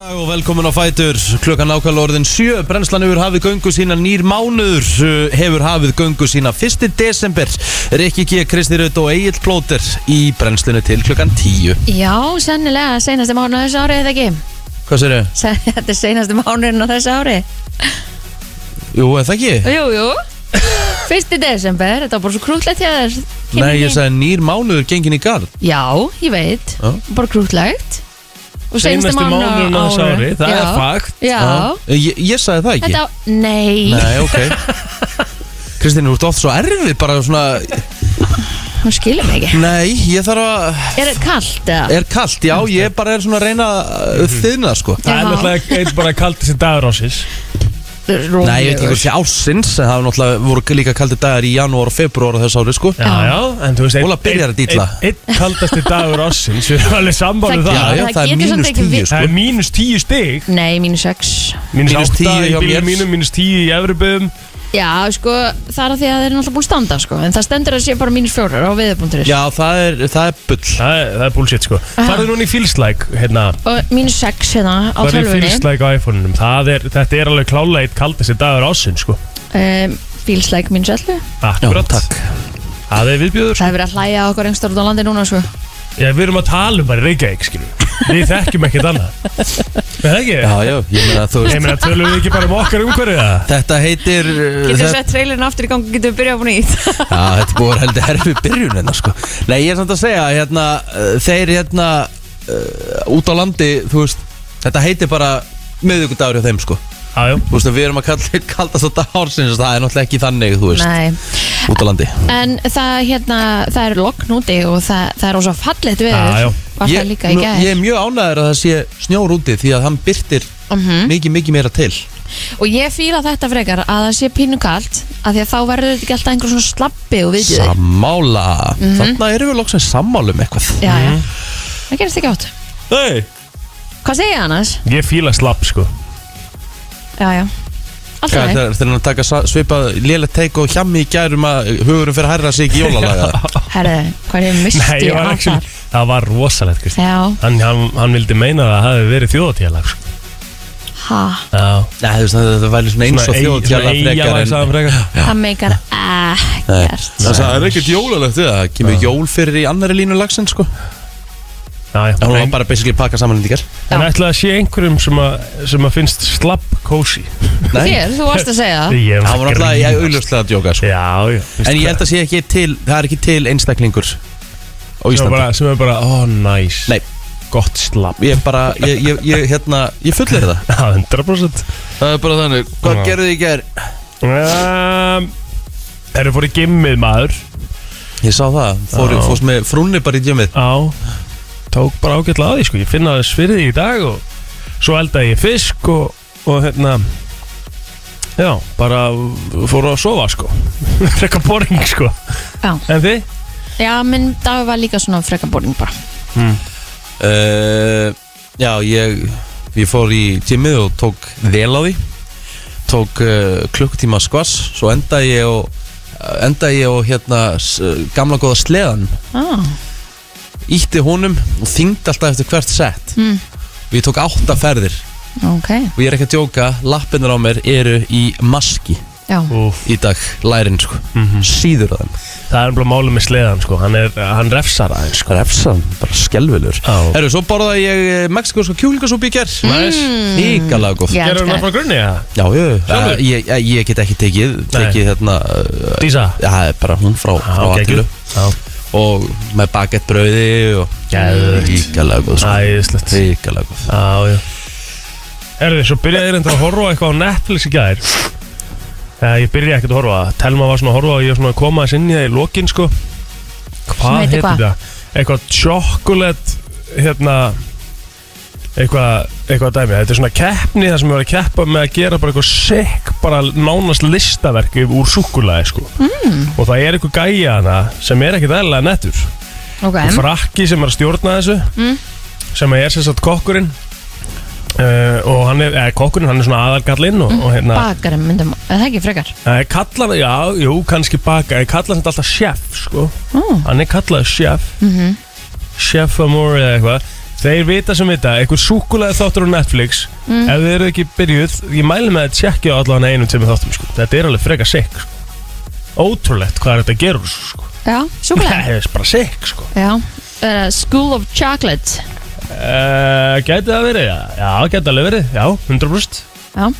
og velkomin á Fætur, klukkan ákvæmlega orðin 7 brennslan hefur hafið göngu sína nýr mánuður uh, hefur hafið göngu sína 1. desember Rikki G. Kristi Rutt og Egil Plóter í brennslinu til klukkan 10 Já, sennilega, seinasti mánu á þessu ári eða ekki Hvað sér þau? Sen- Þetta er seinasti mánuðin á þessu ári Jú, er það ekki? Jú, jú Fyrsti desember, þetta var bara svo krútlegt hjá þér Kynni Nei, ég mín. sagði nýr mánuður gengin í garð Já, ég veit, Já. bara krútlegt Og Seinasti seinasti mánuðin mánuðurinn á á þessu þessu ári, það er fakt. Já, Ah. Eh, ég, ég sagði það ekki þetta, nei, Nei, ok Kristín, þú ert oft svo erfið bara svona hún skilur mig ekki Nei, ég þarf að Er þetta kallt eða? Er kallt, já, ég bara er svona að reyna að þyðna sko Það er Já. náttúrulega einn bara kaldi sem dagur ásins Rólegur. Nei, ég veit ekki hvort sé ásins en það er náttúrulega voru líka kaldi dagar í janúar og februar og þess ári, sko Já, já, en þú veist Óla byrjar að dýtla. Einn ein, ein kaldasti dagur ásins Við erum alveg sammálu Það- Já, það, það, já, það það er getur mínus samt ekki tíu, við- sko er mínus tíu stig Nei, mínu sex Mínus Mínus átta 10 í hjá mér. bílum mínum, mínus tíu í efriböðum Já, sko, það er að því að þeir eru náttúrulega búin að standa sko. En það stendur að sé bara mínus fjórar á viðbúnduris Já, það er, það er bull það, er- það er bullshit sko Farðu núna í fylslæk hérna Og mínus sex hérna á Farðu í tölvunni fylslæk á iPhone-unum Það er, þetta er alveg klálega einn kaldasti dagur ásins sko um, Feels like mínus 11 Akkurat takk. Það er viðbjöður Það er verið að hlæja að okkur engstar út á landi núna sko. Já, við erum að tala um bara Reykjavík skilur Við þekkjum ekkert annað Er það ekki? Já, já, ég meina, þú Ég veist meina, tölum við ekki bara um okkar umhverfið það? Þetta heitir uh, Getur þetta- sett trailerin aftur í gangi Getur við byrjað á nýtt Já, þetta er búið að heldur herfið byrjun hérna, sko Nei, ég er samt að segja, hérna, uh, þeir, hérna, uh, út á landi, þú veist Þetta heitir bara miðvikudagur hjá þeim, sko Já, já Þú veist, við erum að kalla kaldast að dagársins Það er náttúrulega ekki þannig, þú veist, Nei út á landi En það, hérna, það er lokn úti Og það, það er ósá fallegt við Já, já. Var það líka í nú- gær ég er mjög ánæður að það sé snjór úti því að hann byrtir Mhm. mikið, mikið meira til Og ég fíla þetta frekar að það sé pínu kalt Af því að þá verður þetta ekki alltaf einhver svona slappi og viðbjöði Sammála Þarna erum við loksins sammála um eitthvað Mhm. Já, já Mhm. Það gerist ekki átt Nei Hvað segja annars? Ég fíla slapp sko Já, já Hvað, Alltaf Þegar þegar hann taka sa- svipað lélegt teik og hjammi í gærum að hugurum fyrir hærra sig ekki í jólalaga Herðu, hvað ég misti Nei, ég á var ekki það Það var rosalegt Kristi Já, hann, hann, hann vildi meina að það hafi verið þjóðatíðalag sko. ha, Já Nei, þú veist það það væri svona eins og þjóðtjala frekar en frekar það meikar Nei. ekkert Það er ekkert jólalegt við það kemur jól fyrir í annari línu lagsin sko Já, já Hún var bara basically að pakka samanlendingar En ætlaði að sé einhverjum sem að, sem að finnst slapp kósi Nei, Þér, þú varst að segja það Ég er það var að náttúrulega grínast. auðlustlega að djóka sko Já, já veistu En ég hvað? held að sé ekki til, það er ekki til einstaklingur á Sem er Íslandi bara, sem er bara, ó, næs Nei. Gott slapp Ég bara, ég, ég, ég hérna, ég fullir það Já, 100% Það er bara þannig, Já. gerðu þið í ger? um, Þeir eru fór í gimmið maður Ég sá það, fór, Já. fórst með frúnni bara í djömið Já, tók bara ágætlega að því sko, ég finna þess fyrir því í dag og svo eldaði ég fisk og, og hérna, já, bara fór að sofa sko, frekka boring sko, Já. en þið? Já, minn dag var líka svona freka bóring bara uh, Já, ég, ég fór í djömið og tók vel á því Tók uh, klukkutíma skvass, svo endaði ég og endaði ég og hérna s- gamla góða sleðan ah. Ítti honum og þyngdi alltaf eftir hvert sett Mm. Og ég tók átta ferðir Ok, Og ég er ekki að djóka, lappinnar á mér eru í maski já Úf. í dag, lærin sko Mhm. Síður á þeim Það er bara málið með sleðan sko, hann, er, hann refsar aðeins sko. Refsan, bara skelvilur Já. Herru, svo borðaði ég mexikoska kjúlingasúpi í ger Mm. Næs. Ígalega góð Ég Gerður elska hann það frá grunni eða? Já, já, já Sjálfur? ég, ég, ég get ekki tekið Tekið þarna uh, Dísa? Já, það er bara hún frá, Já, frá geggjuð. Atilu Já, Og með baguett brauði og Geðveikt. Ígalega góð sko. æðislegt. Ígalega góð Já, já Erðu, svo byrjaði ég reynda að horfa á eitthvað á Netflix í gær Þegar ég byrjaði ekkert að horfa á það Telma var svona að horfa og ég var svona að koma þess inn í það í lokin sko Hvað heitir heitir hvað? það? Eitthvað chocolate hérna eitthvað, eitthvað dæmi Þetta er svona keppni þar sem ég var að keppa með að gera bara eitthvað sick, bara nánast listaverki úr súkulaði sko mm. Og það er eitthvað gæja hana sem er ekkert eðlilega nettur Ok, og frakki sem er að stjórna þessu sem er sem sagt kokkurinn uh, og hann er, eða kokkurinn hann er svona aðalgallinn og, og hérna bakarinn myndum, eða það ekki frekar Nei, kallar, já, jú, kannski eh, baka en kallar þetta alltaf chef, sko Ó. hann er kallað chef mm -hmm. chef amore eða eitthvað Þeir vita sem vita, einhver súkulega þáttur á Netflix Ef þið eru ekki byrjuð Ég mæli með að tjekkja á allan einum sem þáttum sko. Þetta er alveg freka sikk sko. Ótrúlegt hvað er þetta að gera úr þessu, sko. Já, sjúkulega Það er bara sikk sko. Já, uh, School of Chocolate uh, Gæti það verið? Já, já gæti alveg verið, já, 100% Já,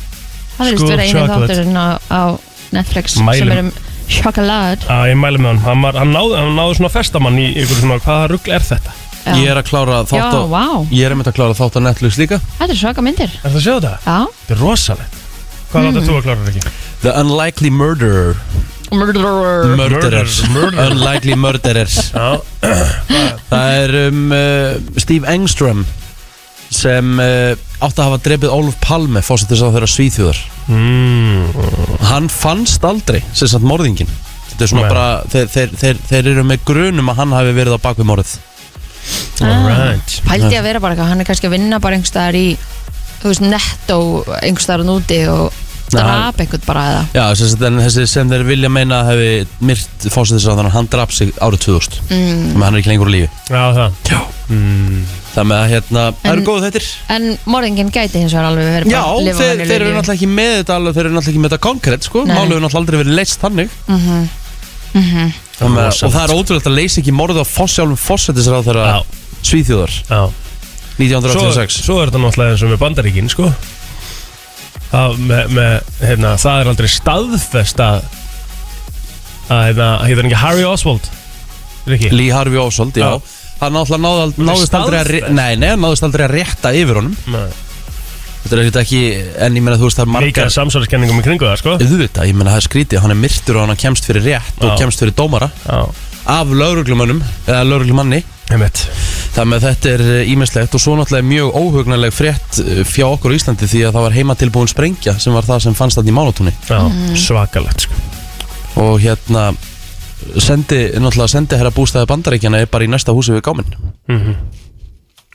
það verðist School vera of eini Chocolate. þátturinn á, á Netflix sem Mælum. er um chocolate Já, ég mæli með hann Hann, var, hann, náði, hann náði svona festamann í ykkur svona Hvaða rugl er þetta? Já, Ég er að klára Já, þátt á vá, Ég er einmitt að klára þátt á Netflix líka þetta er svaka myndir Er það að sjá þetta? Já, Þetta er rosalegt Hvað mm. þú að klára ekki? The Unlikely Murderer Murderer Murderer Murderer. Unlikely Murderer Já, Það er um uh, Steve Engström sem uh, átti að hafa drefið Ólf Palme fórsettis á þeirra svíþjóðar mm. Hann fannst aldrei, sem sagt morðingin Þetta er svona Nei. bara, þeir, þeir, þeir, þeir eru með grunum að hann hafi verið á bakvið morðið alright Pældi að vera bara eitthvað, hann er kannski að vinna bara einhverstaðar í þú veist, netto einhverstaðar á núti og Nei, drap einhvern bara eða Já, sem sagt, en þessi sem þeir vilja meina að hafi myrt fórsettis á þannig hann draf sig árið 2000 mm. Þannig að hann er ekki lengur á lífi Já, það Já mm. Það með að hérna, það eru En- góð þettir En morðingin gæti hins vegar alveg verið Já, bara að lifa þeir, venjulegu þeir eru lífi. náttúrulega ekki með þetta alveg, þeir eru náttúrulega ekki með þetta konkrétt sko, Nei. málið hefur náttúrulega aldrei verið leist þannig Mhm, mhm. Það með, Rosalegt. og það er ótrúlegt að leysa ekki morðið á fossjálfum fossetisráð þeirra Já, Svíþjóðar já svo, 1986 svo er þetta náttúrulega eins og með bandaríkin sko. það, með, með, hérna, það er aldrei staðfest að að hérna, heitir hann ekki Harry Oswald Rikki Lee Harvey Oswald, já Já. Hann náttúrulega náði ald- er náðist aldrei að re- staðfest. Nei, nei, hann náðist aldrei að rétta yfir honum Nei. Þetta er ekkert ekki, en ég meina þú veist það er líka margar samsvarskenningum í kringu það sko. Þú veit það, ég meina það er skrítið Hann er myrtur og hann kemst fyrir rétt og Já. kemst fyrir dómara já, Af lauruglumönnum, eða lauruglumanni einmitt Það með þetta er ímislegt og svo náttúrulega mjög óhugnaleg frétt eh, fjá okkur á Íslandi því að það var heimatilbúin sprengja sem var það sem fannst þarna í mánatúni já, svakalegt sko. og hérna sendi, náttúrulega sendi herra bústæði bandaríkjana er bara í næsta húsi við gáminn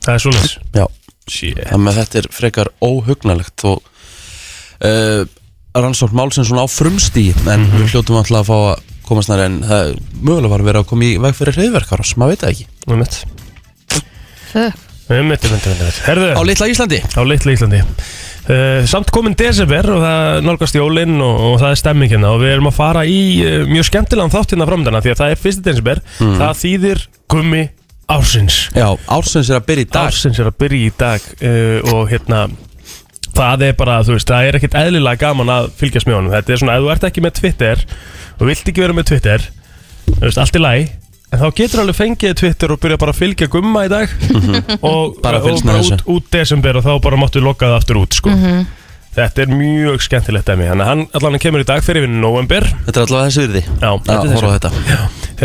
það er svolítið já, shit þannig að þetta er frekar óhugnalegt og uh, rannsókn málsinn svona á frumstí en við hljótum alltaf að fá að komast nær en það mögulega var að vera að koma í veg fyrir hreyðverkar sem maður veit það ekki einmitt, Fuck. einmitt, einmitt, einmitt. herðu á litla Íslandi á litla Íslandi uh, samt komin desember og það nálgast jólinn og, og það er stemmingina og við erum að fara í uh, mjög skemmtilegan þátt hérna framdana því að það er fyrsti desember það þýðir gummi ársins já, ársins er að byrja í dag ársins er að byrja í dag uh, og hérna það er bara, þú veist, það er ekkert eðlilega gaman að fylgjast með honum, þetta er svona, ef þú ert ekki með Twitter og vilt ekki vera með Twitter þú veist, allt í læg en þá getur alveg fengið Twitter og byrja bara að fylgja gumma í dag og Bara og fylgst með þessu. út, út desember og þá bara máttu lokka það aftur út sko. þetta er mjög skemmtilegt dæmi, þannig að hann allan kemur í dag fyrir við november þetta er allavega þessi virði já, að horfa á þetta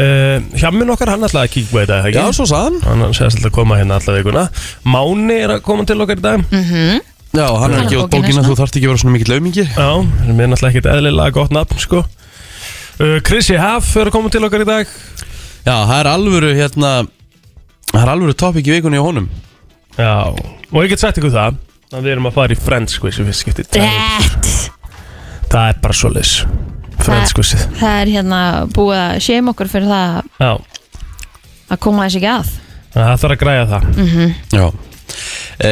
uh, Hjammin okkar, hann allan að kíkja í dag ekki? já, svo saðan hann hann segist alltaf að koma hérna alla vikuna Máni er að koma til okkar í dag Mhm. já, hann er Hann er ekki út bókin bókina næsta. þú þarft ekki að vera svona mikill aumingi Já, hann er með náttúrulega ekkert eðlilega gott nafn sko uh, Chrissy Haff er að koma til okkar í dag já, það er alvöru hérna það er alvöru topic í vikunni á honum Já, og ég get sagt ykkur það að við erum að fara í Friends quiz í fyrsta skipti. það, Rétt er- það er bara svoleiðis Friends quizið Það er hérna búið að séum okkur fyrir það Já, að koma þessi ekki að það þarf að græja það Já e,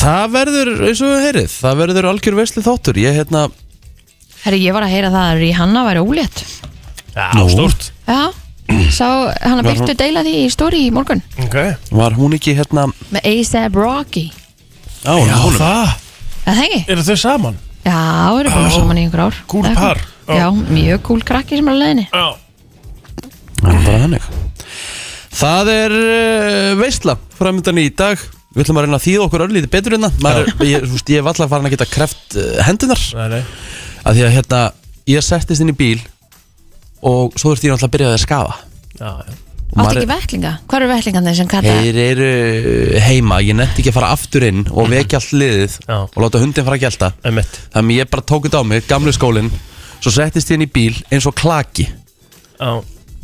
Það verður, eins og við heyrið Það verður algjör vesli þáttur Ég hérna, Herri, ég var að heyra það að Rihanna væri ólétt Já, Nú. stórt Já, sá hann að Var hún- byrtu deila því í stóri í morgun Ok var hún ekki hérna með A$AP Rocky Á, hún Já, honum það Er það ekki? Eru þau saman? Já, það eru bara Já. saman í einhver ár Kúl Eða par. eitthvað. Já, mjög kúl krakki sem er á leiðinni Já Það er bara þannig Það er uh, veisla framöndan í dag Við ætlum að reyna að þýða okkur örlítið betur hérna Maður, er- ég, þú veist, ég hef alltaf farin að geta kreft uh, hendunar Nei, nei Af því að hérna, ég settist inn í bíl Og svo þurfti ég náttúrulega að byrja að skafa Já, já Og Áttu maður- ekki vettlinga? Hvað eru vettlingarnir sem kalla? Þeir eru heima, ég nefndi ekki að fara aftur inn og vekja allt liðið Já. og láta hundin fara að gælta Emmett Þannig að ég bara tók þetta á mig, gamlu skólinn Svo settist ég inn í bíl eins og klaki Já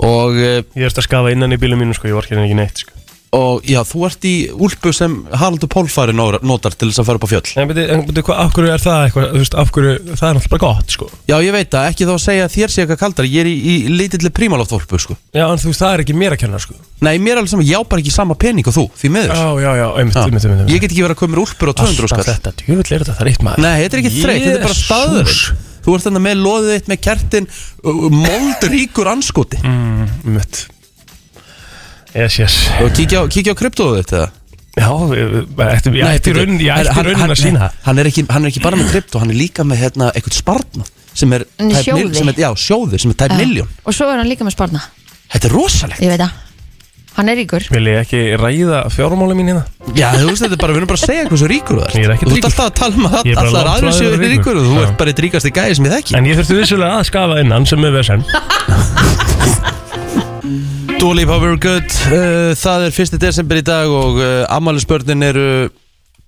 Og eh, Ég erst að skafa innan í bílum mínu sko, ég var ekki neitt sko og já, þú ert í úlpu sem Haraldur Pólfari nó- notar til þess að fara upp á fjöll En beti, en beti, hvað, af hverju er það eitthvað, þú veist, af hverju, það er náttúrulega bara gott, sko Já, ég veit það, ekki þá að segja að þér sé eitthvað kaldar Ég er í, í lítilli prímalofthólpu, sko Já, en þú veist, það er ekki mér að kenna, sko Nei, mér er alveg saman, ég á bara ekki sama pening og þú, því miður Já, já, já, einmitt, Ha. einmitt, einmitt, einmitt. Ég get ekki verið að koma mér úlpur á 200 Alltaf skall þetta, djúvill er þetta, það er eitt maður Nei, þetta er ekki þreytt, þetta er bara Jesús. staður Þú ert þannig með loðið þitt með kertin Moldríkur anskoti mm. Einmitt. Yes, yes Og kíkja, á- kíkja á kryptóðu þitt eða? Já, ég bara ætti ég ætti í bíddu. raunin, ég Herra, ætti í hann- raunin hann- að sína það nei, hann er, ekki, hann er ekki bara með kryptó, hann er líka með hérna, eitthvað spartna sem er En í tæp mil- sjóði. sem er, já, sjóði, sem er tæp miljón Og svo er hann líka með sparna Þetta er rosalegt Ég veit það Hann er ríkur Vil ég ekki ræða fjármála mín hérna? Já, þú veist þetta er bara, við erum bara að segja hversu ríkur þú ert Ég er ekkert Þú ert ríkur. alltaf að tala um að Ég er bara alltaf langt aðrir frá því að séu vera ríkur og Þú ríkur. ert bara eitt ríkasti gæði sem ég þekki En ég þurfti vissulega að skafa innan sem er vesen Dua Lipa Very Good uh, Það er 1. desember í dag og uh, ammælisbörnin eru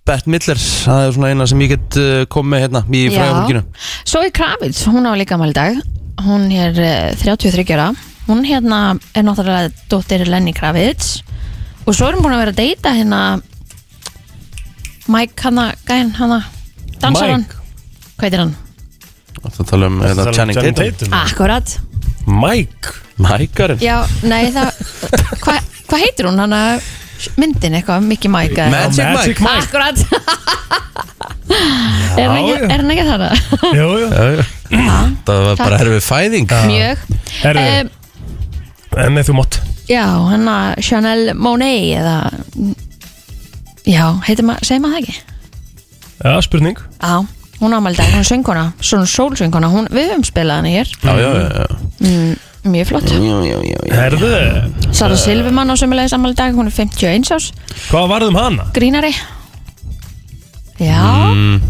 Bett Midler, það er svona eina sem ég get uh, komið með hérna í fræðafólkinu Zoe Kravitz, hún á líka mæli dag Hún er eh, 33 ára Hún hérna er náttúrulega dóttir Lenny Kravitz Og svo er hún búin að vera að deyta hérna Mike hana, gæn hana Dansaran, Mike. hvað heitir hann? Það tala um hérna, Channing Tatum Akkurat Mike Mækarinn Já, nei það Hvað hva heitir hún? Hanna myndin eitthvað, Mickey Mike eða- Magic Magic Mike. Mike Akkurat Er hann ekki- já. er hann ekki þarna? Jú, jú Já, já. Það var bara Takk. herfið fæðing Mjög Herðu, um, en nei, þú mátt Já, hann að Chanel Monet eða Já, heitir maður, segir maður það ekki? Já, spurning Já, hún ámæli dag, hún er söngkona Svona sólsöngkona, hún, við höfum spilað hann hér Já, já, já, já. Mjög flott já, já, já, já. Herðu, Sara Silvimann á sömulegis ámæli dag, hún er 51 ás hvað varðum hana? Grínari Já,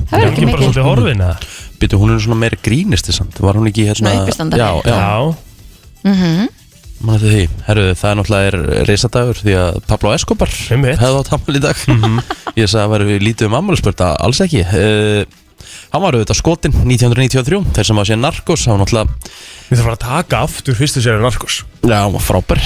það verður ekki Engin Mm. bara mikið svolítið horfin eða? Býtu, hún er svona meira grínisti samt Var hún ekki hérna Svona uppistandari. Já, já, Já maður því Herru, það er náttúrulega er reysadagur Því að Pablo Escobar Einmitt. hefði átt afmæli í dag Ég sagði að væri lítið um afmælisbörn að Alls ekki uh, Hann var auðvitað skotinn 1993 Þeir sem var sér narkos Hann var náttúrulega Við þarfum að fara að taka aftur fyrstu séri Narkos Já, hann var frábær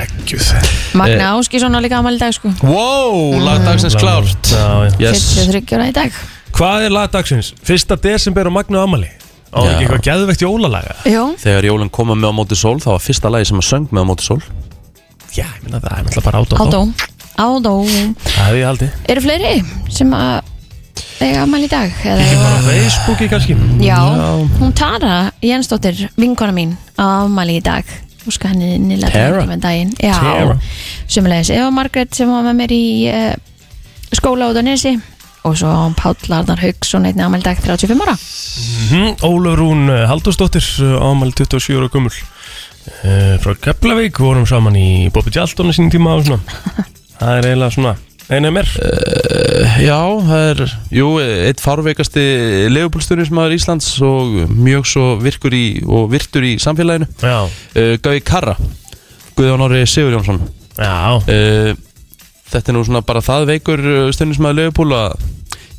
Ekkjúð Magna Eh, Áskísson á líka ámæli dag sko Wow, lagdagsins klárt Já, já Yes 53 ára í dag Hvað er lagdagsins? Fyrsta desember og Magnu Amali Á Já. ekki eitthvað geðvegt jólalaga Jú, Þegar jólinn koma með á móti sól þá var fyrsta lagi sem að söng með á móti sól Já, ég minna það er náttúrulega bara átó ádó Ádó Það er ég haldi Eru fleiri sem að eiga ámæli í dag? Ekki Eða, bara á Facebooki kannski já, hún Tara Jensdóttir, vinkona mín á ámæli í dag Úska henni nýlega Tara. með daginn Já, Tara. sömulegis Eva Margrét sem var með mér í uh, skóla út á Nesi og svo á hann Páll Arnar Hauksson einnig ámæli í dag 35 ára Mhm, Ólaf Rún eh, Halldórsdóttir Amali 27 ára gummul Eh, Frá Keflavík vorum saman í Bobby Jaldon í sínum tíma og svona Það er eiginlega svona Einu mér Eh. Já, það er, jú, eitt farveikasti leifubúlstunismæður Íslands og mjög svo virkur í og virtur í samfélaginu Já, uh, Gaui Karra, Guðjón Orri Sigurjónsson já uh, Þetta er nú svona bara það veikur stunismæður leifubúl að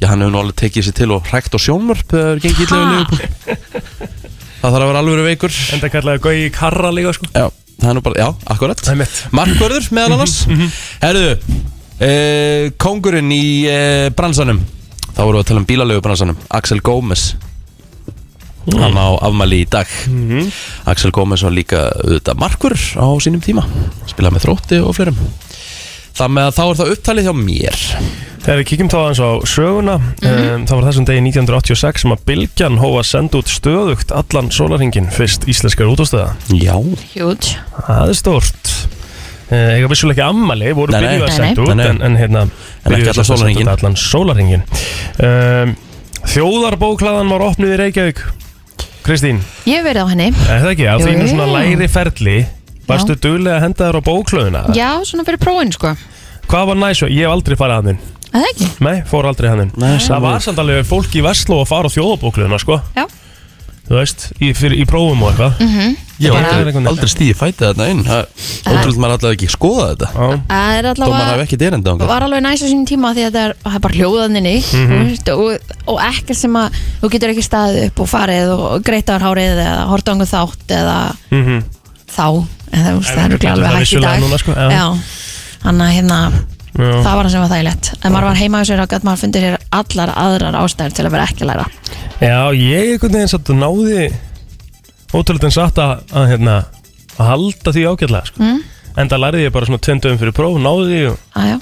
Já, hann hefur nú alveg tekið sér til og hrækt á sjónvörp þegar það er gengið illega Ha? leifubúl Það þarf að vera alvöru veikur Enda kallaði Gaui Karra líka sko Já, það er nú bara, já, akkurat Það er mitt Mhm, Markvörður meðal annars Herðu, uh, kongurinn í uh, bransanum Þá vorum við að tala um bílalegu bransanum Axel Gómez Mm. Hann á afmæli í dag Mhm. Axel Gómez var líka auðvitað markur á sínum tíma Spilaði með þrótti og flerum Það með að þá er það upptalið hjá mér Þegar við kíkjum þá aðeins á söguna mm Mhm. Það var þessum degi 1986 sem að Bilgjan hófa að senda út stöðugt allan sólarhingin fyrst íslenskar útástöða Já Huge Það er stórt Eh, Eiga vissulega ekki ammali, voru Nei, nei. byrjuð að Nei, senda nei. Nei, út nei. En, en hérna En ekki byrjuðu allan sem sagt að senda sólarhringinn. út Allan sólarhingin um, Þjóðarbóklaðan var opnuð í Reykjavík Kristín, Ég hef verið á henni er það ekki? Á Jú, þínu jú. svona læri ferli Varstu duglega að henda þér á bóklaðuna? Já, svona fyrir prófin sko Hvað var næs? Ég hef aldrei farið að þinn Er Það ekki? Nei, fór aldrei hann inn Nei, Það var samt alveg fólk í Vestló að fara á þjóðabókluðina sko Já. Mhm. Þú veist, í, fyrir, í prófum og eitthvað mm Ég hef Bara- aldrei, aldrei stíði fætið þarna inn Það- Ótrúlega maður allavega ekki skoða þetta -hmm. Það Þó maður er allavega hafi ekki derenda á Það var alveg næst á sínum tíma því að þetta er, það er bara hljóðaninni mm Mhm. og, og ekkert sem að þú getur ekki staðið upp og farið og greitt á þér hárið eða hort á einhver þátt eða þá en það, það er við örugglega getum alveg það hægt í vissulega dag núna, sko, já. já. Þannig að hérna, Já. það var það sem var þægilegt Ef maður var heima á sér og gætt maður fundir sér allar aðrar ástæður til að vera ekki að læra Já, ég einhvern veginn satt að náði ótrúlega en satt að, að, hérna, að halda því ágætlega sko. mm? en það lærði ég bara svona tvendum fyrir próf náði því og, Aðjá,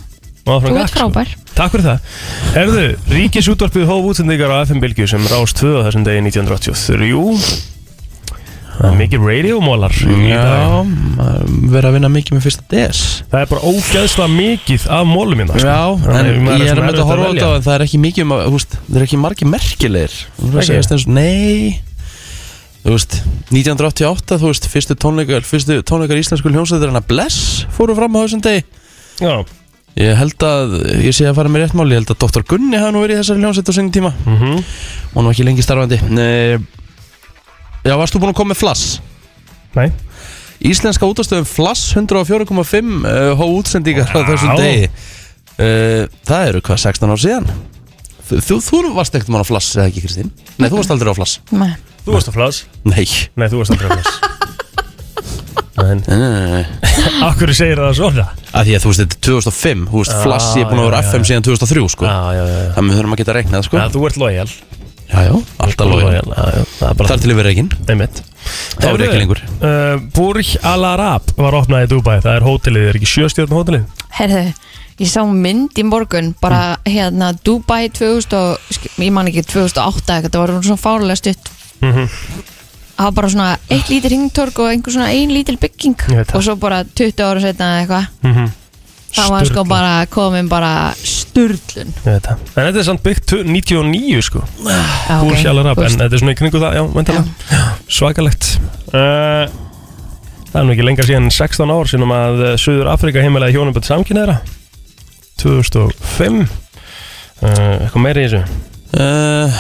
og áfram þú gekk, ert sko. frábær Takk fyrir það. Erðu, Ríkisútvarpið hóf útsendingar á FM Bilgju sem rást 2 á þessum degi 1983. Það er mikið radiomólar í dag. Já, verið að vinna mikið með fyrsta DS Það er bara ógæðsla mikið af hérna, sko. mólum minna. Já, en ég Sko. er að mynda að horfa á þetta en það er ekki mikið, um að- þú veist, það er ekki margir merkilegir Þú veist, Ekki? það er eins og, nei Þú veist, 1988, þú veist, fyrstu tónleikar, fyrstu tónleikar íslensku hljómsveitur en að Bless fóru fram á þessum degi Já, Ég held að, ég sé að fara með rétt mál, ég held að Dr. Gunni hafa nú verið í þessari hljómsveit á sinni tíma mm Hún var ekki lengi starfandi Nei. Já, varst þú búin að koma með flass? nei. Íslenska útastöðum Flass 104,5 uh, hó útsendingar á þessum Vá. degi uh, Það eru hvað, 16 ár síðan Þú, þú, þú varst ekkert mann á Flass eða ekki Kristín? Nei, þú varst aldrei á Flass Nei. Þú varst að flas. Nei, Nei, þú varst að flas. en nei, nei, nei. akkur segir það svona? Af því að þú veist þetta er 2005 Þú veist, Ah, Flass ég er búin að vera já, FM já. síðan 2003 sko. Já, já, já. já. Það með þurfum að geta reiknað sko. Já, þú ert lojal. Já, já, alltaf lóðin Já, já, það er bara Þar til að vera reikinn Einmitt Það er ekki lengur. uh, Burj Al Arab var opnað í Dubai Það er hótelið, er ekki sjöstjörn hótelið? Herðu, ég sá mynd í morgun bara hérna Dubai 2000 og, sk- ég man ekki 2008 eitthvað, þetta var svona fárlega stutt það var bara svona eitt lítil ringtorg og einhver svona ein lítil bygging Ég veit það. og svo bara 20 ára setna eða eitthvað Mm -hmm. það var sko bara komin bara sturlun En þetta er samt byggt tu- 99 sko Já, Ah, ok. Burj Al Arab Þú En veist, þetta er svona í kringu það, já, væntanlega Já, Svakalegt uh, Það er nú ekki lengar síðan en 16 ár Sýnum að uh, Suður Afrika heimilega hjónaböld samkynneðra 2005 uh, Eitthvað meira í þessu uh,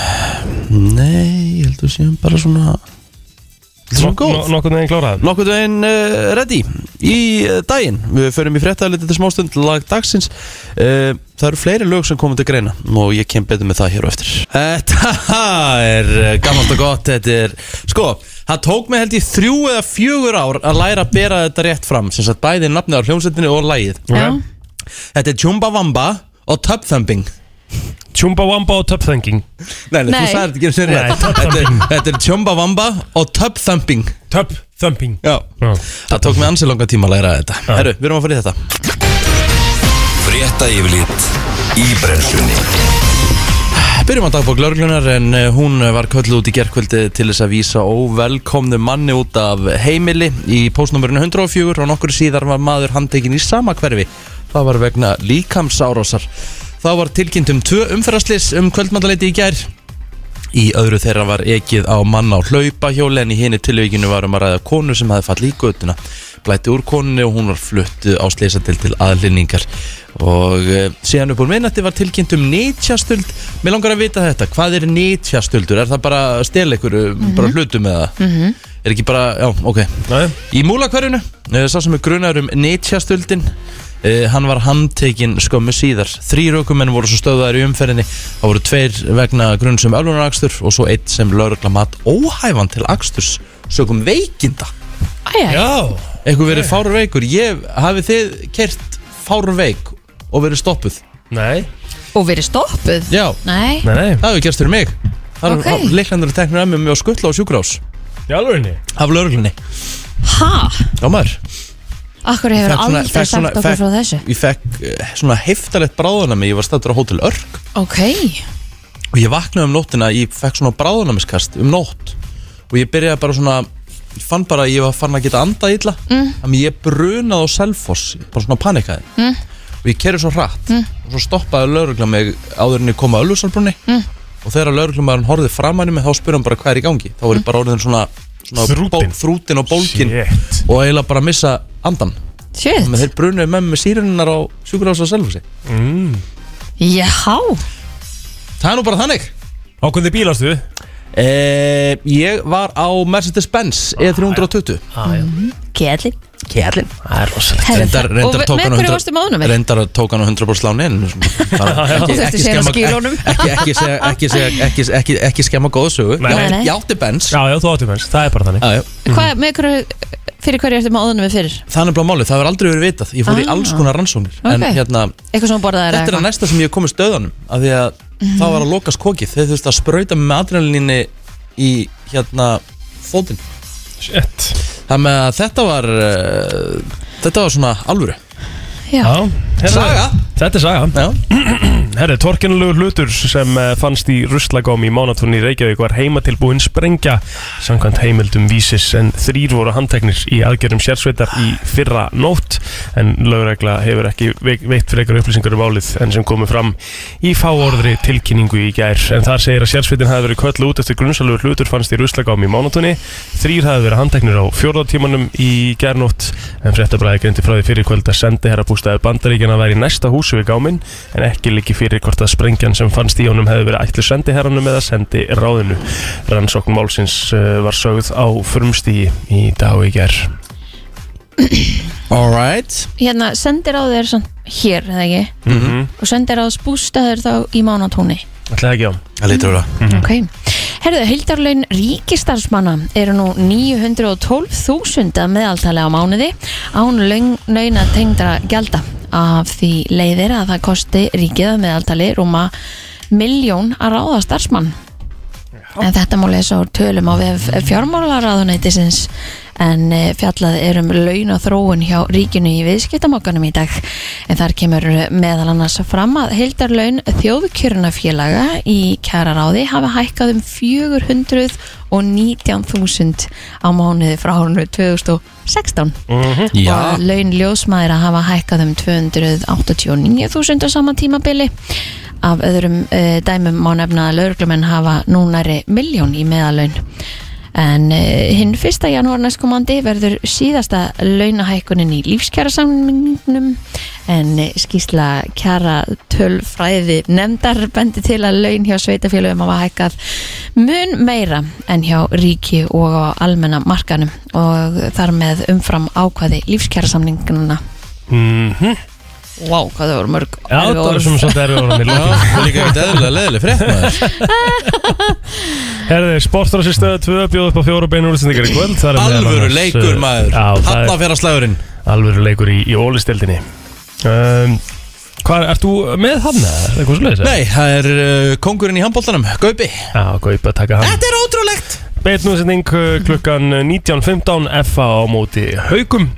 Nei, ég held að séum bara svona Þetta er svona góð Nokkuð neginn klárað Nokkuð veginn uh, ready í uh, daginn. Við förum í fréttaðaliti til smástund lag dagsins. Uh, það eru fleiri lög sem komum til greina og ég kem betur með það hér á eftir. Þetta er uh, gammalt og gott. Þetta er, sko, það tók mig held ég þrjú eða fjögur ár að læra að bera þetta rétt fram. Sem sagt bæði nafnið á hljómsveitinu og lagið. já, Ok. Þetta er Chumba Wamba og Tub Thumping. Chumba Wamba og Top Thinking Nei, nei, Nei. þú sagði þetta ekki sem Nei, rétt. Tub Þetta er, þetta er Chumba Wamba og Tub Thumping. Top Thumping Já. Já. Það tók mig ansi langa tíma að læra þetta. Herru, við erum að fara í þetta. Frétta yfirlit í brennslunni Byrjum að dagbók lauruglunar en eh, hún var kölluð út í gerkvöldi til þess að vísa óvelkomnu manni út af heimili í postnumurinu 104 og nokkur síðar var maður handtekinn í sama hverfi. Það var vegna líkamsárásar. Það var tilkynnt um tvö umferðaslis um kvöldmandaleiti í gær. Í öðru þeirra var ekið á mann á hlaupahjóli en í henni tilvíkinu var um að ræða konu sem hafði fallið í götuna. Blætti úr konunni og hún var flutt eh, á sleisadil til aðlinningar. Og e, síðan upp úr minnati var tilkynnt um nýtjastöld. Mér langar að vita þetta, hvað er nýtjastöldur? Er það bara að stela ykkur, bara hlutum eða? -hmm. Er ekki bara, já, ok. Nei Í múlakverjunu, eh, sá sem er grunar um netjastöldin eh, Hann var handtekinn skömmu síðar Þrýr aukumenn voru svo stöðaðir í umferðinni Það voru tveir vegna grunn sem ölvunarakstur Og svo eitt sem lögregla mat óhæfan til aksturs Sökum veikinda æja, Já Eitthvað verið fárveikur Ég hafi þið kert fárveik og verið stoppuð Nei og verið stoppuð Já, nei, Nei, nei það hefur gerst fyrir mig Það Ok. okay. er leiklandur að tekna að mig með að skuttla á sjúkrás Í alvörinni Af lögreglunni ha Já maður akkur hefur Fekk svona- aldrei fekk sagt svona- okkur fekk- frá þessu Ég fekk eh, svona heiftalegt bráðanami Ég var stættur á Hótel Örk ok, og ég vaknaði um nóttina ég fekk svona bráðunamiskast um nótt og ég byrjaði bara svona ég fann bara að ég var farin að geta andað illa mm. þannig ég brunaði á Selfoss bara svona panikaði mm. og ég kerði svo hratt Mm. og svo stoppaði laurugla mig áður en ég kom að Öllusalbrunni mm. og þegar lauruglumæðurinn horfið framan í mig þá spurði hann bara hvað er í gangi þá Mm. var ég bara orðin svona, svona Þrútinn. bó- þrútinn og bólkin Shit. og eiginlega bara að missa andan shit Þannig að þeir brunuði með mig með síruninnar á sjúkurhása Selfossi mm. já, það er nú bara þannig Á hvernig bíl ástu? Eh, ég var á Mercedes-Benz E E320 kjallin Kjærlin Herðu, Reyndar, og reyndar með tók hann á hverju varstu með honum 100 Reyndar tók hann á 100 sláni en bara ekki- Þú þurftir ekki síðan að skemma- skýra honum. ekki- ekki segja- ekki segja- ekki- ekki- Ekki skemma góða sögu Nei, Ég átti- nei. Ég átti Benz Mhm. Já, já, þú átti mens, það er bara þannig Já, já. Hvað, með hverju fyrir hverju ertu maður áðunum við fyrir Það er nefnilega málið, það hefur aldrei verið vitað Ég fór í Ah. alls konar rannsóknir En Ok. hérna, eitthvað sem borðaði þetta er að næsta sem ég komið stöðanum Af því að það var að lokast kokið Þeir þurftu að sprauta mig með adrenalinni Í hérna fótinn Shit Þannig að þetta var uh, Þetta var svona alvöru Já. Já, herra, Saga. Þetta er saga Já, Herri, torkenulegu hlutur sem eh, fannst í ruslagóm í mánatúrni í Reykjavík var heimatilbúin sprengja samkvæmt heimildum vísis en þrýr voru handteknir í aðgerðum sérsveitar í fyrra nótt en lögregla hefur ekki ve- veitt fyrir eitthvað upplýsingar um álið en sem komu fram í fáorðri tilkynningu í gær en þar segir að sérsveitin hafi verið köllu út eftir grunnsalugur hlutur fannst í ruslagóm í mánatúrni þrýr hafi verið handteknir á fjórðartímanum í gærnótt en fréttabræði greindi frá því fyrir kvöld að sendi herra bústæður bandaríkjana væri í næsta húsi við gáminn en ekki líki fyrir hvort að sprengjan sem fannst í honum hefði verið ætlu sendi herranum eða sendi ráðinu. Rannsókn málsins eh, var sögð á frumstíi í dag og í ger. alright hérna sendir á þér samt hér eða ekki Mhm. Mm -hmm. og sendir á spústaður þá í mánatúni Ætlaði ekki á. Það lítur vera ok Herðu, heildarlaun ríkistarfsmanna eru nú 912.000 að meðaltali á mánuði án launa tengdra gjalda af því leiðir að það kosti ríkið að meðaltali rúma miljón að ráða starfsmann En þetta má lesa úr tölum á vef fjármálaráðunætisins en eh, fjallað er um launaþróun hjá ríkinu í viðskiptamokkanum í dag. En þar kemur eh, meðal annars fram að heildarlaun þjóðkjörnafélaga í kjæraráði hafa hækkað um 419.000 á mánuði frá árunni 2016 Mhm. og að laun ljósmaður að hafa hækkað um 289.000 á sama tímabili af öðrum uh, dæmum má nefna að lauruglumenn hafa núnari miljón í meðalaun en uh, hinn 1. janúar næstkomandi verður síðasta launahækkunin í lífskjærasamningnum en eh, skýrsla kjara tölfræði nefndar bendi til að laun hjá sveitafélögum hafa hækkað mun meira en hjá ríki og á almenna markanum og þar með umfram ákvaði lífskjærasamningnuna Mm -hmm. Vá, wow, hvað það voru mörg Já, erfið það var orð. svona svolítið erfið orðan í lokin. Það er líka ekkert eðlilega leðileg frétt maður Herði, sportrassi stöða 2 bjóð upp á fjóra beinu úrstendingar í kvöld. Það er meðal Alvöru annars, leikur eh, maður Já, það er Hallafjara alvöru leikur í, í ólistildinni. Um, hvað, ert þú með hann eða? Eitthvað svo leiðis? Nei, það er uh, kongurinn í handbóltanum, Gaupi Já, gaupa að taka hann. Þetta er ótrúlegt Beitnúsending klukkan 19.15 FA á móti haugum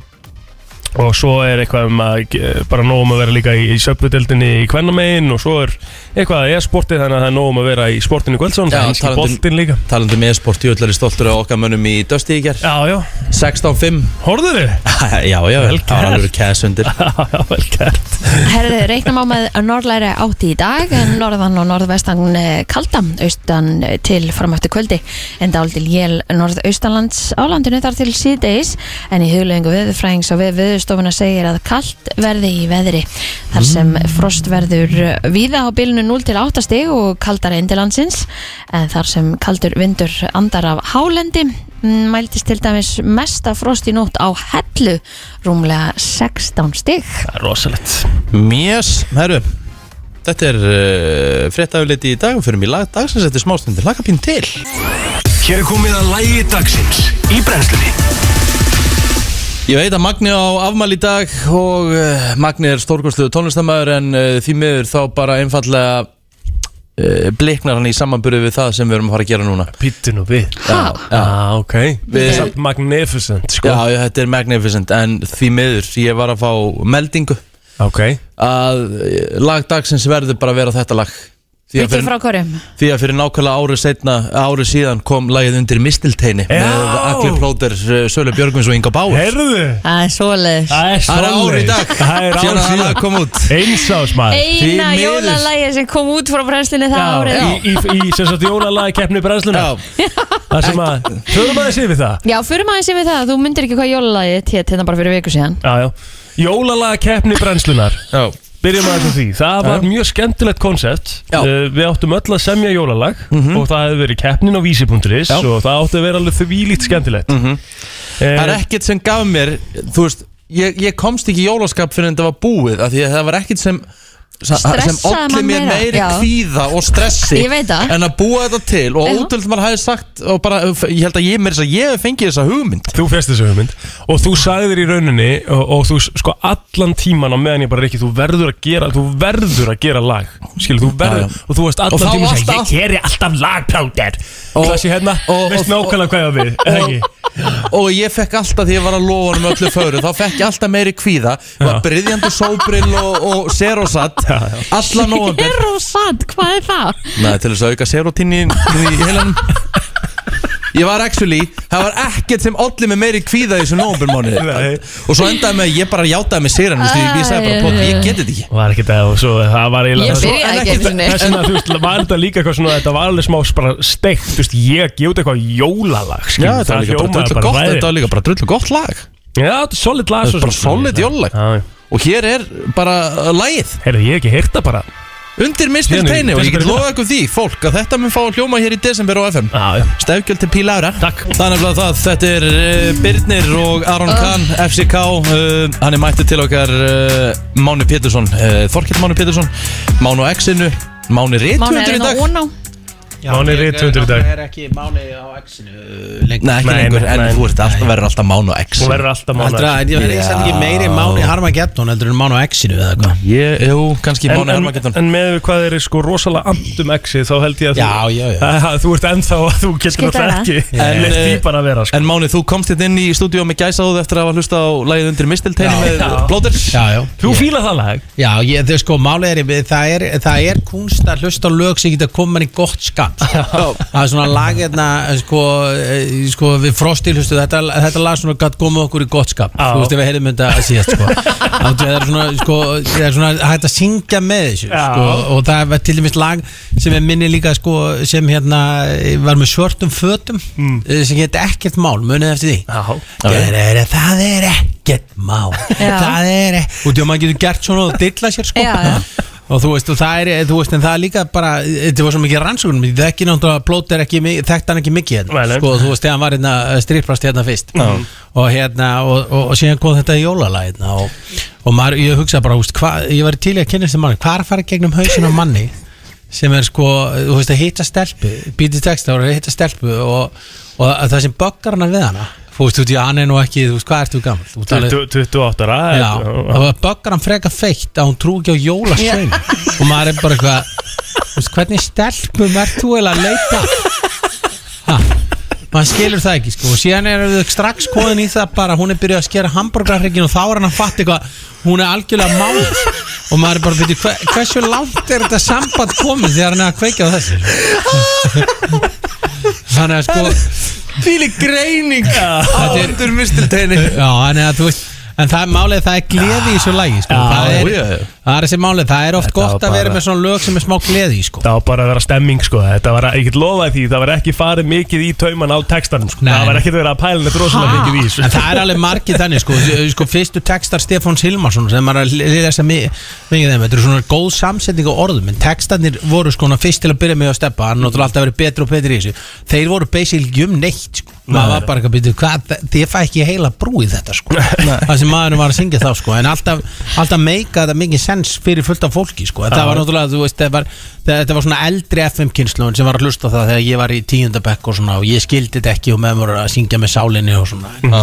og svo er eitthvað um að ge- bara nóg um að vera líka í, í söpbudeldinni í kvennamegin og svo er eitthvað að e-sporti þannig að það er nóg um að vera í sportinu í kvöldsson Já, það er ekki talandi- um- boltin líka Talandi með sport, ég ætlar í stoltur á okkar mönnum í Dusty í ger Já, já, 16-5 horfðu þið? Já, já, Vel það var gert. alveg kæs undir Já, vel gert Herðu, reiknum á með norðlæri átti í dag en norðan og norðvestan eh, kalda austan eh, til fram eftir kvöldi en dálítil jél norðaustanlands á landinu þar til síðdeis en í huglegingu veðurfræðings og við veðurstofuna segir að kalt verði í veðri þar sem frost verður eh, víða á bilinu 0 til 8 stig og kaldar inn til landsins en þar sem kaldur vindur andar af hálendi mm, mæltist til dæmis mesta frost í nótt á hellu rúmlega 16 stig Það er rosalegt Mjöss, herru Þetta er uh, fréttafliti í dag og fyrir mig lag dagsins eftir smástundir Laka pín til Hér er komið að lægi dagsins í brennslunni Ég veit að Magni á afmæli í dag og uh, Magni er stórkostluðu tónlistamæður en uh, því miður þá bara einfallega uh, bliknar hann í samanburði við það sem við erum að fara að gera núna Pittinu við Há? Já. ah, ok Við- Samt Magnificent, sko Já, já, þetta er magnificent en því miður ég var að fá meldingu Ok að eh, lag dagsins verður bara að vera þetta lag því að Bíddu fyrir, frá hverjum? því að fyrir nákvæmlega árið setna, árið síðan kom lagið undir mistilteini Já. með Akli Plóter, eh, Sölu Björgvins og Inga Báur Heyrðu Það er svoleiðis Það er Það er árið í dag Það er síðan að árið það lag síðan kom út Einsás maður Eina miður. jólalægi sem kom út frá brennslunni það Já, árið í, í, í sem sagt jólalagi keppni brennsluna Já, Það sem að, förum aðeins yfir það Já, fyrir maður sem við það, þú myndir ekki hvað jólalægi hétt hérna bara fyrir viku síðan Já, já Jólalagi keppni brennslunar já Byrjum aðeins á því Það var mjög skemmtilegt konsept Já. Mhm. uh, Við áttum öll að semja jólalag Og það hefði verið keppnin á vísi.is Já. Mhm. Og það átti að vera alveg þvílíkt skemmtilegt Það er uh, ekkert sem gaf mér Þú veist, ég, ég komst ekki í jólaskap fyrir en þetta var búið af Því að það var ekkert sem sa- sem Stressaði olli mann mér meira, meiri já. kvíða og stressi Ég veit það. en að búa þetta til og Já. ótrúlega maður hafi sagt og bara, ég held að ég mér þess að ég hef fengið þessa hugmynd Þú fyrst þessu hugmynd og þú sagðir í rauninni og, og þú sko allan tíman á meðan ég bara ekki, þú verður að gera þú verður að gera lag skilur, þú verður, Já, já. og þú veist Og allan þá tíman að varstu segja, ég geri alltaf lag pláttir Og- og það sé hérna, og- veist og- nákvæmlega hvað ég á við eða ekki, og ég fekk alltaf því ég var að lofa honum öllu föru þá fekk ég alltaf meiri kvíða var bryðjandi sóbrill og, og serosat alla nóvambir Er og satt, hvað er það? Nei, til þess að auka serotín í, í heilanum Ég var actually, það var ekkert sem olli með meiri kvíða í þessu nómburmáni Nei. Og svo endaði með, að ég bara játaði með séran Ég, ég sagði bara, "Pott, ég geti þetta ekki var ekki það og svo það var Ég eiginlega það byrjaði ekki einu sinni. Þess vegna, þú veist, var þetta líka eitthvað svona, þetta var alveg smá bara steikt, þú veist, ég gjóti eitthvað jólalag, skilur, Já, þetta var líka bara drullu gott hræðilegt. Þetta var líka bara drullu gott lag Já, þetta er solid lag Þetta er bara solid jólalag. Og hér er bara uh, lagið Heyrðu, ég hef ekki heyrt það bara Undir mistil Hérna í teini og ég get desember í lofa ykkur því Fólk að þetta mun fá að hljóma hér í desember á FM Já, já Stefgjöld til Píl Ára Takk. Þannig að það, þetta er uh, Birnir og Aron Ah. Kahn, FCK uh, Hann er mættu til okkar uh, Máni Pétursson, uh, Þorkell Máni Pétursson Mánu X-inu Máni Mánu Rithundur er í einn á dag óná Máni rithundur í dag. Ég er ekki máni á X-inu uh, lengur Nei, ekki Nei, lengur, en nei, þú ert alltaf, verður alltaf Mánu X Hún verður alltaf mánu Aldra, en ég verði ekki sett ekki meiri máni Harmageddon heldur en máni á X-inu eða eitthvað Ég, jú, kannski En, Mánu en, Hermageddon en með hvað er sko rosalega andum exið þá held ég að Já, já, já. þú, Æ, þú ert ennþá þú getur Skipta það. náttúrulega ekki En, leitt því eh, bara að vera sko. En Máni, þú komst hérna inn í stúdíó með gæsaðuð eftir að hafa hlusta á lagið undir mistil teini með Já. Blóter Já, já Þú fíla það lag Já, ég, þau sko, málið er, við- það er, það er kunst að hlusta á lög sem geta koma mann í gott skap sko. Það er svona lag, hérna, sko, eh, sko við frostil, hlustu, þetta, þetta lag svona gætt komið okkur í gott skap Já. Þú veist, ef við heyrðum þetta að síðast, sko Þá- Það er svona, sko, það er svona hægt að syngja með þessu, Já. sko Og það er til dæmis lag sem er minni líka, sko, sem hérna var með svörtum fötum Mm. eh, sem geta ekkert mál, munið eftir því Já Gerere, það er ekkert má Já. Það er ekkert Og því að maður getur gert svona og dilla sér sko Já, já. Og þú veist, og það er, þú veist, en það er líka bara Þetta var svo mikið rannsóknum Þetta er ekki náttúrulega, blót er ekki, mi- þekkti hann ekki mikið hérna, Nei, nei. Sko, þú veist, þegar hann var hérna strýrprast hérna fyrst Og hérna, og, og, og síðan kom þetta í jólalag hérna Og, og maður, ég hugsa bara, úst, hva, ég var til í að kynna þessi manni Hvað er að fara gegnum hausin á manni sem er sko, þú veist, að hitta stelpu býtið texta og hitta stelpu og, og að það sem böggar hana við hana þú veist, þú veist, hann er nú ekki, þú veist, hvað ertu gammal þú veist, alveg- 28 ára já, þetta- það böggar hann freka feitt að hún trú ekki á jólasvein og maður er bara eitthvað þú veist, hvernig stelpum ert þú eiginlega að leita ha maður skilur það ekki sko og síðan er þau strax koðin í það bara hún er byrjuð að skera hambúrgarhryggin og þá er hann að fatta eitthvað hún er algjörlega mált og maður er bara byrjuð hver, hversu langt er þetta samband komið þegar hann er að kveika á þessu þannig að sko Fíli greining á Þetta er- undir mistil teini Já, en, að, þú veist, en það er málið, það er gleði í þessu lagi sko. Já, það, er, já, já. það er þessi málið, það er oft Þetta gott var að vera bara- með svona lög sem er smá gleði í sko. Það var bara að vera stemming sko Þetta var, ég get lofaði því, það var ekki farið mikið í tauman á textanum sko Nei. Það var ekkert verið að pæla neitt rosalega mikið í þessu En það er alveg margið þannig sko, sko Fyrstu textar Stefáns Hilmarsson sem maður er að lesa þess að mikið þeim Þetta er svona góð samsetning á orðum En textarnir voru sko na, fyrst til að byrja með að steppa Hann er náttúrulega alltaf verið betri og betri í þessu Þeir voru basically um neitt sko Maður var bara ekki að byrja hvað Þið fæ ekki heila brú í þetta sko Það sem maðurinn var að syngja þá sko En alltaf, alltaf meika þetta mikið sens fyrir fullt af fólki sko Þetta var náttúrulega, þú veist, þetta var, þetta var svona eldri FM-kynsluðin sem var að hlusta á það Þegar ég var í tíundabekk og svona Og ég skildi þetta ekki og með voru að syngja með sálinni og svona En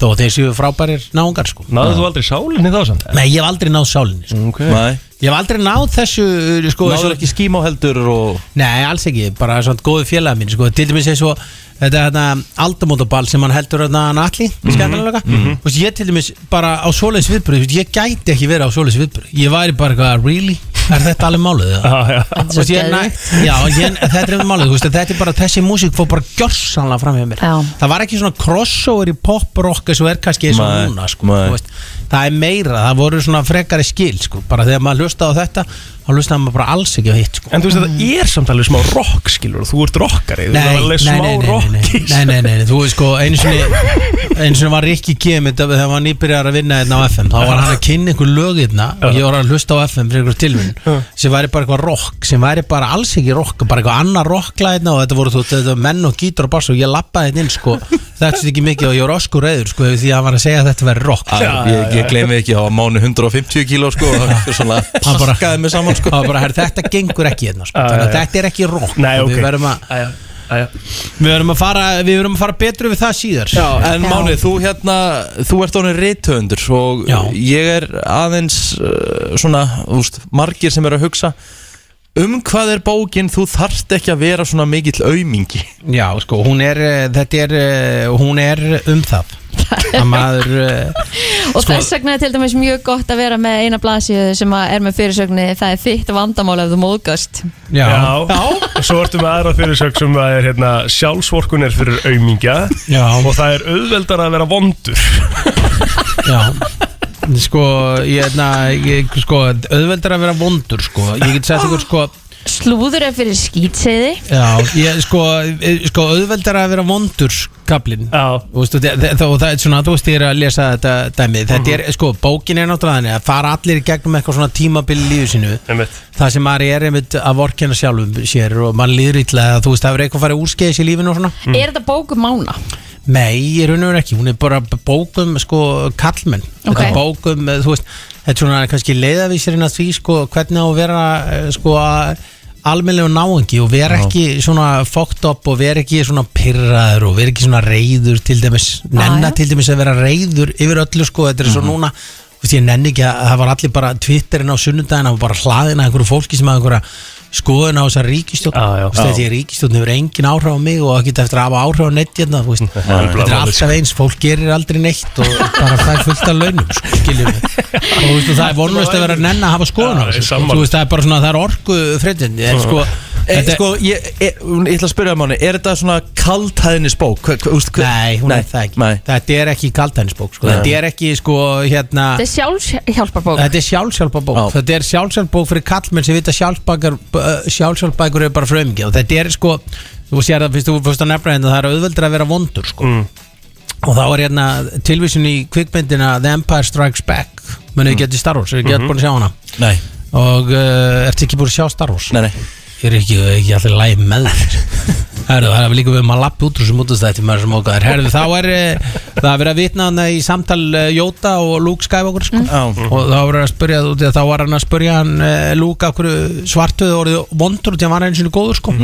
Þó að þeir séu frábærir náungar sko Náðu þú aldrei sálinni þá samt? Nei, ég hef aldrei náð sálinni sko. Nei. Ég hef aldrei náð þessu sko, Náður þessu- ekki skímá heldur og Nei, alls ekki, bara svona góðu félaga mín sko. Til dæmis eins og þetta hérna, aldamótaball sem hann heldur hérna hann allir skemmtilega mm -hmm. Ég til dæmis bara á svoleiðis viðbúri Ég gæti ekki verið á svoleiðis viðbúri Ég væri bara eitthvað, really? Er þetta alveg málið? eða? Já, já Þú veist, ég, næ, já, ég, þetta er um málið, þú veist, þetta er bara þessi músík fór bara gjörsanlega fram hjá mér Já. það var ekki svona crossover í pop-rock eins og er kannski eins og Nei, núna sko, nei. þú veist, það er meira, það voru svona frekari skil sko, bara þegar maður hlustaði á þetta þá hlustaði maður bara alls ekki á hitt sko. En þú veist þetta er samt alveg smá rock skilur Þú ert rockari, þú ert alveg smá rock nei, í nei, nei, nei, nei, þú veist sko einu sinni, einu sinni var Rikki Gemið þegar hann var nýbyrjar að vinna hérna á FM þá var hann að kynna einhver lög hérna og ég var að hlusta á FM fyrir einhver tilvinn sem væri bara eitthvað rock, sem væri bara alls ekki rock bara eitthvað annar rockla hérna og þetta voru þú, þetta, voru menn og gítur og bass og ég lappaði hérna inn sko Þetta er ekki mikið og ég var oskur reyður sko yfir Því að hann var að segja að þetta verið rock Æ, ég, ég gleymi ekki, það var mánu 150 kíló sko og það svona Hann bara- pakkaði mig saman sko Það var bara, herr, þetta gengur ekki hérna sko. Já, já, Þannig að já. þetta er ekki rock Nei, Og ok Við verðum að, Æja, æja við verðum að fara Við verðum að fara betur við það síðar Já, en Já. Máni, þú hérna, þú ert honum reythöfundur og Já. ég er aðeins uh, svona, úst, margir sem eru að hugsa um hvað er bókin, þú þarft ekki að vera svona mikill aumingi Já, sko, hún er, eh, þetta er eh, Hún er um það Að maður eh, Og þess vegna er til dæmis mjög gott að vera með eina blaðsíðu sem að er með fyrirsögni Það er þitt vandamál ef þú móðgast Já, Já. Og svo ertu með aðra fyrirsök sem það er hérna sjálfsvorkun er fyrir aumingja já, og það er auðveldar að vera vondur já. Sko, ég, na, ég, sko Auðveldar að vera vondur sko. Ég get sagt ykkur sko Slúður er fyrir skýtseiði Já, ég, sko, eh, sko auðveldar að vera vondur kaplinn Já. Þú veist, og þe- þe- og það er svona, þú veist, ég er að lesa þetta dæmi Þetta er, sko, bókin er náttúrulega þannig að fara allir í gegnum eitthvað svona tímabil í lífi sínu Einmitt. Það sem maður er einmitt að vorkina sjálfum sér og maður líður illa að þú veist, það er eitthvað að fara úrskeiðis í lífinu og svona Er þetta bókum mána? Nei, í raun og veru ekki, hún er bara bókum sko kallmenn Ok. Þetta er bókum, eh, þú veist, þetta er svona kannski leiðavísirinn að því sko hvernig á að vera eh, sko almennlegu náungi og vera ekki svona fókt upp og vera ekki svona pyrraður og vera ekki svona reyður til dæmis, Ah, nenna já. til dæmis að vera reyður yfir öllu sko, þetta er Mhm. svo núna þú veist, ég nenni ekki að það var allir bara Twitterinn á sunnudaginn, það var bara hlaðin að einhverju fólki sem að einhverja skoðun á þessa ríkistjótt Já, Ah, já. veist, því að ríkistjórn hefur engin áhrif á mig og það geta eftir að hafa áhrif á neitt hérna, þú veist. þetta er alltaf eins, fólk gerir aldrei neitt og bara fær fullt af launum sko, skiljum við og þú veist, og það er vonlust að vera að nenn að hafa skoðan á Já, ég þessu sko. sammála. Þú veist, það er bara svona, það er orku fredin en sko, Þetta... þetta, Sko, ég, ég, ég ætla að spyrja Máni, er þetta svona kaldhæðnisbók? Hva- hva- úst, hva- nei, hún er það ekki Nei, þetta er ekki kaldhænsbók, sko, þetta er ekki sko, hérna, Þetta er sjálfshjálparbók þetta er sjálfsjálfabók Já. þetta er sjálfsjálfbók fyrir kallmenn sem vita sjálfsbækur sjálfsjálfbækur er bara frömingi og þetta er sko, þú sér það, fyrst þú fyrst að nefna hérna, það er auðveldur að vera vondur sko. Mm. og þá er hérna tilvísun í kvikmyndina The Empire Strikes Back mennum við getur Star Wars, er ekki mm búin að sjá hana nei, og uh, ertu ekki búin að sjá Star Wars? nei, nei. Ég er ekki, ekki allir læg með þér Herðu, það er líka við maður lappi út úr sem útastætti maður sem okkar Herðu, þá er eh, það er verið að vitna hann í samtal eh, Jóta og Luke Skywalker sko. Já. og þá var hann að spyrja út í að þá var hann að spyrja hann eh, Luke af hverju svartuð orðið vondur út í að hann var einu sinni góður sko.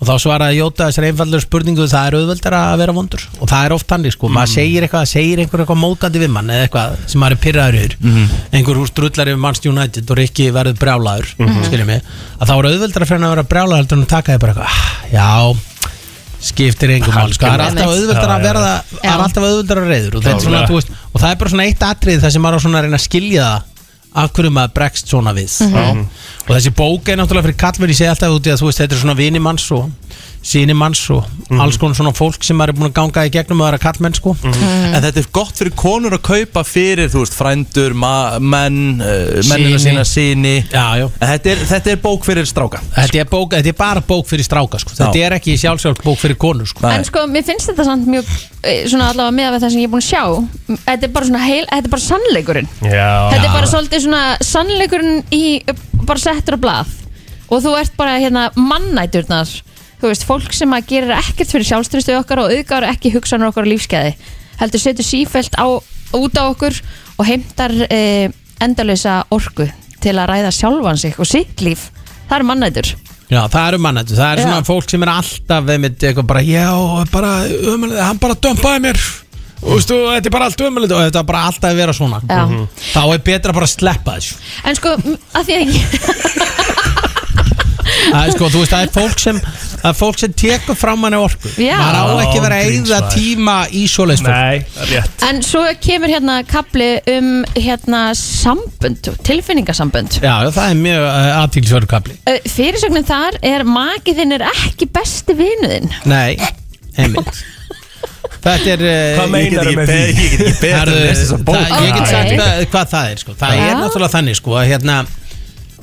og þá svaraði Jóta þessar einfallega spurningu það er auðveldar að vera vondur og það er oft þannig sko, maður segir eitthvað segir einhver eitthvað mótandi við mann eða eitthvað sem maður er pyrraður yfir einhver úr strullar yfir Manchester United og Rikki verður brjálaður skiljum mig, að þá er auðveldar að fyrir hann að vera brjálaður heldur en að taka þið bara eitthvað "Ah, já, skiptir engum mál sko. það er alltaf auðveldar að verða það er alltaf auðveldar að reyður og, þetta er svona, Klárlega. þú veist, og það er bara svona eitt atrið þar sem maður á svona að reyna að skilja það af hverju maður bregst svona við og þessi bók er náttúrulega fyrir kallmenn ég segi alltaf út í að þú veist þetta er svona vini manns og síni manns og alls konar svona fólk sem maður er búin að ganga í gegnum að vera kallmenn sko Mhm. En þetta er gott fyrir konur að kaupa fyrir, þú veist, frændur, ma- menn, uh, mennina Syni. sína, síni já, já En Þetta er, þetta er bók fyrir stráka Þetta er, bók, þetta er bara bók fyrir stráka sko. Þetta Já. er ekki sjálfsjálf bók fyrir konur sko. Nei. En sko, mér finnst þetta samt mjög eh, Svona allavega með það sem ég er búin að sjá M- Þetta er bara svona heil, þetta er bara sannleikurinn Já Þetta er bara svolítið svona sannleikurinn í, bara settur á blað og þú ert bara hérna mannæturnar þú veist, fólk sem að gerir ekkert fyrir sjálfströðstu okkar og auðgar ekki hugsanur okkar á lífskeiði heldur setur sífelt á, út á okkur og heimtar eh, endalösa orku til að ræða sjálfan sig og sitt líf það er mannætur Já, það eru mannættu, það er Já. svona fólk sem er alltaf einmitt eitthvað bara, já, bara ömulega, hann bara dömpaði mér Þú veistu, þetta er bara allt ömulega og þetta er bara alltaf að vera svona Já. Mhm. Þá er betra bara að sleppa þessu en sko, m- að því að ég Það er sko, þú veist, það er fólk sem það er fólk sem tekur fram hann orku Já. maður á ekki að vera að eyða Ángríns, maður. tíma í svoleiðs fólk Nei, það er rétt en svo kemur hérna kapli um hérna sambönd, tilfinningasambönd Já, já, það er mjög eh, aðtílisverðu kapli Uh, fyrirsögnin þar er makið þinn er ekki besti vinuðinn Nei, einmitt Þetta er eh, Hvað ég- meinarðu með því? Ég get ekki betur Herðu, að lesa þessa bók það- Ég get Ok. sagt hvað, hvað það er sko. Það Já. er náttúrulega þannig sko, að hérna,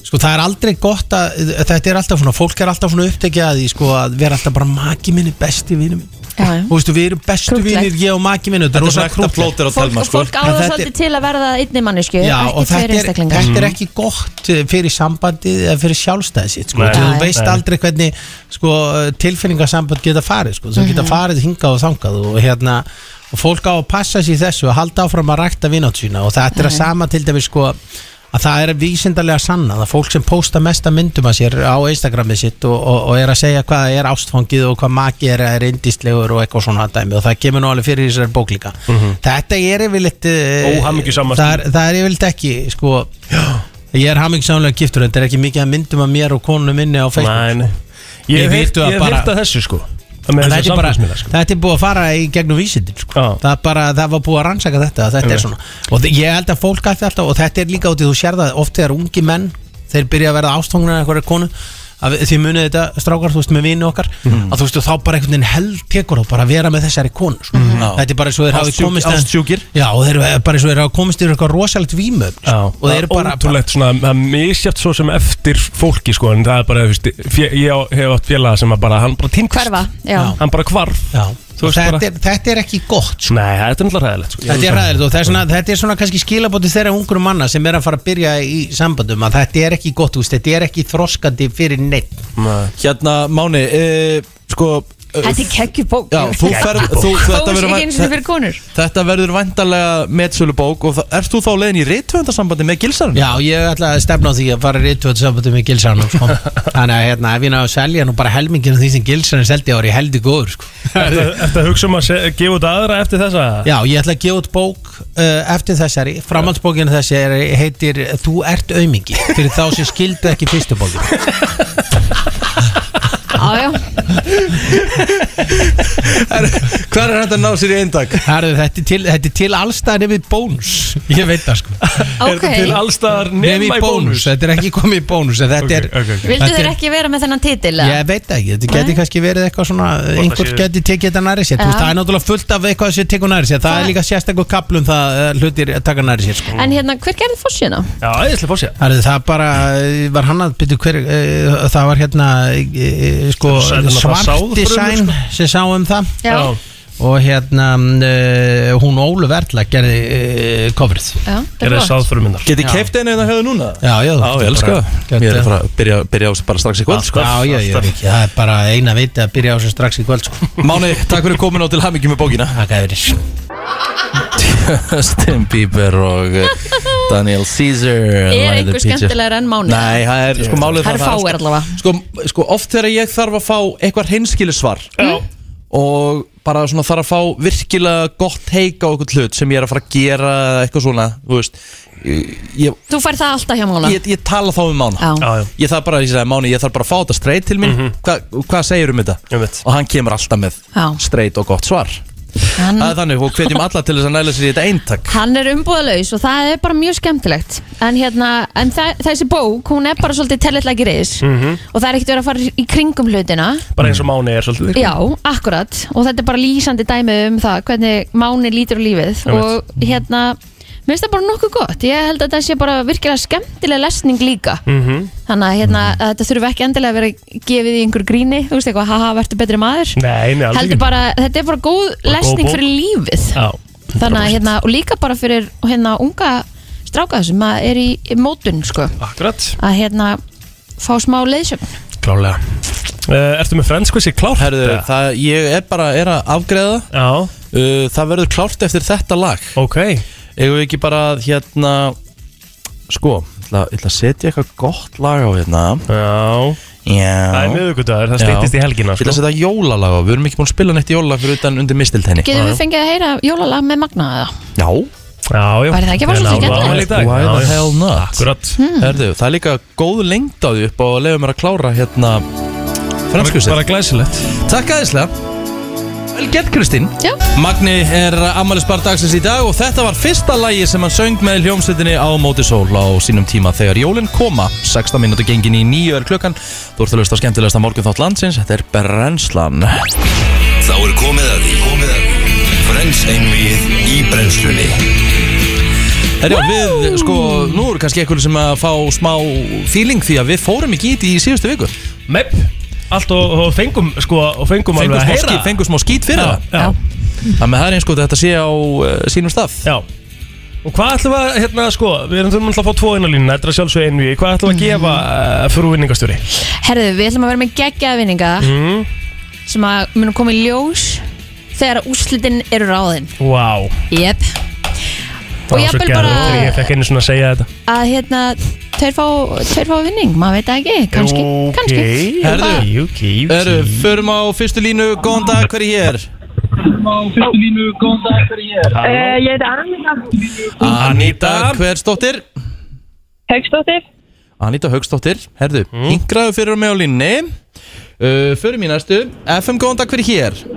Sko það er aldrei gott að Þetta er alltaf svona, fólk er alltaf svona upptekið að því Sko að vera alltaf bara maki minni besti vinum Já, já. Þú veistu, við erum bestu Krúttlegt. vinir Ég og maki minni, þetta Þetta er er rosa svona ekta krútlegt plóter á Fólk, telma og sko fólk ára En þetta svolítið til að verða einni mannesku, Já, og ekki tveir þetta er, einstaklingar Mhm. þetta er ekki gott eh, fyrir sambandið eða fyrir sjálfstæðið sitt sko. Nei. þú Nei. veist Nei. aldrei hvernig sko, tilfinningasamband geta farið sko. þau geta Mhm. farið hingað og þangað og, hérna, og fólk á að passa sér í þessu og halda áfram að rækta vinátt sína og þetta Mhm. er að sama til dæmis sko, að það er vísindarlega sannað að fólk sem posta mesta myndum að sér á Instagramið sitt og, og, og er að segja hvað er ástfangið og hvað maki er, er indíslegur og eitthvað svona dæmi og það kemur nú alveg fyrir í þessari bók líka þetta er yfirleitt eh, Óhamingjusamast. það er það er yfirleitt ekki sko, ég er hammingsamlega giftur þetta er ekki mikið að myndum að mér og konu minni á Facebook Nei, nei. Ég Við hef heyrt- vitum að ég hef bara- heyrt að þessu sko Það með En þessu þetta er, bara, samfélagsmiðla sko þetta er búið að fara í gegnum vísindin sko. Já. það, er bara, það var búið að rannsaka þetta að þetta er svona. og þi- ég held að fólk ætti alltaf og þetta er líka út í þú sér það oft þegar ungi menn þeir byrja að verða ástfangnar af einhverja konu að við- þið munið þetta strákar þú veist með vini okkar Mhm. að þú veist og þá bara einhvern veginn held tekur og bara að vera með þessari konu sko. Mhm. þetta er bara eins og þeir hafi Ástsjúk- komist ástsjúkir. já og þeir eru bara eins og þeir hafi komist yfir eitthvað rosalegt vímöfn Já, sko. og þeir eru bara ótrúlegt svona, það er misjátt svo sem eftir fólki sko en það er bara, þú veist, fjö, ég á- hef átt félaga sem að bara, hann bara týmkast Hverfa, já, Já. Hann bara hvarf Já, Þú og veist þetta, bara- er, þetta er ekki gott sko. Nei, þetta er náttúrulega ræðilegt sko Þetta er ræðilegt og það er svona, þetta er svona kannski skilabóti þeirra ungur manna sem er að fara að byrja í sambandum að þetta er ekki gott úst, þetta er ekki þroskandi fyrir neitt Nei. Hérna Máni, e, sko e, Þetta er keggjubók Já, þú ferð þú, Þetta þetta, verður verður ekki eins og vænt, fyrir konur þetta verður væntanlega metsölubók og það, ert þú þá leiðin í reytvöndarsambandi með gilsarinn? Já, ég ætla að stefna á því að fara í rítvöld sambandum með Gilsarnum sko. Þannig að hérna, ef ég ná að selja nú bara helminginu því sem Gilsarnum seldi ári heldur góður sko. Ertu ertu að hugsa um að se- gefa út aðra eftir þessa? Já, ég ætla að gefa út bók uh, eftir þessari, framhaldsbókinu þessari heitir Þú ert aumingi fyrir þá sem skildu ekki fyrstu bókinu Já, já, Hver er þetta að ná sér í eindag? Herðu, þetta er til, þetta er til allstæðan við bónus Ég veit það sko Er þetta til ok allstaðar Nefn nema í bónus? þetta er ekki komið í bónus en þetta er, Ok, ok, ok. Vildu þetta þeir er- ekki vera með þennan titil? Ég veit það ekki, þetta geti Nei. kannski verið eitthvað svona einhvers séu- geti tekið þetta næri sér Þú Já. veist, það er náttúrulega fullt af eitthvað sem tekur næri sér það Það- er líka sérstakur kaplum það eh, hlutir að taka næri sér sko. En hérna, hver gerði fórsina? Já, æðislega fórsja Herðu, það bara eh, var hann að byrja hver eh, það var hérna eh, eh, sko, Sæðan að það sáð svart frumur, design sem sá um það Já, og hérna eh, hún Ólu Verla gerði uh, kofrið já, Er það er það gott sáðförum hérna. minnar? Geti Já. keift einu eða hefðu núna? Já, já, Já, ég elska það. Ég er að fara að byrja, byrja á þessu bara strax í kvöld sko. Já, já, já, Ríkki, það er bara eina viti að byrja á þessu strax í kvöld sko. Máni, takk fyrir komin á til hamingjum með bókina Það gæði verið Justin Bieber og eh, Daniel Caesar Er Riley einhver Peter. skemmtilegar enn Máni? Nei, það er sko málið Það eru það- fáir allavega. sko, sko, oft þegar ég þarf að fá eitthvað hreinskili svar Mm. Já. og bara svona þarf að fá virkilega gott heika á eitthvað hlut sem ég er að fara að gera eða eitthvað svona, þú veist ég, Þú fær það alltaf hjá Mála ég, ég tala þá um Mána Já, Já, já Ég þarf bara, ég sagði Máni, ég þarf bara að fá þetta straight til mín Mhm. Hva, Hvað segir um þetta? Einmitt. Og hann kemur alltaf með Já. straight og gott svar hann, Það er þannig, og hvetjum alla til þess að næla sér í þetta eintak hann er umbúðalaus og það er bara mjög skemmtilegt En hérna, en þa þessi bók, hún er bara svolítið tellitlæki reis Mhm. Og það er ekkert verið að fara í kringum hlutina Bara eins og Máni er svolítið Já, akkurat Og þetta er bara lýsandi dæmi um það Hvernig Máni lítur á lífið Einmitt. Og hérna, mér finnst það bara nokkuð gott Ég held að þetta sé bara virkilega skemmtileg lesning líka Mhm. Þannig að hérna, að þetta þurfi ekki endilega að vera gefið í einhver gríni, þú veist eitthvað, haha, verður betri maður. Nei, nei, alveg Heldur bara, þetta er bara góð lesning bók. fyrir lífið. Já Þannig að hérna, og líka bara fyrir hérna unga stráka sem að er í, í mótun, sko, Akkurat að hérna fá smá leiðsöfn. Klálega Uh, Ertu með frendskvissi klárt? Herðu, eða? það, ég er bara er að afgreða Já, uh, Það verður klárt eftir þetta lag ok Eigum við ekki bara að hérna Sko, ég ætla, ég ætla að setja eitthvað gott lag á hérna Já, það er Já Ég miðugudagur, það Já. stýttist í helgina ætla sko. að setja jólalag á Við erum ekki búin að spila neitt jólalag fyrir utan undir mistiltenni Getum við fengið að heyra jólalag með Magna eða? Já Já, já Væri það ekki að fara Ég svolítið náði skemmtilegt? ámæli í dag. Why Já, the já. hell not? Akkurat Herðu, það er líka góð lengd á því upp og leiðum mér að klára hérna Hmm. Franskuðsett Bara glæsilegt Takk aðeinslega Vel gett Kristín Já. Magni er ammælisbar dagsins í dag og þetta var fyrsta lagi sem hann söng með hljómsveitinni á Móti Sól á sínum tíma þegar jólinn koma 16 mínútu gengin í nýju er klukkan Þú ert að lösta skemmtilegasta morgun þátt landsins Þetta er Brennslan Þá er komið að því Komið að því Frens einvið í brennslunni Herjá, við, sko, nú eru kannski einhverju sem að fá smá feeling því að við fórum ekki í þetta í síðustu viku Mepp, allt og, og fengum sko, og fengum Fengum alveg að smá, heyra skít, fengum smá skít fyrir það já, Þannig að það er eins og þetta sé á uh, sínum stað já. Og hvað ætlum við að, hérna, sko, við erum þurfum alltaf að fá tvo inn á línuna, þetta er sjálfsög einu í, hvað ætlum við að gefa Mhm. uh, fyrir vinningastjóri? Herðu, við ætlum að vera með geggjaða vinninga Mhm. Mm. sem að munum koma í ljós þegar úrslitin eru ráðin Vá, wow. Jep Og það var svo jafnvel gæður, bara- ég fekk einu svona að segja þetta. að hérna tveir fá, tveir fá vinning, maður veit það ekki kannski, Ok, kannski Herðu. Bara- Ok, ok, ok. Eru, förum á fyrstu línu, góðan dag, hver er hér? Eh, Ég heiti Arnita Anita Hversdóttir Haugsdóttir Anita Haugsdóttir, herðu, mm. hingraðu fyrir mig á línni uh, Förum í næstu, FM góðan dag, hver er hér? Oh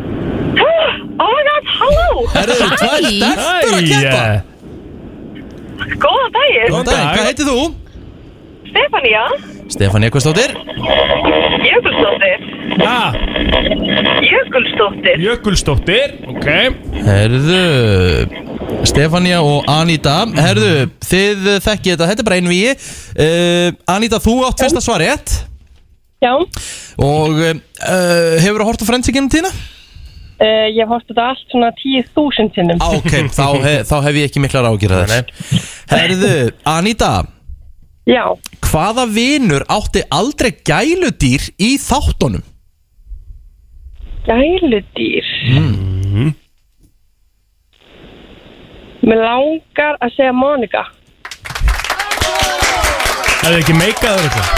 my god, halló Herðu, eru tvær Hæ. stelpur að keppa Æ, Góða dagir, Góðan dag, dag. hvað heitir þú? Stefania Stefania Hversdóttir Jökulsdóttir Ja, Jökulsdóttir Jökulsdóttir, ok. Herðu Stefania og Anita Herðu, þið þekkið þetta, þetta er bara einvíi uh, Anita, þú átt fyrsta svar rétt Já, Og uh, hefur þú hort á frendsikinu tína? uh, ég hef hortið þetta allt svona 10.000 sinnum Á, Ok, þá, he, þá hef ég ekki miklar ágjörða þess Herðu, Anita Já, Hvaða vinur átti aldrei gæludýr í þáttunum? gæludýr Mér langar að segja Monika Það er ekki meikaður eitthvað.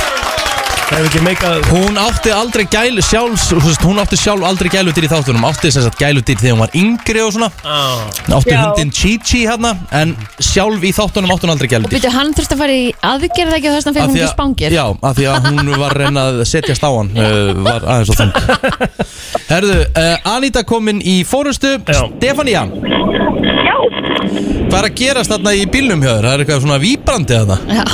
Það er ekki meikaður. Hún átti aldrei gæl, sjálfs, þú veist, hún átti sjálf aldrei gæludýr í þáttunum Átti sem sagt gæludýr þegar hún var yngri og svona Ah. Átti Já. hundin Chi-Chi hérna En sjálf í þáttunum átti hún aldrei gæludýr Býtu, hann þurfti að fara í aðgerð ekki þess að fyrir Af hún því ekki að- spangir Já, af því að hún var reyna að setjast á hann uh, Var aðeins á þung Herðu, uh, Anita komin í fórustu Já. Stefania, Já, hvað er að gerast þarna í bílnum hjá þér? Það er eitthvað svona víbrandi þarna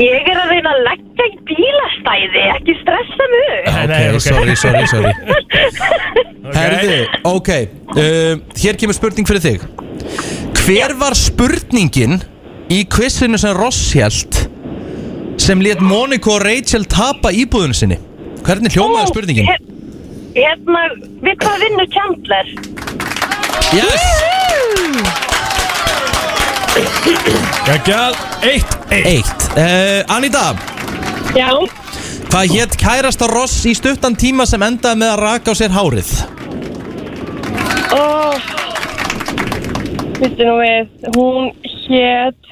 ég er að reyna að leggja í bílastæði, ekki stressa mig Ok, nei, ok. sorry, sorry, sorry Ok. Herðu, ok uh, Hér kemur spurning fyrir þig Hver var spurningin í kvissinu sem Ross held sem let Monika og Rachel tapa íbúðinu sinni? Hvernig hljómaði spurningin? Hérna, við hvað vinnur Chandler? Yes! Gægjað, eitt, eitt. Eitt uh, Anita, Já, hvað hétt kærasta Ross í stuttan tíma sem endaði með að raka á sér hárið? og Vistu Oh. nú við, hún hét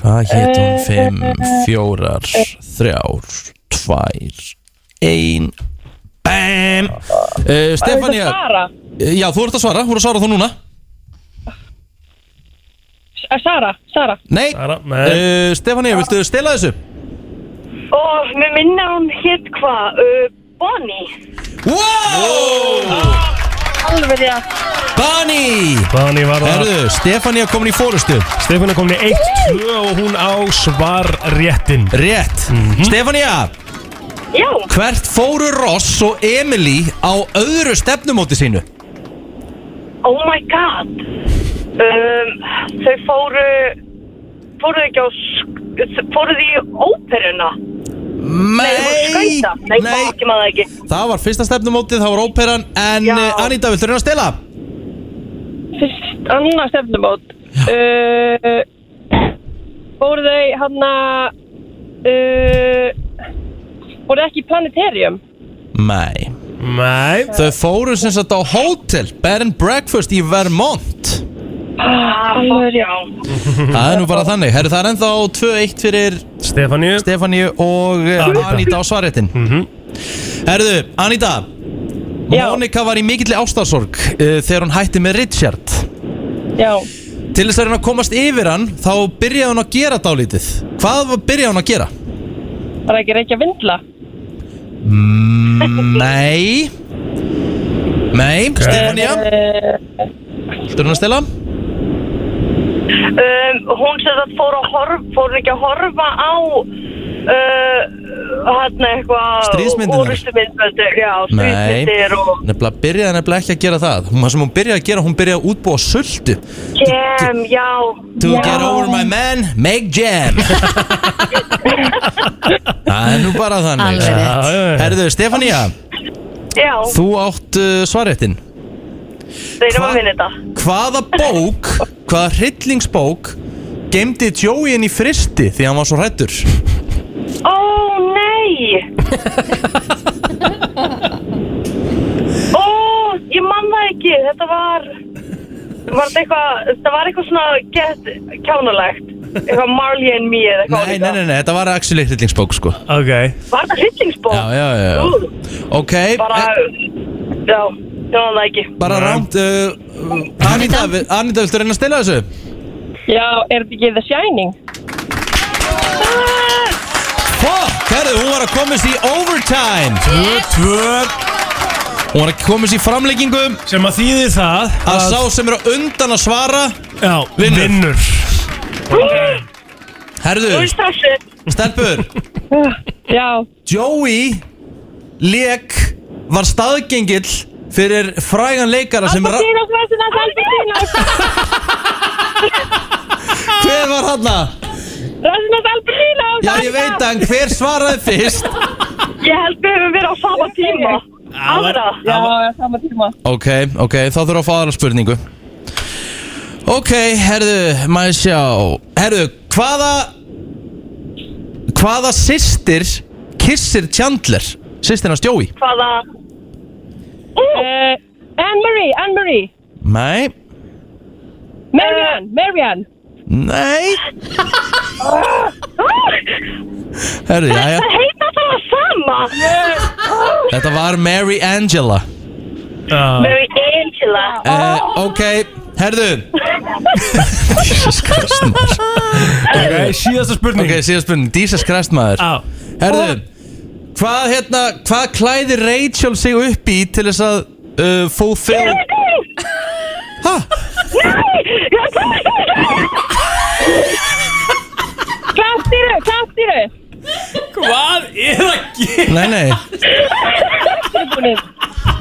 Hvað hétt hún? Eh, Fimm, fjórar, þrjár, tvær, ein Bam! Uh, Stefania eh, Sara Já, þú ert að svara, þú ert að svara þú núna Eh, Sara, Sara Nei, Sara, nei. uh, Stefania, viltu stela þessu? Og mér minna hún hétt hvað? Uh, Bonnie Wow! Alveg því að Bani! Hvaðan ég var það? Herðu, Stefania komin í fórustu Stefán er komin í 1-2 og hún á svarréttin. Rétt Stefania, Já, hvert fóru Ross og Emily á öðru stefnumóti sínu? oh my god um, Þau fóru Fóru þau ekki á sk- Fóru þau í óperuna Nei, skauta Nei, Nei. Nei, ekki maður ekki það var fyrsta stefnumótið, það var óperan En Já. eh, Anita, viltu reyna að stela? Fyrst annað stefnumót uh, Fóru þau hann að uh, Fóru þau ekki í planeterium Nei Nei. Þau fóru sem sagt á hótel Bed and breakfast í Vermont Alveg já Það er nú bara þannig Herru, það er ennþá 2-1 fyrir Stefáníu. Stefáníu og eh, Anita. Anita á svarréttin Herðu, Anita Já. Mónika var í mikilli ástasorg uh, þegar hún hætti með Richard Já Til þess að reyna að komast yfir hann þá byrjaði hún að gera dálítið Hvað var- byrjaði hún að gera? Það er ekki reykja vindla Mm, Nei Nei, Stefania uh, Þú erum að stela? um, Hún sem það fór að horfa Fór ekki að horfa á uh, hérna eitthvað Stríðsmyndirnar? Orustumyndböndur, já, Nei, stríðsmyndir og nefnilega byrjaði nefnilega ekki að gera það Hún, það sem hún byrjaði að gera, hún byrjaði að útbúa sultu Jam, já To já. get over my man, make jam Það er nú bara þannig Alveg rétt. Já, já, já. Herðu, Stefania, Já, þú átt uh, svarréttin þeir eru Hva- að vinna þetta Hvaða bók, hvaða hryllingsbók Gemdi Joey inn í fristi því hann var svo hrættur Ó, nei Ó, ég man það ekki Þetta var Var þetta eitthvað Þetta var eitthvað svona get kjánulegt Eitthvað Marley and Me eða eitthvað Nei, nei, álíka. nei, nei, þetta var actually hryllingsbók sko Ok Var þetta hryllingsbók? Já, já, já, já. Ú, Ok, Bara eh, Já, ég man það ekki bara rámt uh, Anita, vi- Anita, viltu reyna að stila þessu? Já, er þetta ekki The Shining? Fuck, herðu, hún var að komast í overtime 2-2 Hún var að komast í framleggingu Sem að þýðir það að sá sem er á undan að svara Já, Vinnur. vinnur. Herðu, Þú er stressið stelpur Já Joey Lek var staðgengill fyrir frægan leikara sem ra- Albertínos, Albertínos Hver var hanna? Rasmus Albertínos Já, ég veit hann, hver svaraði fyrst Ég held við höfum verið á sama tíma Aðra Já, sama tíma Ok, ok, þá þurfum við að fá aðra spurningu Ok, herðu, maður sjá Herðu, hvaða Hvaða systir kissir Chandler? Systirna Joey? Hvaða Uh, Anne-Marie, Anne-Marie. Nei, Eh. Marianne, Marianne. nei Herðu, jæja Heita það var sama Eh. Þetta var Mary Angela Já, Mary Angela Eh. uh, Ok, herðu Jesus Christ maður. ok, síðasta spurning Ok, síðan spurning, Jesus Christ maður Já, Herðu, hvað hérna Hvað klæðir Rachel sig upp í Til þess að uh, fulfill Ha? Klassiru, klassiru. Hvað er að gera? Nei, nei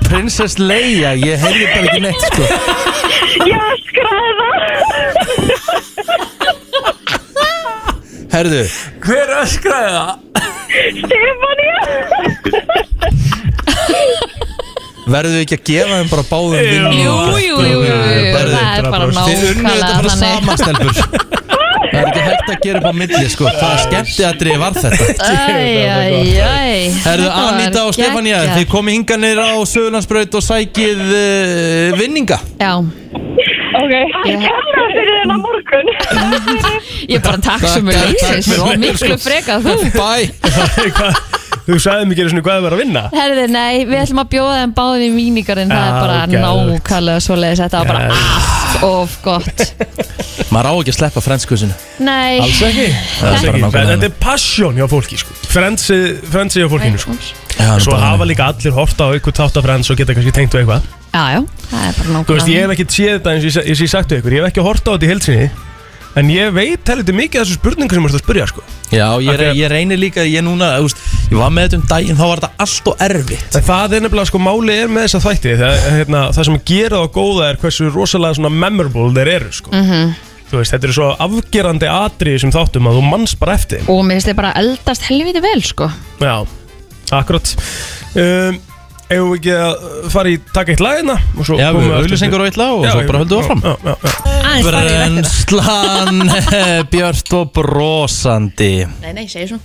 Princess Leia, ég heyrði bara ekki neitt sko Já, skræða Herðu, Hver öskraði það? Stefania verðu ekki að gefa þeim bara báðum vinnu Jú, jú, jú, jú, jú, Berðu, það er bara 100%. Þið unnu þetta nákvæmlega bara þannig saman stelpur Það er ekki hægt að gera upp á milli sko Hvað skemmti að var þetta Æjæjæj Herðu, Anita og Stefania, þið komið hinganir á Söðurlandsbraut og sækið uh, vinninga. Já, Ok. Ég- Kenna fyrir þennan morgun ég bara takk Takk, sem er takk, takk leiðis sem og er miklu leiðis. freka þú Bæ! Þú sagði mig ekki einu sinni hvað það var að vinna Herðu, nei, við ætlum að bjóða þeim báðum í mínikarinn Það Já, er bara geðveikt. nákvæmlega svoleiðis Þetta var bara allt of gott Maður á ekki að sleppa franskusinu. Nei, Alls ekki er Alls bara ekki nákvæmlega Þetta er passion hjá fólki sko Frensi, frensi hjá fólkinu sko Svo hafa líka allir horta á eitthvað tátta frens og geta kannski tengt við eitthvað já, já, það er bara Þú veist, ég nákvæmlega hef ekki séð þetta eins og ég sa- eins og ég sagt við ykkur Ég hef ekki horta á þetta í heilsinni En ég veit heldur mikið af þessu spurningu sem þú ert að spurja sko Já, ég, Af því að- ég reynir líka, ég núna, þú veist, ég var með þetta um daginn, þá var þetta allt og erfitt. En það er nefnilega sko máli er með þessa þætti það, hérna, það sem gera þá góða er hversu rosalega svona memorable þeir eru sko. -hmm. Þú veist, þetta eru svo afgerandi atriði sem þáttum að þú manns bara eftir þeim. Og mér finnst þið bara eldast helviti vel, sko Já, akkurat um, Ef við ekki að fara í taka eitt lagina og svo Já, komum við aftur auðlýsingur til- og eitthvað og Já, svo ég- bara höldum við áfram. Já, já, já, Aðeins farið í rættina Brennslan, eh, björt og brosandi. Nei, nei, segir svona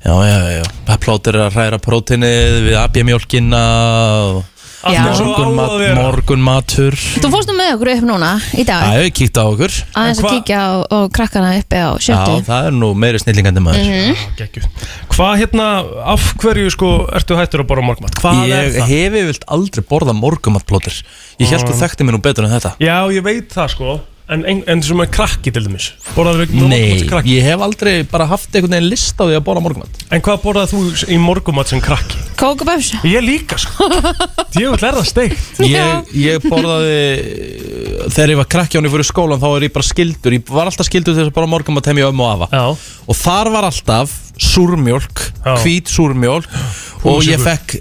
Já, já, já, já. Plótir er að hræra prótinið við abjamjólkina og Já. Allt er svo á að morgunmat, vera. morgunmatur. Þú fórst nú með okkur upp núna í dag Það hefur kíkt á okkur. Aðeins En að hva- kíkja á, á krakkana uppi á Já, sjöttu það er nú meiri snillingandi maður. Mhm. Gekkjuð. Hvað hérna, af hverju sko ertu hættur að borða morgmat? Hvað er Ég það? Ah. hef yfirvilt aldrei borða morgumatplótir Ég held þú þekkti mér nú betur en þetta Já, ég veit það sko En, en, en sem er krakki til dæmis Borðaðu ekki Nei, morgmat krakki? ég hef aldrei bara haft einhvern veginn list á því að borða morgumat En hvað borðað þú í morgumat sem krakki? Kókaböfs Ég líka sko Djöfull er það steikt Já. Ég, ég borðaði Þegar ég var krakki án ég fyrir skólan þá er ég bara skildur Ég var alltaf skildur til þess að borða morgumat heim í ömmu og afa Já Og þar var alltaf súrmjólk, Já. hvít súrmjólk og ég Púðursykur. fekk,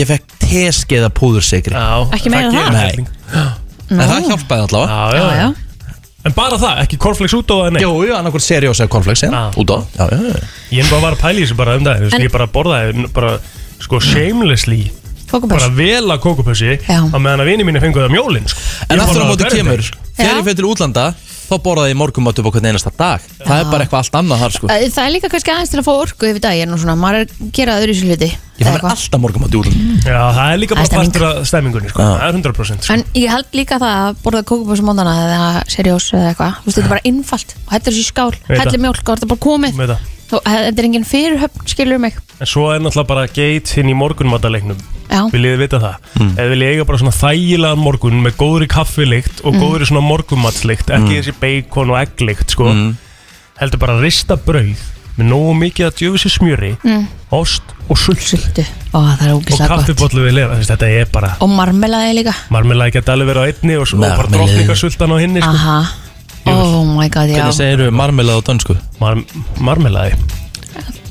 ég fekk teskeiða púðursikri Ekki meira en það það? Nei en það hjálpaði allavega Já, Já, já. En bara það, ekki cornflakes út á það, nei Jú, jú, annarkvort seriós eða konflex hérna, Já. út á já, já, já. Ég er bara að vara að pæla í þessu bara um dag Þú veist, En- ég bara borðaði bara, sko, shamelessly Kókupöss. Bara vel að kókupössi Já. Á meðan að vini mínu fengu það mjólin sko. En Ég aftur á borðaði móti það hverju kemur dag, sko. Þegar Já. ég fyrir til útlanda Þá borðaði ég morgumat upp á hvern einasta dag Það er bara eitthvað allt annað þar sko Æ, Það er líka kannski aðeins til að fá orku yfir daginn og svona, maður er að gera öðru í hluti Ég eða fann mér eitthvað. alltaf morgumat í útlanda Já, það er líka Það bara er stemming. partur af stemmingunni sko. Já. Það er 100% sko. En ég held líka það að borða kókupöss á móndana eða seriós eða eitthvað Þú veist, þetta er bara innfalt og hættir þessu í skál, Veit það. hættir mjólk og þetta er bara komið Veit það. Þú- Þetta er engin fyrirhöfn, skilur mig En svo er náttúrulega bara geit hinn í morgunmatalegnum Já. Viljið þið vita það mm. Eða viljið eiga bara svona þægilegan morgun Með góðri kaffilikt Mm. og góðri svona morgunmatslikt Ekki þessi bacon og egglikt sko. Heldur bara að rista brauð Með nógu mikið að djöfusi smjöri Mm. Ost og sultu Sultu, ó það er Og ógislega gott kaffibollu við lefa Þetta er bara Og marmelaði líka Marmelaði geta alveg verið á einni Og, og bara Marmelaði. drottningasultan á hinni sko. Aha, oh my god, já Hvernig segir þú marmelað á dansku? Mar Marmelaði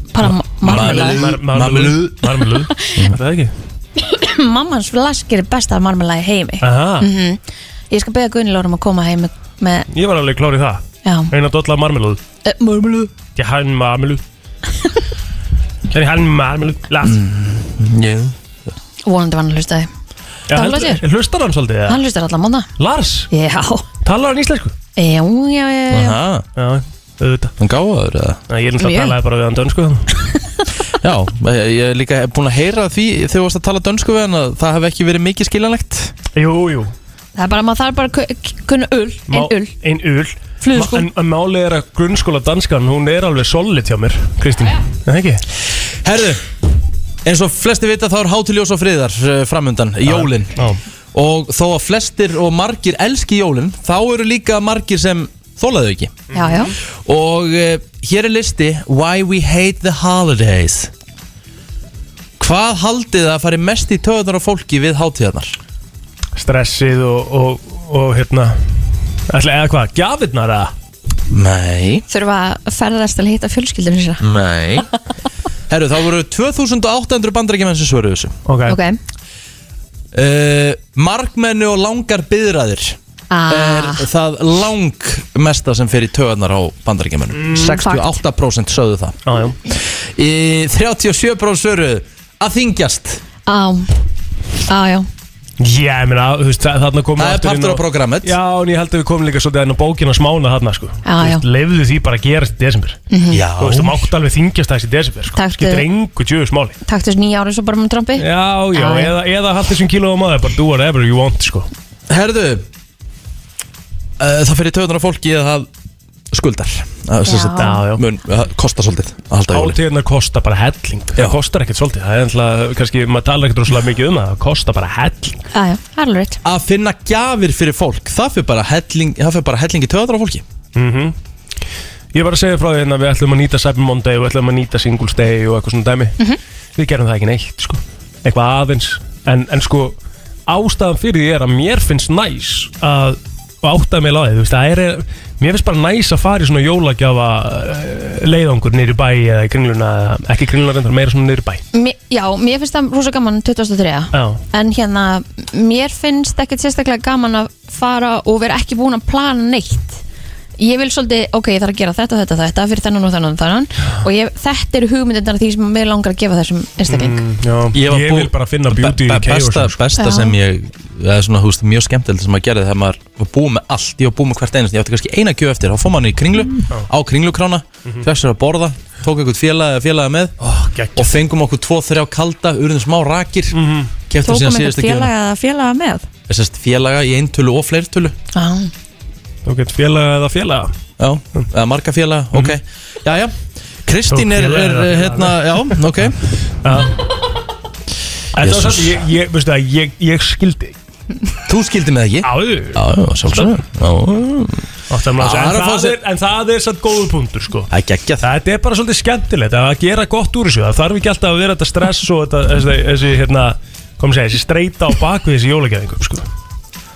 Bara ma- marmelaði Marmelaði. Mar Marmelaði Marmelaði Það er ekki Mammans flaskir er besta marmelaði heimi Aha, Ég skal beða Gunnilórum að koma heim með- með, Ég var alveg klár í það já, Eina dolla marmelaði eh, marmelaði Jeg har en marmelade. Kan jeg ha en marmelade? Lars. Mm, Yeah. Vonandi var hann að hlusta þið talar sér. Hlustar hann svolítið? eða? Hann hlustar allan mónda Lars, Já, talar hann íslensku? já, já, já, já. Aha, Já, auðvitað. hann gáður eða? Nei, Ég er náttúrulega Mjög. að tala bara við hann dönsku. Já, ég ég er líka búin að heyra því þegar þú varst að tala dönsku við hann að það hef ekki verið mikið skiljanlegt Jú, jú. Það er bara, maður þarf bara að kun- kunna ull, Má- en ull Ein ull. Flugskó. Ma- En, en málið er að grunnskóla danskan, hún er alveg solid hjá mér, Kristín. Það ekki? Herðu, eins og flesti vita þá er hátiljós og friðar uh, framundan, jólin Já. Og þó að flestir og margir elski jólin þá eru líka margir sem þólaðu ekki Já, já, Og uh, hér er listi Why we hate the holidays Hvað haldið það að fari mest í töðunar á fólki við hátíðarnar? Stressið og, og, og hérna, ætla eða hvað, gjafirnar eða? Nei þurfa að ferðast til að hitta fjölskyldunum sína Nei Herru, þá voru 2800 bandarækjumenn sem svöruðu þessu Ok. Ok, uh, Markmenni og langar byðraðir er ah, það langmesta sem fer í töðunar á bandarækjumennum 68% sögðu það Já, já. í 37% svöruðu að þingjast á, á, já Já, ég meina, þú veist, þa- þarna komum Það er aftur inn partur á programmet Já, en ég held að við komum líka svolítið enn á bókina smána þarna, sko. Já, Þú já. Mhm. veist, Leyfðu því bara að gerast í desember. Já Þú veist, þú mátt alveg þingjast aðeins í desember, sko. Taktu- Skiptir engu djöðu smáli. Taktu þessu nýja ára svo bara með trombi Já, já, Já, já. eða, eða haldt þessum kílóa maður, bara do whatever you want, sko. Herðu uh, Það fyrir töðunar á fólki að það skuldar Það sem sagt, Já, já. mun uh, kosta svolítið að halda jóli Átíðunar kosta bara helling. Já. Það kostar ekkert svolítið. Það er ennlega, kannski, maður talar ekkert rosalega mikið um það. Það kostar bara helling. Já, já, það er alveg rétt Að finna gjafir fyrir fólk Það fyrir bara helling, það fyrir bara helling í töðunar á fólki Mhm. Ég var að segja frá því hérna, við ætlum að nýta Cyber Monday og við ætlum að nýta Singles Day og eitthvað svona dæmi. Við gerum það ekki neitt, sko. Eitthvað aðeins. En, en sko, ástæðan fyrir því er að mér finnst næs að áttaða mig láðið, þú veist, það er, mér finnst bara næs að fara í svona jólagjafa eh, leiðangur niður í bæ eða í kringluna, ekki kringluna reyndar, meira svona niður í bæ. Mér- Já, mér finnst það rosa gaman 2003 Já. En hérna, mér finnst ekkert sérstaklega gaman að fara og vera ekki búin að plana neitt Ég vil svolítið, ok, ég þarf að gera þetta, þetta, þetta fyrir þennan og þennan og þennan og ég, þetta eru hugmyndindar því sem mér langar að gefa þessum Mm. einstakling Já, Ég ég, var bú- vil bara finna beauty í Be- be- chaos. Besta, sko. besta Já. sem ég Það er svona, þú veist, mjög skemmtilegt sem maður gerði þegar maður var búið með allt, ég var búið með hvert einast ég átti kannski eina gjöf eftir, þá fór maður í kringlu Mm. á kringlukrána, mm Mhm. sér að borða tók einhvern félaga eða félaga með geggjað. og fengum okkur tvo, þrjá kalda, urðum smá rakir mm Mhm. -hmm. keftum Tókum síðan eitthvað síðustu gjöfuna félaga eða félaga með Sest, félaga í eintölu og fleirtölu ah. Þú getur félaga eða félaga. Já, Mhm. eða marga félaga, ok Jæja, Kristín er, Félaga er eða félaga. hérna, já, ok Þetta var Jesus. satt, ég, ég, veistu það, ég, ég skildi. Þú skildi með ekki Já, Áður. já, sjálfsögur Já, Átti að maður Já, það er segja, að en, fá það sér- er, en það er satt góður punktur sko það er geggja það Þetta er bara svolítið skemmtilegt að gera gott úr þessu Það þarf ekki alltaf að vera þetta stress og þetta, þessi, þessi, hérna, kom að segja, þessi streita á bakvið þessi jólagjæðingum sko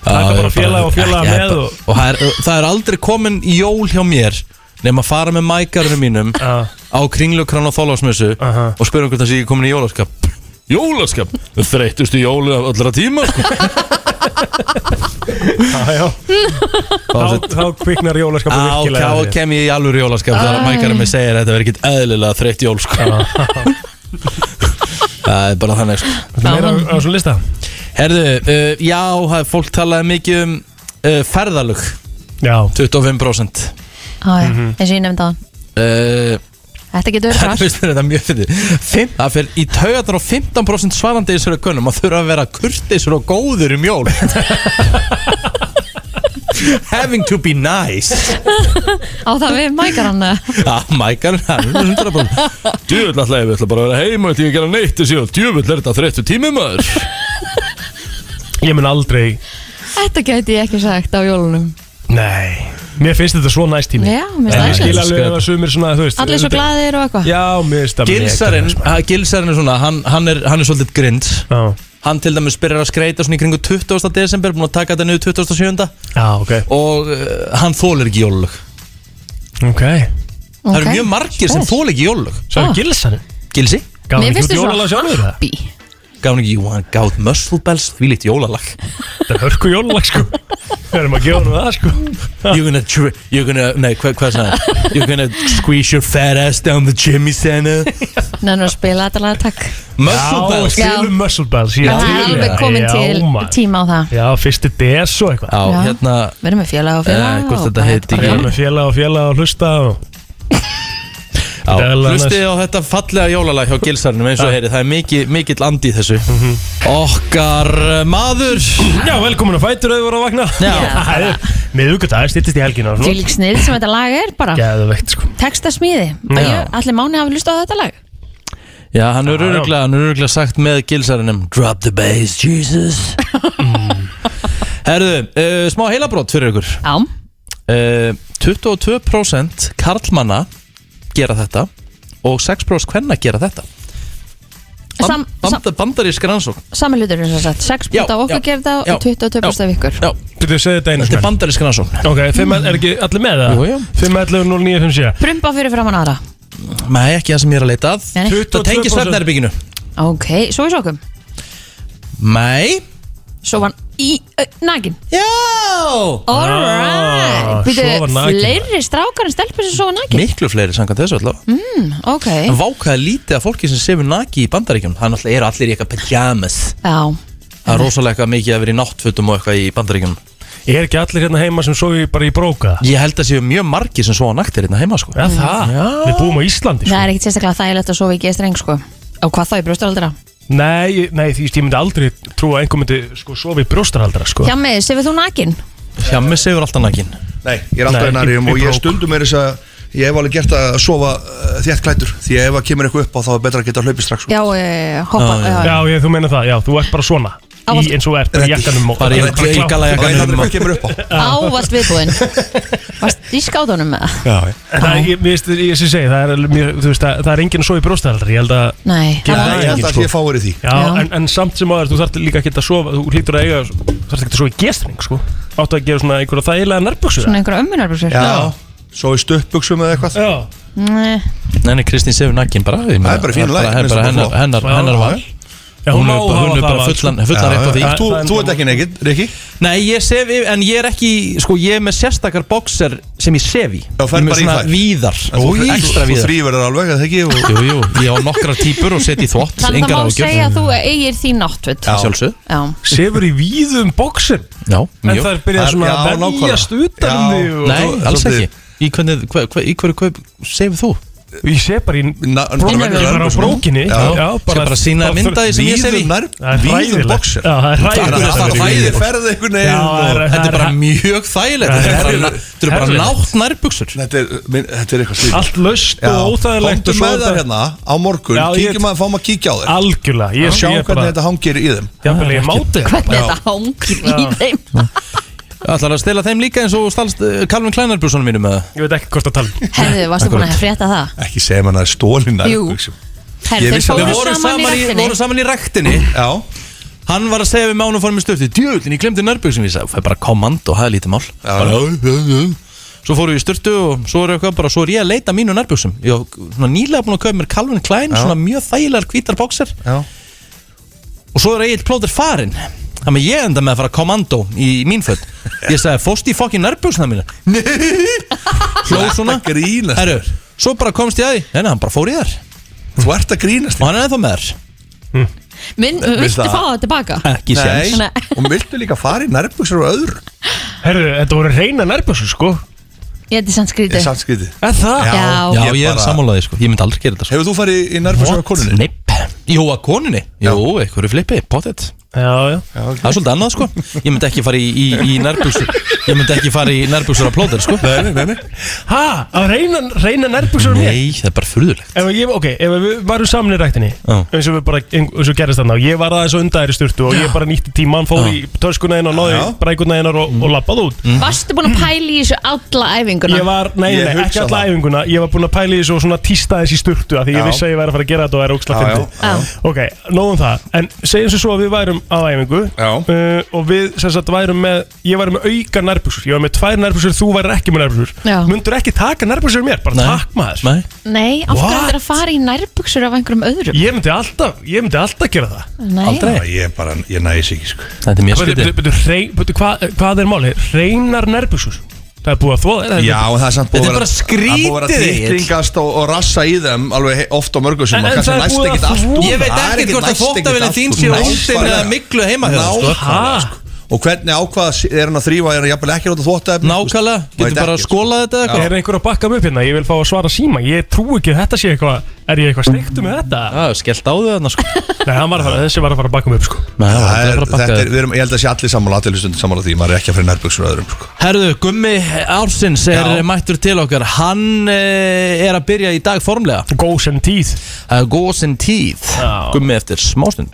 Taka bara félaga og félaga með og, og- og það, er, það er aldrei komin jól hjá mér Nefn að fara með mækarunum mínum Já. á kringlukrann og þólásmessu Aha. og spyrum hvort það sé ekki komin í jólaskap Jólaskap? Þreytustu jóli af allra tíma sko. já, Þá- þá, þá kviknar jólaskapu Á, virkilega þá kem ég í alvöru jólaskap þegar mækarinn mig segir að þetta verður ekkit eðlilega þreytt jól sko. Það er bara þannig sko. Þetta er meira á, á svona lista Herðu, uh, já, það er fólk talaði mikið um uh, ferðalög Já, 25% já, Mhm. eins og ég nefndi það uh, Þetta getur verið Það krass finnst þér þetta mjög fyrir Fimm, Það fyrir í taugatar og 15% svarandi í þessari kunnum að þurfa að vera kurtisur og góður um jól Having to be nice Á það við mækar hann eða? Já, mækar Djöfull alltaf ég ætla bara að vera heima Þetta ég að gera neitt þessi og djöfull er þetta þreyttu tími maður ég mun aldrei Þetta geti ég ekki sagt á jólunum Nei, mér finnst þetta svo næst tími Já, Nei, mér finnst Ég það skil aðeins. alveg ef að sumir svona, þú veist Allir svo glaðir og eitthvað Já, mér finnst það Gilsarinn, að Gilsarinn er svona, hann, hann, er, hann er svolítið grind sko. Já, Hann til dæmis byrjar að skreita svona í kringu 20. desember Búin að taka þetta niður 27. já, ok Og uh, hann þólir ekki jólulög Ok Það eru mjög margir sem þóla ekki jólulög Svo Ah. er Gilsarinn Gilsi Gáði Mér ekki finnst út þið jólalag sjálfur svo það happy Gaf hann ekki, jú, hann gáð Muscle Bells Því lít jólalag Þetta er hörku jólalag sko Við erum að gefa honum það sko You're gonna, dri- you're gonna, nei, hvað hva sagði hann? You're gonna squeeze your fat ass down the Jimmy Center Nennar að spila þetta lag, takk Muscle Bells Já. spilum Muscle Bells Já, Það er alveg komin oh til tíma á það Já, fyrsti DS og eitthvað Já, Já. hérna Við erum með félag Eh, og félag hvort og þetta bara- heiti Ég bara- er með félag og félag og hlusta og... á, Þetta er alveg Hlustið á þetta fallega jólalag hjá Gilsarnum eins og heyri Það er mikið, mikill andi í þessu Mhm. Okkar eh, maður Já, velkomin að fætur að þið voru að vakna Já. Það er Miðvíkudag, styrtist í helgina og svona. Fylg snið sem þetta lag er bara Geðveikt sko Textasmíði Já. Allir mánu hafi lust á þetta lag Já, hann er Já, já. öruglega, hann er öruglega sagt með Gilsarnum Drop the bass, Jesus Herðu, uh, smá heilabrót fyrir ykkur Já, Eh, 22% karlmanna gera þetta og 6% hvenna gera þetta Sam- Band, band, bandarísk rannsók sami hlutur er þess að 6% Já, af okkur já, gerir það já, og 22% af ykkur já, Þú segði þetta einu þetta er bandarísk rannsók Ok, 5, er ekki allir með Jú, jú. það? 5, 11, 0, 9, 5, 7 Prumpa fyrir framann aðra nei, ekki það sem ég er að leita að Nei, nei. það tengi 22%. svefnherbygginu Ok, svo í sókum nei, Svo var hann í ö, nakin já Ah, Alright sofa Býtu nakinn. fleiri strákar en stelpur sem svo nakin miklu fleiri samkvæmt þessu allavega Mm. Ok, en vákaði lítið að fólki sem sefur naki í bandaríkjum það náttúrulega eru allir í eitthvað pyjamas já það Mm. er rosalega eitthvað mikið að vera í náttfutum og eitthvað í bandaríkjum Ég er ekki allir hérna heima sem sofi bara í bróka ég held að séu mjög margir sem svo á naktir hérna heima sko Já, Mm. það Við búum á Íslandi Það sko er ekkit sérstaklega þægilegt að sofa í gestreng sko Og hvað þá í brjóstaraldra? Nei, ég- nei, því ég myndi aldrei trúa að einhver myndi sko sofi í brjóstaraldra sko Hjá mig, sefið þú nakin? hjá mig sefur alltaf nakin Nei, ég er alltaf Nei, í í- nariðum í og ég brók. stundum er þess að ég hef alveg gert að sofa uh, þétt klætur því að ef að kemur eitthvað upp á þá er betra að geta hlaupið strax sko. Já, e, hoppa Ah, Já, já, Já, ég, þú meina það, já, þú ert bara svona Í Ávallt. eins og þú ert, bara í jakkanum og- bara í Bara klátt. og það er galajakkanum hvað kemur upp á Ávast viðbúinn Varst í skátunum með það? En Það, er- ég, mér finnst- ég sem segi, það er, mér, þú veist, það, það er enginn svo í brjóstæðaldri, ég held að Nei, Já, Já, það það er ég held ekki, að ég fáir í því Já, Já. En, en samt sem aðeins, þú þarf líka ekki að sofa, þú hlýtur að eiga, þú þarf ekki að sofa í gestring, sko Áttu að gera svona einhverja þægilega nærbuksu svona einhverja ömmunarbúsur Já, svo í stöppbuksum eða eitthvað Já, Nei, Nei, nei, Kristín sefur nakkin bara ég meina, Það er bara fín lag, Það er finnst bara það hennar, bara hennar, Já, hennar val já Hún hún má er bara, hún hafa er það bara val, sko. fullan, fullan rétt á því Þú, það er- þú ert ekki nekitt, Rikki Nei, ég sef, yfir- en ég er ekki Sko, ég er með sérstakar boxer sem ég sef í Ég Já, ferð er bara með í svona þær. víðar Þú- Ekstra Þú víðar þrýverður alveg, eða ekki Og- Jú, jú, ég á nokkrar típur og set í þvott þannig að Engar það má ágjör segja að þú eigir þín náttföt Já. Sjálfsög, Já, sko. Sefur í víðum bóksum já, En mjög það er byrjað Það er- svona já, að nákvæmlega. verjast utan Já. þig og- Nei, þú- alls svolítið- ekki Í hvernig, hva, hva, í hverju kaup sefur þú? Ég sé bara í Na- bara brókinni venjulega bara á örbusum. brókinni Já. Skal bara sýna þér mynd af því sem ég sef í? Víðum nær, Það er víðum hræðilegt boxer Já, það er Það hræðilegt er að alltaf vera hræðilegt. í Bæði víðum. ferð einhvern Já, það veginn og- er- Þetta er bara það mjög þægilegt Þetta er bara- þetta eru bara Herfilegt. nátt nærbuksur Þetta er minn- þetta er eitthvað slíkt Allt laust Já, og óþægilegt komdu og svo með þetta- þær hérna á morgun Já, ég- kíkjum að fáum að kíkja á þér Algjörlega, ég sjá ég er hvernig bara- þetta hangir í þeim Jafnvel ég máti það hvernig þetta hangir í þeim Ætlar að stela þeim líka eins og stalst eh, Calvin Klein nærbusunum mínum eða? Ég veit ekki hvort að tala um. Herðu, varstu búin að frétta það? ekki segja mann að það er stólin Jú. nærbuxum. Ég Herðu, þeir vissi að Við fóru vorum saman í saman í, rættinni vorum saman í ræktinni já, Hann var að segja við mánum fórum í stöfti Djöðlin, ég glemdi nærbjöksum Ég sagði, það er bara command og það er lítið mál já, já, já, já. svo fórum við í styrtu og svo er eitthvað bara, svo er ég að leita að mínu nærbjöksum ég var svona nýlega búin að köpa mér Calvin Klein Já. svona mjög þægilegar hvítar bóksar Já. og svo er Egil Plóter farinn þannig að ég enda með að fara kommando í mín föt ég sagði, fóst í fokkin nærbjöksuna mína hló svona Þetta grínast. Herru, svo bara komst ég að því, neina, hann bara fór í þar Þú ert að grínast og hann er ennþá með þar Minn, viltu það- fá það tilbaka? ekki séns Nei. Og viltu líka fara í nærbuksur og öðru Herru, þetta voru reyna nærbjössu sko Ég heiti sann Í skrítið samskriði Er það? Já. Já, Ég ég er bara- sammálaði sko, ég myndi aldrei gera þetta sko Hefur þú farið í nærbuksur og konunni? Neip Jú, að konunni Jú, einhverju flippi, pottet Já, já Það er svolítið annað sko Ég myndi ekki fara í, í, í nærbuksur Ég myndi ekki fara í nærbuksur að plóter sko Nei, nei, nei, nei. Ha, að reyna, reyna nærbjössu mér Nei, það er bara furðulegt Ef ég, ok, ef við varum saman í ræktinni Já. eins og við bara, eins og gerist þarna og ég var aðeins og undaðir í sturtu og ég bara nýtti tíman fór í töskuna hennar, náði Já. brækuna hennar og, og lappað út Mm. Varstu búin að pæla í þessu alla æfinguna? Ég var, nei, Ég nei, ekki hugsa alla það. æfinguna Ég var búinn að pæla í þessu og svona tísta þessi sturtu af Því ég Já. vissi að ég væri að fara að gera þetta og væri óksla Já, já. já, fyndi Ok, nóðum það En segjum sem svo að við værum á æfingu Já. uh, Og við sem sagt værum með Ég væri með auka nærbuxur Ég var með tvær nærbuxur, þú væri ekki með nærbuxur Já. Mundur ekki taka nærbuxur mér, bara Nei. takk maður Nei Nei, af hverju What? þetta að fara í nærbuksur af einhverjum öðrum? Ég myndi alltaf, ég myndi alltaf gera það Nei. Aldrei Já, Ég bara, ég næs ekki sko Þetta er mjög Byrju, skrítið byrju, byrju, hrein- byrju, hvað- Hvað er máli? Reinar nærbuxur Það er búið að þvoða þær, það er Já, ekki- en það er samt Þetta er búið að bara vera- það er búið að vera skrítið, Egill. titringast og, og rassa í þeim alveg he- oft á mörgum sem En- en það er búið að þvo- Ég veit ekkert hvort að þvottavélin sko. þín sé óttinn eða miklu heima hjá þér, sko. Ha? Nákvæmlega sko. Og hvernig ákvaða s- er hann að þrýfa, er hann jafnvel ekki að láta þvottavélin Nákvæmlega Getur bara sko. að skóla þetta eða Er eitthvað einhver að bakka mig upp hérna? Ég vil fá að svara síma Ég trú ekki að þetta sé eitthvað Er ég eitthvað steiktu með þetta? Já, skellt á þau þarna sko Nei, hann var að fara, þessi var að fara að bakka mig upp sko Nei, það var Það aldrei að fara að er, þetta bakka er, þér. við erum, ég held að sé allir sammála, allir hlustundar sammála því, maður er ekki að fyrir nærbuksur og öðrum sko. Herðu, Gummi Ársins er Já. mættur til okkar Hann eh, er að byrja í dag formlega Goes and teeth Það er góðs en tíð Já. Gummi eftir smástund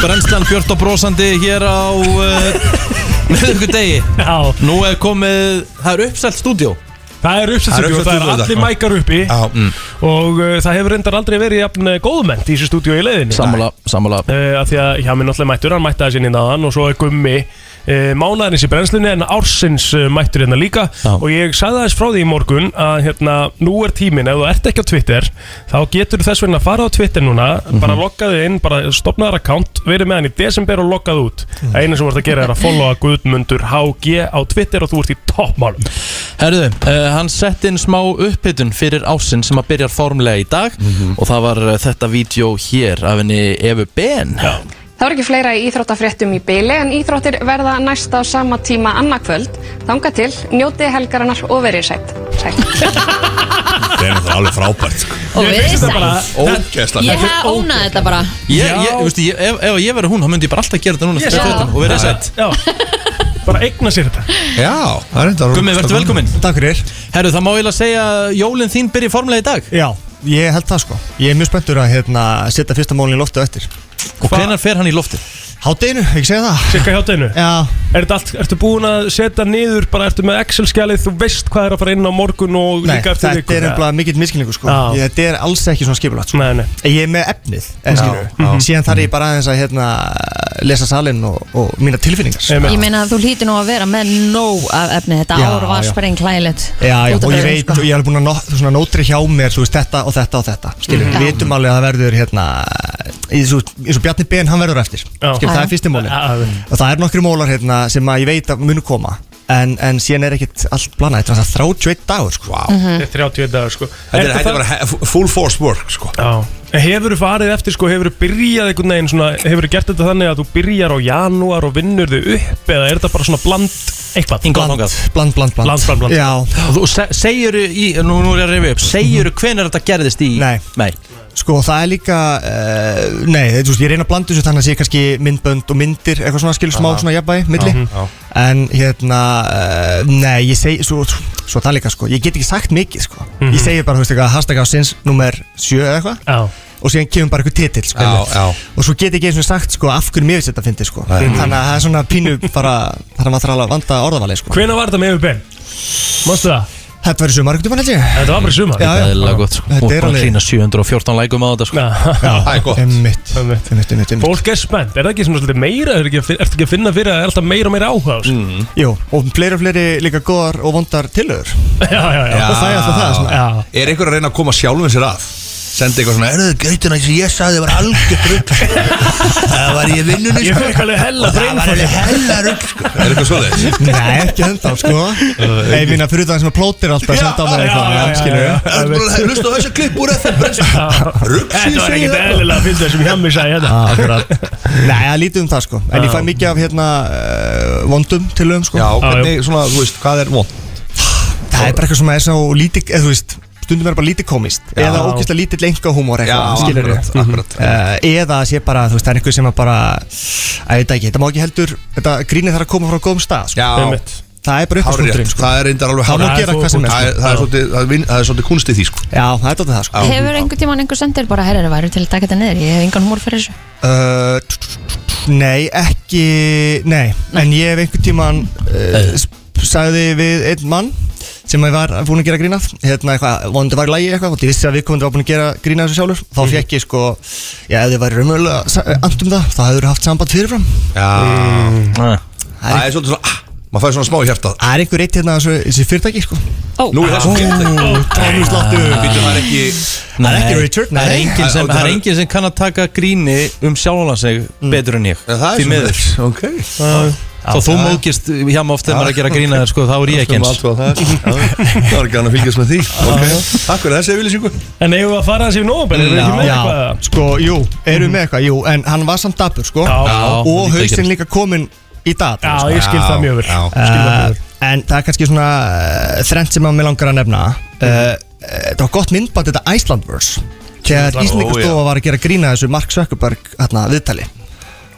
Brennslan Björn og brósandi hér á uh, miðugur degi Já, Nú er komið, það er uppselt stúdíó það er Það er uppsettsugjú og það er uppsetningur allir þetta. mækar uppi Já, Og uh, það hefur reyndar aldrei verið jafn uh, góðmennt í þessu stúdíu í leiðinni Sammála, sammála uh, að Því að hjá minn náttúrulega mættur, hann mætti aðeins inn í náðan Og svo er gummi uh, mánaðarins í brennslunni En ársins uh, mættur hérna líka Já. Og ég sagði aðeins frá því í morgun Að hérna, nú er tíminn, ef þú ert ekki á Twitter Þá getur þess vegna að fara á Twitter núna Bara lokkaðu inn, bara stopnaðar account Verið með hann í desember og lokkaðu út mm. Einu sem þú ert að gera er að followa Guðmundur HG á Twitter Og þú ert í toppmálum Herðu, uh, hann sett inn smá uppbytun fyrir ásinn sem að byrjar formlega í dag og það var eh, þetta vídeo hér af henni Evu Ben Það var ekki fleira í íþróttafréttum í byli en íþróttir verða næst á sama tíma annarkvöld. Þanga til, njóti helgarinnar og verið sætt. Sætt. það er náttúrulega alveg frábært sko. Og við erum sæl Ógeðslega Ég hef ónað þetta bara Ég, ég, veistu, ég, ef, ef ég verið hún, þá myndi ég bara alltaf gera þetta núna fyrir Já. þetta og verið sett Já, bara eigna sér þetta Já, það er þetta Gummi, verður velkomin Takk fyrir Herðu, það má eiginlega segja að jólinn þín byrja formlega í dag Já, ég held það sko Ég er mjög spenntur að hérna, setja fyrsta mólin í loftu eftir Og hvenar fer hann í lofti? Hátdeinu, ekki segja það Sikka hjá teginu Já, Er þetta allt, ertu búin að setja niður bara ertu með Excel-skjalið, þú veist hvað er að fara inn á morgun og nei, líka þetta eftir er eða? nefnilega mikill miskilningu sko Já. ég, Þetta er alls ekki svona skipulagt sko Nei, nei, Ég er með efnið, en skilur Síðan þarf ég bara aðeins að hérna, lesa salin og, og mína tilfinningar nei, Ég nei. meina að þú hlýtir nú að vera með nóg af efni Þetta Já, ár var já. spreng klæðilegt Já, já, og ég sko. veit, sko. og ég er búin að nót, svona, nótri hjá mér, þú veist, þetta og þetta og þetta Skilur, Mhm. við vitum alveg að það verður hérna í þessu- eins og Bjarni Ben, hann verður eftir Já. Skilur, það er fyrsti mólin Að- og það er nokkri mólar hérna sem að ég veit að munu koma en, en síðan er ekkit allt blanað þetta er alltaf 31 dagur sko wow. Þetta er 31 dagar sko Þetta er- Ertu þetta það- er bara he- full force work sko. Já Hefur þú farið eftir sko, hefur þú byrjað einhvern veginn svona, hefur þú gert þetta þannig að þú byrjar á janúar og vinnur þig upp eða er þetta bara svona bland eitthvað? Hingað og bland, þangað. bland, bland, bland Bland, bland, bland. já, Og þú se- segiru í, nú, nú er ég að reyfi upp Segiru hvenar þetta gerðist í Nei. Mhm. Nei. sko það er líka uh, nei, þú veist, ég reyna að blanda þessu þannig að sé kannski myndbönd og myndir eitthvað svona skil smá svona jafnvægi, milli en hérna, uh, nei, ég segi svo, svo það líka sko, ég get ekki sagt mikið sko, Mhm. ég segi bara, þú veist, eitthvað hashtag á sinns nummer 7 eða eitthvað Já og síðan kemur bara eitthvað titill sko, Já, einmitt. já. og svo get ég ekki eins og sagt sko, af hverju mér finnst þetta fyndi sko. þannig að það er svona pínu bara þannig að maður þarf alveg að vanda orðavali sko. Hvena var þetta með yfir Ben? Mástu það? Þetta var í sumar, eitthvað held ég Þetta var bara í sumar? Já, já. Þetta er eðlilega gott sko. Þetta Hún er er búin að alveg- klína 714 lækum á þetta sko. Það er gott. Einmitt, einmitt, einmitt, einmitt, einmitt. Fólk er spennt, er það ekki svona svolítið meira, er ekki, ertu ekki að finna fyrir að það er alltaf meira og meira áhuga á þessu? Mm. Jú, og fleiri og fleiri líka góðar og vondar tilögur Já, já, já. Og það er alltaf það svona. Er einhver að reyna að koma sjálfum sér að? Sendi eitthvað svona, er það gautin að ég sagði var algjört rugg Það var ég í vinnunni Ég fekk alveg hella brain Það var ég hella rugg sko. Er eitthvað svoleiðis? Nei, ekki enda, sko Nei, mín að fyrir það sem að plótir alltaf að senda á mér eitthvað, skilur ég Hlustu á þessu klipp úr FM Rugg Þetta var ekkert eðlilega að finna þessum hjá mig sæði Ah, hérna. akkurat. Nei, það lítið um það, sko En ég fæ mikið af, hérna, eh, vondum tilögum, sko Já, hvernig svona, þú veist, hvað er vond? Það er bara eitthvað sem er svo lítið, eða þú veist stundum er bara lítið komist Já. eða ógeðslega lítill enga húmor Já, eitthvað, skilur akkurat, akkurat. eða að sé bara, þú veist, það er einhver sem að bara að ég veit það ekki, þetta má ekki heldur þetta grínið þarf að koma frá góðum stað sko. Já. Einmitt. það er bara uppástundurinn Hárrétt, sko. það er reyndar alveg Það má hárrétt. gera hvað sem er, Það sko. Mm. er- það er svolítið- það er vin- það er svolítið kunst í því sko Já, það er þetta það sko Hefur einhver tíman einhver sendir bara herrið væru til að taka þetta niður, ég hef engan humor fyrir þessu Uh, t- t- t- Nei, ekki Nei, en ég hef einhvern tíman uh, sp- sagði við einn mann sem ég var búin að gera grínað hérna eitthvað, vonandi var í lagi eitthvað og ég vissi að viðkomandi var búin að gera grínað þessu sjálfur þá fekk ég sko, já, ef þið væri raunverulega sa- andum það, þá hefur haft samband fyrirfram Já Það er svolítið svona, ah, maður fæði svona smá í hjartað Það er einhver eitt hérna þessu, þessu fyrirtæki sko Nú er þessu Ó, fyrirtæki tónlistláttur. Býtum það er ekki Það er ekki Richard, nei. það er enginn sem, Og það það er er- enginn sem kann að taka gríni um sjálfan sig betur en ég Það er Því miður svona, ok Þó þú mókist hjá mig oft þegar maður er að gera grína þér sko, þá er ég ekki eins Það er það er gana að fylgjast með því Ok, takk fyrir þessi yfirlýsingu En eigum við að fara þessi í nóbel, erum við ekki með Já, eitthvað? sko, jú, erum við með eitthvað, jú, en hann var samt dapur, sko Já. Og Já. hausinn líka kominn í dag Já, ég skil það mjög vel. Já. Skil það mjög vel. En það er kannski svona uh, þrennt sem að mig langar að nefna Mhm. uh, uh, Það var gott myndband þetta Icelandverse Iceland- Þegar Ó, Íslingastofa já. var að gera grína þessu Mark Zuckerberg hérna, viðtali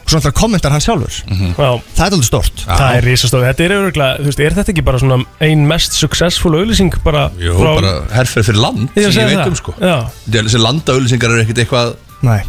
Og svona alltaf kommentar hann sjálfur Mhm. Já. Það er alveg stort Það er risastofi, þetta er öruglega, þú veist, er þetta ekki bara svona ein mest successful auðlýsing bara Jú, bara herferð fyrir land Ég er að sem segja Ég veit það. um sko Já. Þessi landaauðlýsingar eru ekkert eitthvað Nei,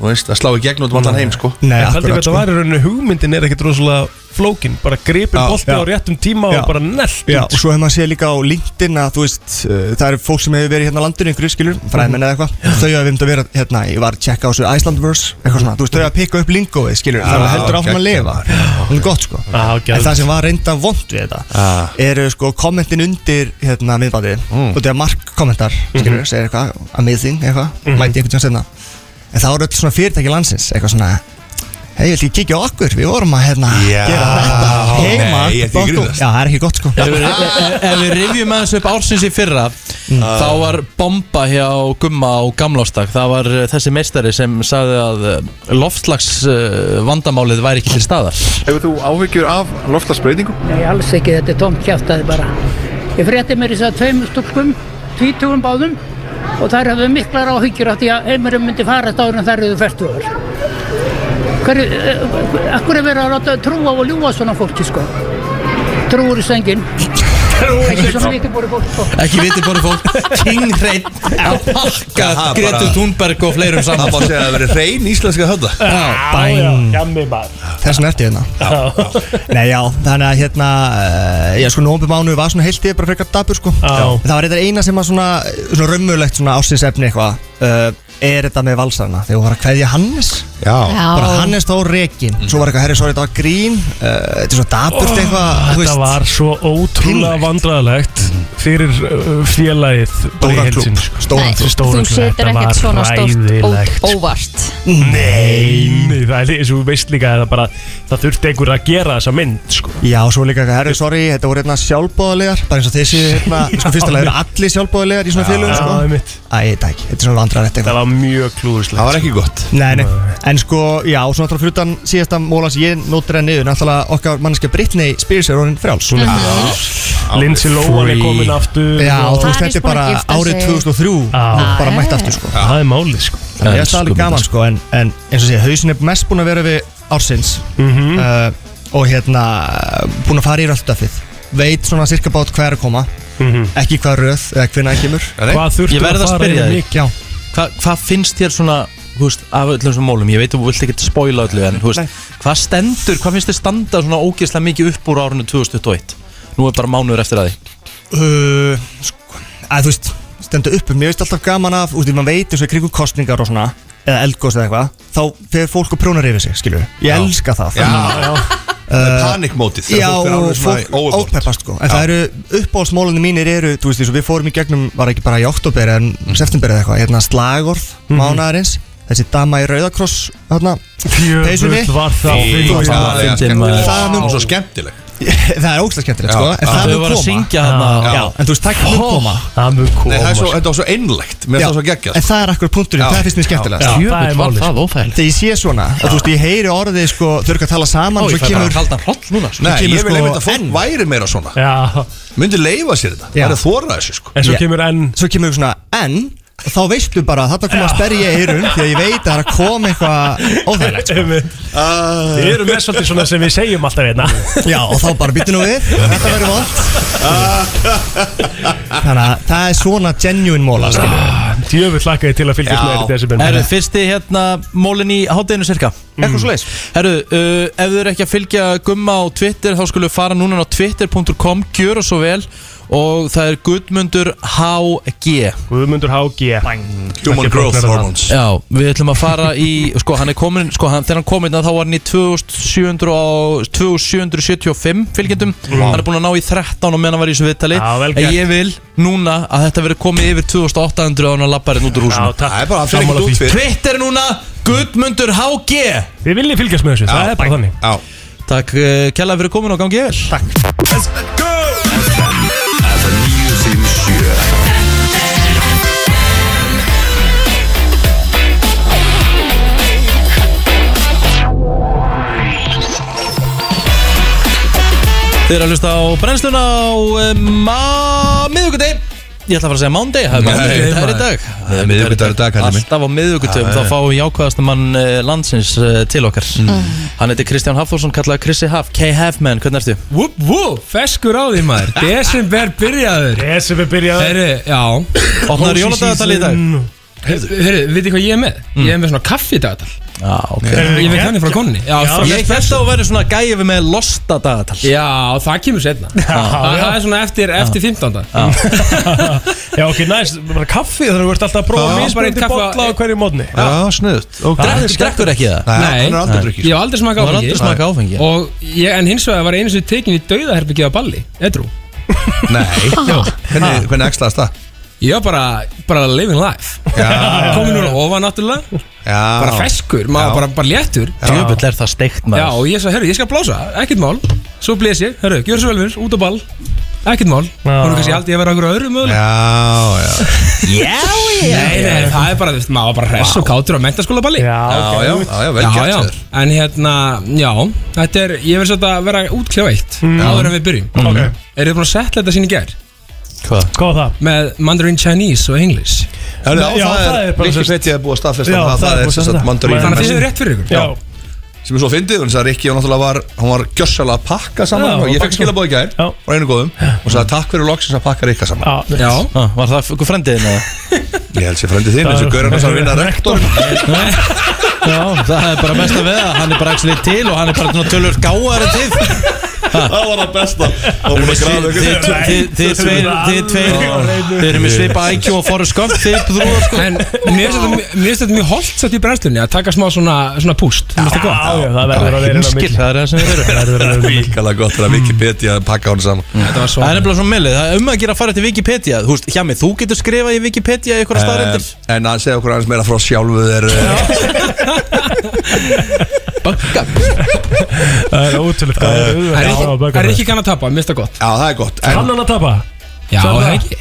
Þú veist, að slá í gegn út um allan heim sko nei, Ég haldi hvað akkurat þetta sko var í rauninu hugmyndin er ekkert rosalega flókin Bara gripin Já, bolti já. á réttum tíma Já. og bara sko. nellt Já, og svo hefur maður séð líka á LinkedIn að þú veist, uh, það eru fólk sem hefur verið hérna á landinu einhverju skilur, Mhm. fræðmenn eða eitthvað þau hefur verið að vera, hérna, ég var að checka á þessu Icelandverse, eitthvað svona, þú veist, þau hefur að pikka upp lingóið skilur, þannig að heldur áfram að lifa það er gott sko, Já, en gerð. það sem var reynda vond við þetta, eru sko kommentin undir, hérna, miðbandi Mm. og þetta er mark kommentar, Mhm. skilur, segir eitthvað amazing, eitthvað, mæti einhvern tíma senna en það voru öll svona fyrirtæki landsins, eitthvað svona, Hey, ég vil ekki kíkja á okkur, við vorum að hérna Já, gera þetta heima nei, ég ætti ekki að dottum." grínast. Já, það er ekki gott sko Ef við- ef- ef við rifjum aðeins upp ársins í fyrra þá var bomba hjá Gumma á gamlástak það var eh, þessi meistari sem sagði að loftslags vandamálið væri ekki til staðar Hefur þú áhyggjur af loftasbreytingum? Nei, alls ekki, þetta er tómt kjátaði bara. Ég frétti mér þess að tveim stúlkum, tvítugum báðum og þær hafðu miklar áhyggjur af því að heimurinn myndi fara þetta áður en þær eru ferstuður. Hverju, eh, akkur er verið að láta trúa og ljúa svona fólki, sko? Trúur í sengin. Ekki svona vitibúri fólk, sko. ekki vitið bóri fólk King Reyn að pakka Það bara- Gretur Thunberg og fleirum Það saman er bara að segja að það veri hrein íslenska þetta Já, já, jammi maður Þess vegna ertu hérna Nei já, þannig að hérna eh, Já sko, nómbi mánu var svona heilt ég bara frekar dabur sko Já. En Það var eitthvað eina sem var svona Svona raumulegt svona ásinsefni eitthvað uh, Er þetta með valsarna Þegar hún var að kveðja Hannes Já, Bara Hannes þá rekin Svo var eitthvað, herri, sorry, þetta var grín uh, Þetta er svo daburt eitthvað þú Þetta veist. var svo ótrúlega vandræðalegt fyrir uh, félagið bara í Stóran heild klúbb, sinni, sko. stóran Þetta er Þú stóran klúbb. setur Þetta var ekkert svona stórt hræðilegt, ótt óvart Nei, nei, það er því eins og þú veist líka að það bara það þurfti einhver að gera þessa mynd sko. Já, svo líka eitthvað, herri, sorry, þetta voru hérna sjálfbóðalegar Bara eins og þessi, hérna, sko, fyrstulega eru allir sjálfbóðalegar í svona félugum, Já, sko einmitt. Æ, þetta ekki, þetta er svona vandrar Það var mjög klúðislegt það var ekki gott Nei, nei, en sko, já, og svo náttúrulega fyrir utan síðasta móla sem ég nótur henni niður, náttúrulega okkar manneskja Brittany Spears er orðin frjáls Mhm. Já, Mhm. Lindsay Lohan er Free. komin aftur og... og þú Paris veist, þetta er búin að bara gifta árið sig. 2003 Já. bara Æ. mætt aftur, sko Það er málið sko. Þannig ég er alveg gaman, sko, en, en eins og sé, hausin er mest búin að vera við ársins Mhm. uh, og hérna búin að fara í röldafið veit svona cirka bát hver að koma Mhm. ekki hvað röð eða hvenær hann kemur Já, nei. Hvað þurftu Ég verð að fara spyrja yfir þig. mikið? Já, Hva, hvað finnst þér svona þú veist, af öllum þessum mólum, ég veit að þú vilt ekki spoila öllu en þú veist, hvað stendur, hvað finnst þér standa svona ógeðslega mikið upp úr árunni 2021 nú er bara mánuður eftir að því uh, sko, að þú veist stenda upp, um, mér veist alltaf gaman af úst, mann veit eins og í kringum kostningar og svona eða eldgóðs eða eitthvað, þá fer fólk og prjónar yfir sig, skilju, ég Já. elska það Já, já. Það er panikmótið, þegar Já, fólk er alveg svona fólk overboard. ópeppast sko En Já. það eru uppáhaldsmálunni mínir eru Þú veist, eins og við fórum í gegnum, var ekki bara í oktober En Mhm. september eða eitthvað, hérna slagorð Mánaðarins, þessi dama í Rauðakross Hérna, peysunni var það Þú fyndin, veist, maður. Og það mun- svo skemmtileg. Það er ógstlega skemmtilegt sko Já. En Þau það voru að mun syngja koma þarna. Já, en þú veist, það Hó. mun koma Það mun sko. Nei, það er svo, þetta var svo einlægt Mér finnst Já, það svo geggjað sko. En það er akkur punkturinn, Já. það finnst mér skemmtilegast Já, það Jöfull er var málið, það sko. óþægilegt. Þegar ég sé svona, og þú veist, ég heyri orðið sko, þau eru ekki að tala saman Ó, og ég svo fæ bara kemur kaldan hroll núna svo Nei, kemur ég vil sko einmitt að fólk væri meira svona Já Myndi leifa sér þetta, Já. það er þóra þessu sko En svo kemur enn Svo kemur svona enn og Þá veistu bara að þetta kom að sperja í eirun Því að ég veit að það er að koma eitthvað óþægilegt sko. Við erum með svolítið svona sem við segjum alltaf hérna. einna Já, og þá bara býttu nú við Þetta verður vond Þannig að það er svona genuine sko. móla Djöfull lakkaði til að fylgjast með þér í desember Herru, fyrsti hérna mólin í hátteginu cirka Eitthvað svo leis Herru, uh, ef þið eru ekki að fylgja gumma á Twitter þá skulle við fara núna á twitter.com Gjör og svo vel Og það er Guðmundur HG Guðmundur HG Human Ekki flóknara growth en hormones. það. Já, við ætlum að fara í Sko, hann er komin Sko, hann, þegar hann kom inn þá var hann í 2700 og- 2775 fylgjendum Hann er búin að ná í 13 og meðan hann var í þessu viðtali Já, vel En gert. ég vil núna að þetta verið komið yfir 2800 og hann að lappa hérna út úr húsinu Já, takk. Það er bara- hann fer Sammála ekkert því. út fyrir. Twitter núna Guðmundur HG Við viljum fylgjast með þessu, það er bara þannig Já Takk uh, kjalla fyrir komin og gangi vel Takk Þið eru að hlusta á brennsluna á um, miðugudegi Ég ætla að fara að segja mándegi, það er bara Nei, miðvikudagur í maður. dag Það er miðvikudagur í dag, kallið minn. Alltaf á miðugudum, Já, þá já. fáum við jákvæðasta mann eh, landsins eh, til okkar Hann heitir Kristján Hafþórsson, kallaði Krissi Haf K-Hafman, hvernig ertu? Whoop, whoop, feskur á því maður Desember byrjaður Desember byrjaður Herru, já Opnar jóladagatal í dag? Herru, herru, veitir hvað ég er með? Mm. Ég er með svona kaffi dagatal Já, ok Ég veit hann frá konunni Já, ég held að vera svona gæfi með losta dagatal Já, það kemur setna Það það er svona eftir, eftir 15. Já, ok, næst, bara kaffi þannig að þú ert alltaf að Já. prófa Bara eitt mismunandi kaffi- bolla á hverju mótni Já, sniðut Drekkur ekki það? Nei, sko. ég drukkið. hef aldrei smakað Þú hefur áfengi aldrei smakkað áfengi. Og ég, en hins vegar var einu sem tekin í dauðaherbyggið á balli Edru Nei, Ah. hvernig, hvernig ekslaðast það? Ég var bara, bara living life Já. Komin úr að ofa náttúrulega Já. Bara feskur, maður bara, bara léttur Djöfull er það steikt maður Já, og ég sagði, herru, ég skal blása, ekkert mál Svo blés ég, herru, gjör svo vel fyrir, út á ball Ekkert mál, hún er kannski haldið að vera okkur öðru mögulega Já, já Já, já Nei, nei, það er bara, þú veist, maður bara hress og kátur á mentaskóla balli Já, ok. já, já, já, vel gert hjá þér. En hérna, já, þetta er, ég verð svolítið að vera útkljá eitt Áður en við byrjum Ok. Eru þið búin að setla þetta sín í gær? Hvað? Hvað var það? Með Mandarin Chinese og English Já, það er Rikki Petja er búið að staðfesta það, það er sem sagt mandarín Þannig að þið hefur rétt fyrir ykkur Já sem er svo fyndið, þannig að Rikki var náttúrulega var, hann var gjössalega að pakka saman Já, og ég pakka fekk skilabóð í gær frá einu góðum og sagði takk fyrir loksins að pakka Rikka saman Já, Já. Ah, Var það fyrir frendiðin eða? Ég held sér frendið þinn, eins og Gauran hans að vinna rektor Já, það er bara besta við það Hann er bara ekki til og hann er bara tölur gáðar en þið Það var það besta Það var það Þið- þið- Þið tveir Þið tveir Þið eru með svipa IQ og Forrest Gump Þið brúðar sko En mér finnst þetta mjög holdt sett í brennslunni að taka smá svona, svona púst Já, já, það verður að vera inn á milli. Það er það sem við er Víkala gott fyrir að Rikki Petja pakka hann saman Þetta var Það er nefnilega svona millið, það er um að gera að fara til Wikipedia Þú veist, hjá mig, þú getur skrifað í Wikipedia ykkur að staðrendir Eh, En að segja okkur aðeins meira frá sjálfu þér eh, Það er ótrúlega Það Það er ekki kannan að tapa, mér finnst það gott Já, það er gott en- Kann hann að tapa? Já, það Sagði það? ekki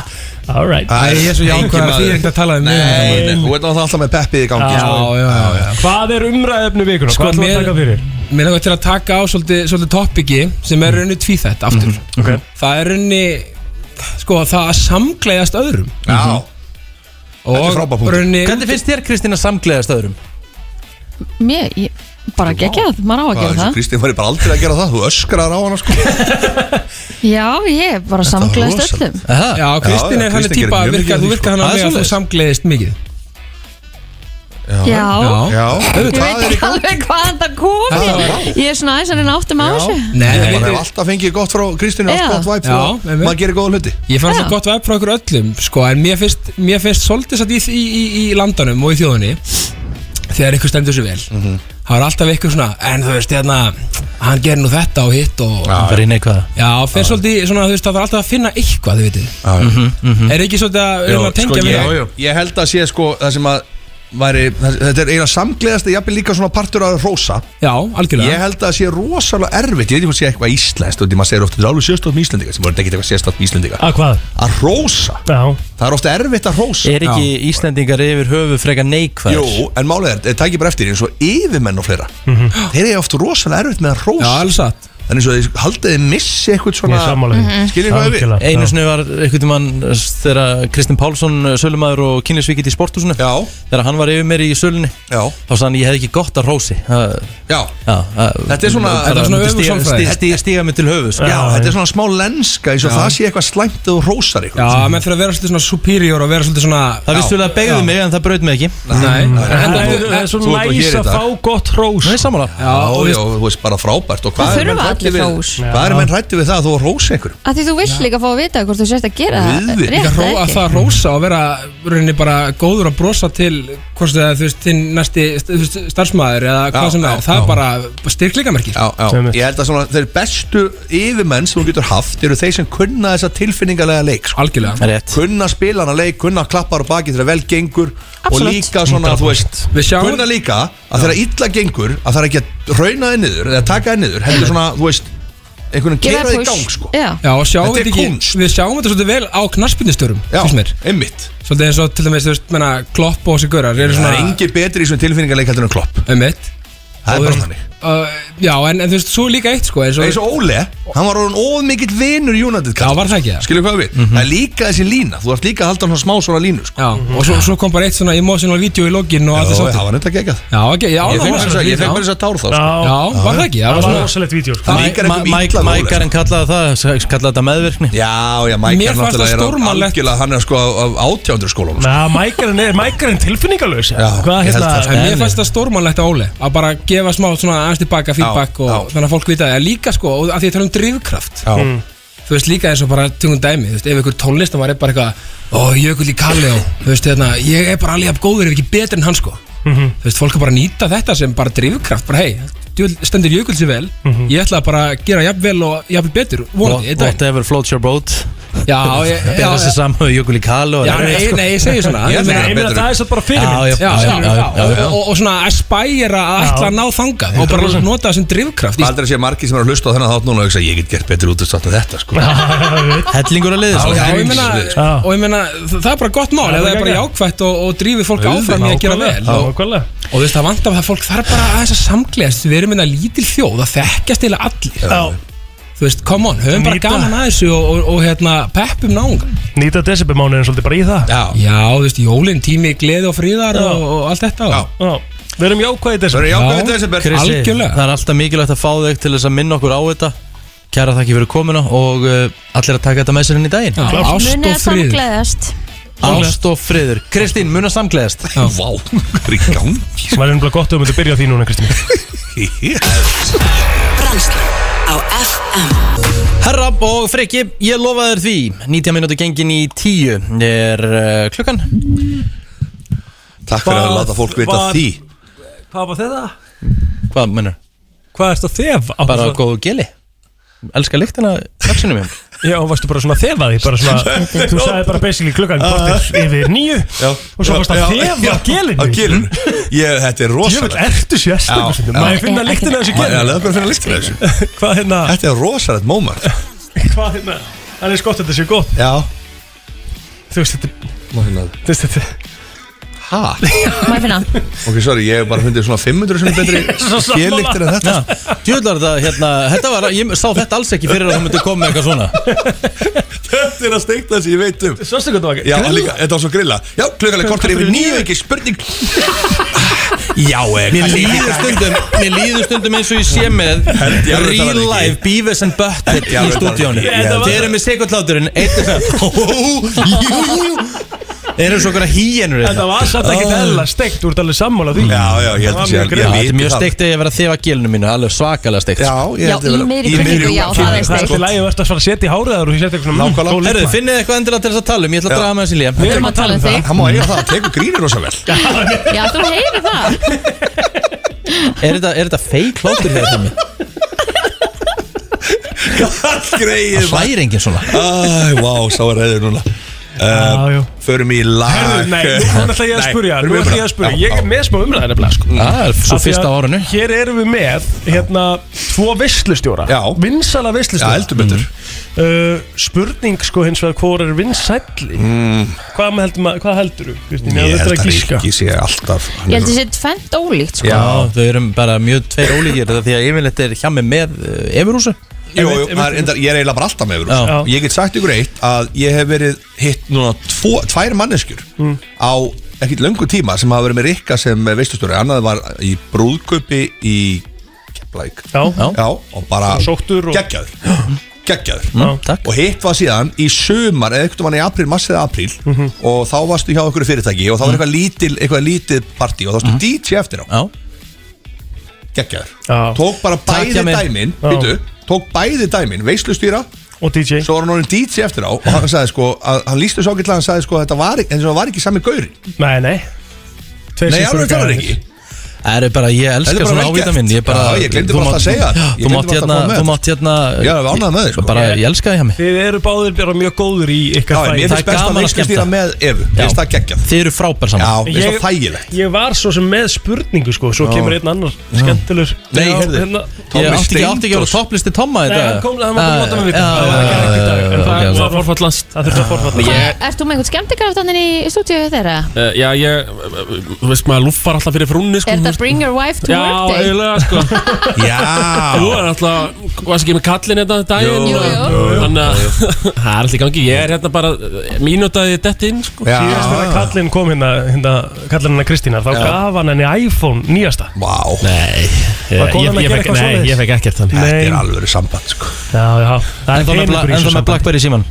All right Æ, ég er svo jákvæður að því enginn er maður. ekkert að tala um mig. Nei, nei, þú veit náttúrulega alltaf með peppið í gangi Já, sko. já, já, já. Hvað er umræðefni Sko, vikuna? Hvað ætlum við mér- að taka fyrir? Mér langar til að taka á svolítið, svolítið topiki sem er raunni tvíþætt aftur Mhm. Ok Það er raunni sko, það að samgleiðast öðrum Já, þetta er og frábær punktur. raunni Hvernig finnst þér Kristín að samgleðast öðrum? Mér, ég, bara geggjað, maður á að Það er gera eins og það Kristín var bara aldrei að gera það Þú öskrar á hana sko Já, ég er bara samglaðist rosalegt. öllum Já, Kristín Já, já, er hann Kristín típa að virka, gerir mjög mikið þú af því, virkar sko. hann að mig Það er að þú svoleiðis. samgleiðist mikið Já, Já. Ég veit ekki alveg hvaðan það kom Það er í. Ég er svona aðeins að reyna áttum á þessu Nei, Nei, maður við- hefur alltaf fengið gott frá Kristínu Já. allt gott væp Já, og einmitt. maður gerir góða hluti Ég fann Já. alltaf gott væp frá okkur öllum sko, en mér finnst, mér finnst svolítið satt í, í, í, í landanum og í þjóðunni þegar ykkur stendur sér vel Mhm. það er alltaf ykkur svona, en þú veist hérna, hann gerir nú þetta og hitt og, Hann fer í neikvæða. Já, fyrir svolítið svona, þú veist, það er alltaf að finna eitthvað, þú veitir Mhm, mhm. Er ekki svolítið að, Jó, um að tengja sko, við ég, það? ég held að sé sko það sem að væri, það- þetta er eiginlega samgleðast jafnvel líka svona partur að rosa Já, algjörlega Ég held að það sé rosalega erfitt, ég veit ekki hvað sé eitthvað íslenskt og því maður segir ofta, þetta er alveg sérstátt með Íslendinga sem voru ekki eitthvað sérstátt með Íslendinga Að hvað? Að rosa Já Það er ofta erfitt að rosa Er ekki Íslendingar yfir höfu frekar neikvæðir? Jú, en málið er, eh, takk ég bara eftir eins og yfirmenn og fleira Þeir eru ofta rosalega erfitt með að rosa Já, alls að Þannig svo þeir haldið þið missi eitthvað Ég svona er sammála því. Skiljið hvað við Einu sinni var einhvern tímann eh, þegar Kristinn Pálsson, eh, sölumæður og kynlisvíkitt í sporthúsinu Já. Þegar hann var yfir mér í sölunni Já. Þá sann ég hef ekki gott að rósi Það- Já, Já Þetta er svona- þetta er svona öfugsálfræði. Stíga mig til höfu Já, þetta er svona smá lenska eins og Já. það sé eitthvað slæmt og rósar eitthvað Já, menn fyrir að vera svolítið svona superior og vera svolítið svona Það vissulega beigði mig en það braut mig ekki Nei, En- Þú- en- það er svo Þú ert nú næs hér í að dag. fá gott hrós Nei, sammála Já, já, þú veist bara frábært Og hvað Það þurfa er menn hræddir allir við- hrós. Hvað er menn hrætti við það að þú rósi einhverjum? Af því þú vill líka fá að vita hvort þú sérst að gera það Auðvitað. rétt Líka ró, eða að ekki. það að rósa og vera rauninni bara góður að brosa til hvort það þú veist, þinn næsti þú veist, starfsmæður eða hvað Já, sem það já, er það já. er bara styrkleikamerkir Já, já, ég held að svona þeir bestu yfirmenn sem þú getur haft eru þeir sem kunna þessa tilfinningalega leik sko. Algjörlega Rétt. Kunna spilana leik, kunna klappar á baki þegar vel gengur Absolutt. Og líka svona, þú veist Við sjáum- Kunna líka að þegar illa gengur að það er ekki að rauna þið niður eða taka þið niður, heldur svona, þú veist einhvern veginn Gefa gera þið í push. gang sko Já. Já, og sjáum Þetta er þetta ekki, kunst. við sjáum þetta svolítið vel á knarsbyrnistörum Já, einmitt Svolítið eins og til dæmis, þú veist, menna, klopp og þessi gaurar Það eru er svona engin betri í svona tilfinningaleik heldur en klopp Einmitt Það er Og þú bara veist, þannig uh, Já, en, en þú veist, svo er líka eitt, sko eins og- eins og Óle, hann var orðin ómikill vinur United Já, var það ekki það? skilur hvað við, það er líka þessi lína þú ert líka að halda hann smá svona línu sko. Já, og svo, svo kom bara eitt svona emotional video í lokin og Já, allt þess aftur það var neitt að gegja Já, ok, já, Ég það fekk var bara þess að- ég fekk bara þess að tár þá sko. Já, var það ekki? Það var svona- rosalegt vídeo Það líkar einhverjum Ma- illa við Óla, Mækarinn kallaði það, s- kallaði þetta meðvirkni Já, já, Mike Mér er fannst það náttúrulega er á- stórmannlegt. algjörlega, hann er sko af átjándur skólum sko. Na, mækarinn er, mækarinn tilfinningalös Hvað ég held hérna það, sko. En mér fannst það stórmannlegt á Óli að bara gefa smá svona aðeins tilbaka feedback og þannig að fólk vita það En líka sko, og að því að tala um drivkraft Já. Mm. þú veist líka eins og bara tungum dæmi þú veist, ef ykkur tónlistamar er bara eitthvað ó, Jökull í Kalli og þú veist, hérna, ég er bara alveg jafn góður ef ekki betur en hann sko Mhm. þú veist, fólk er bara að nýta þetta sem bara drivkraft bara hei, djöfull stendur Jökull sér vel Mhm. ég ætla bara að gera jafn vel og jafn betur vonandi, einn daginn. Whatever floats your boat Já, ég- já, Bera sér já. saman við Jökul í Kalu Já, nei, nei, ég segi svona Ég meina- Ég meina það er svo bara sko. Já, já, fyrirmynd já, já, já, já, já. og, og svona aspæra að ætla að ná þangað og bara nota það sem drivkraft í Það er að sé margir sem er að hlusta á þennan þátt núna og hugsa ég get gert betur út af þetta sko. Hellingur að liði Já, sko. já, Já, ég meina, og ég meina, þa- það er bara gott mál Já, ef það er bara geggjað. jákvætt og, og drífið fólk áfram í að gera vel og, Nákvæmlega og þú veist, það vantar að fólk þarf bara aðeins að samgleðast við erum minna lítil þjóð að þekkjast eða allir þú veist, come on, höfum bara Nýta. gaman að þessu og, og, og hérna, peppum náungan Nýta desembermánuðin svolítið bara í það Já, já þú veist, jólinn, tími, gleði og fríðar og, og allt þetta já. Já, Við erum jákvæðið Það desember er jákvæðið desember Krissi, það er alltaf mikilvægt að fá þau til þess að minna okkur á þetta Kæra þakki fyrir komuna og uh, allir að taka þetta með sér inn í daginn Já, Klart. Munið ást og að friður. samgleðast Ást og friður Kristín, mun að samgleðast Vá, það er í gangi Það er umlega gott að við myndum byrja á því núna, Kristín Brennslan á FM Herra og Freki, ég lofa þér því 90 minúti gengin í 10 er uh, klukkan Takk fyrir að láta fólk vita Var- því Hvað var þetta? Hvað mennur? Hvað erst að þef? á Bara það? góðu geli Elskar lyktina vaksinu mér Já, og varstu bara svona að þefa því bara svona, Þú sagði bara basically klukkan kortir yfir nýju Og svo varstu Já, að já, þefa Á gelinu gélinu Ég, þetta Jöfnveld, er rosalegt ertu sérstöku Já, sinni já. Má ég finna lyktina af þessu Maður er gelinu? alveg bara að finna lyktina af þessu Hvað hérna? Þetta er rosalegt moment Hvað hérna? Það er eins gott að þetta sé gott Já Þú veist þetta Má finna það. Þú veist þetta Ha? Má ég finna Ok, sorry, ég hef bara fundið svona 500 sem betri Svo sammála. gélíktir en þetta Djöðlar það, hérna, þetta var, ég sá þetta alls ekki fyrir að það myndi koma með eitthvað svona Þetta er að steikta þessi, ég veit um Sástu hvað það var? Já, líka, þetta var svo grilla Já, klukkanlega kortir yfir nýju, ekki spurning Já, eða Mér líður stundum, mér líður stundum eins og ég sé með Held ég alveg Real talaði ekki. life Beavis and Butthead ég í alveg talaði stúdíónu ekki. Ég held- Þeir eru með sekundláturinn, eitt og það Jú, jú, jú Erum svo okkur að hýjenur Þetta var satt Ah. ekkert eðla steikt, þú ert alveg sammála því Það var mjög Ah. Þetta greinilegt. er mjög steikt að ég vera að þefa gélinu mínu Alveg svakalega steikt Já, ég held Já, að í vera- miðri í miðri kynningu, já, kynningu. það er Það er sko. steikt. allt í lagi, þú ert að fara að setja í hárið þar og setja eitthvað svona, mm, góð Herðu, lykt. finnið þið eitthvað endilega til þess að tala um Ég ætla að Já. draga með þessi líf Við erum að tala um það. Hann má eiga það, hann tekur grínir rosa vel Já, þú heyrir það Er þetta- er þetta feik hlátur hér til mig? Greið Það hlægir enginn svona Æ, vá, sá er reyður núna Uh, förum í lag Herðu, nei, nú ætla ég að spurja Nú ætla ég að spurja, ég er með smá umræðin nefnilega sko. Ah, svo Af því fyrst að á árinu. Hér erum við með, hérna, tvo veistlustjóra Já Vinsala veistlustjóra Já, heldur betur. uh, Spurning sko hins vegar, hvor er vinsælli? Mm. Hvað, með heldur, maður- hvað heldur þú? Kristín? þetta Ég er held að gíska. Rikki sé alltaf Ég held að þetta er tvent ólíkt sko. Já, Ah, þau erum bara mjög tveir ólíkir þetta Því að yfirleitt er hjá mig með uh, Efurúsu Jú, jú, það er endar- ég er eiginlega bara alltaf með Já. Evrópu Ég get sagt ykkur eitt að ég hef verið hitt núna tvo, tvær manneskjur Mm. á ekkert löngu tíma sem hafa verið með Rikka sem veistustöru annað var í brúðköpi í Keflæk Já. Já, og bara Og sóttur og- geggjaður geggjaður Mm, takk. og hitt var síðan í sumar eða eitthvað mann í apríl, mars eða apríl Mhm. og þá varstu hjá okkur fyrirtæki og þá var eitthvað lítil eitthvað lítið partí og þá Mhm. varstu DJ eftir á Já. geggjaður Já. tók bara Takk, bæði Jamil. dæmin Já. býtu, tók bæði dæmin, veislustýra og DJ svo var hann orðin DJ eftir á og hann sagði sko, að, hann lístu svo gætla hann sagði sko að þetta var, ekki- eins og það var ekki sami gauri Nei, nei Tveir Nei, systur alveg gæðir. talar ekki Það eru bara, ég Þetta elska er bara svona vel gert. ávita minn Ég bara, Já, ég gleymdi þú bara mátt- að segja Þú þetta. Ég mátt gleymdi bara að hérna, koma með þú þetta. mátt hérna Já, við ánægðum með þig, sko. Bara, ég elska þig hjá mig Þið eru báðir bara mjög góður í ykkar Já, fæði mér finnst best að veistlustýra með Evu, Mér finnst það geggjað Þið eru frábær saman Já, finnst það þægilegt. Ég var svo sem með spurningu sko Svo Já. kemur einn annar skemmtilegur Nei, Já, heyrðu, hérna- Ég átti ekki, átti ekki að vera á topplisti Tomma í Nei, dag. hann kom, hann var bara að láta mig vita Já, Það já, var ekki í dag, já, en já, það já. var forfallast Það þurfti að forfallast Hvað, Ert þú með einhvern skemmtikraftaninn í stúdíu þeirra? Uh, já, ég, uh, þú veist maður lúffar alltaf fyrir frúnni sko, Er þú þetta veist. bring your wife to Já, work day? eiginlega sko Já Þú er alltaf, varst ekki með kallin hérna daginn Jú, jú. Þannig að það er alltaf í gangi Ég er hérna bara uh, mínútaði dett inn sko Síðast Ah. þegar kallinn kom hérna, hérna kallinn hennar Kristínar, þá Já. gaf hann henni iPhone nýjasta Vá wow. Nei, Eh, Var ég, konan ég, ég, að gera fekk, eitthvað nei, svoleiðis? ég fekk ekkert þannig Þetta er alveg samband sko Já, já, það er Ennþá með peningur bla- í ennþá þessu með Blackberry síman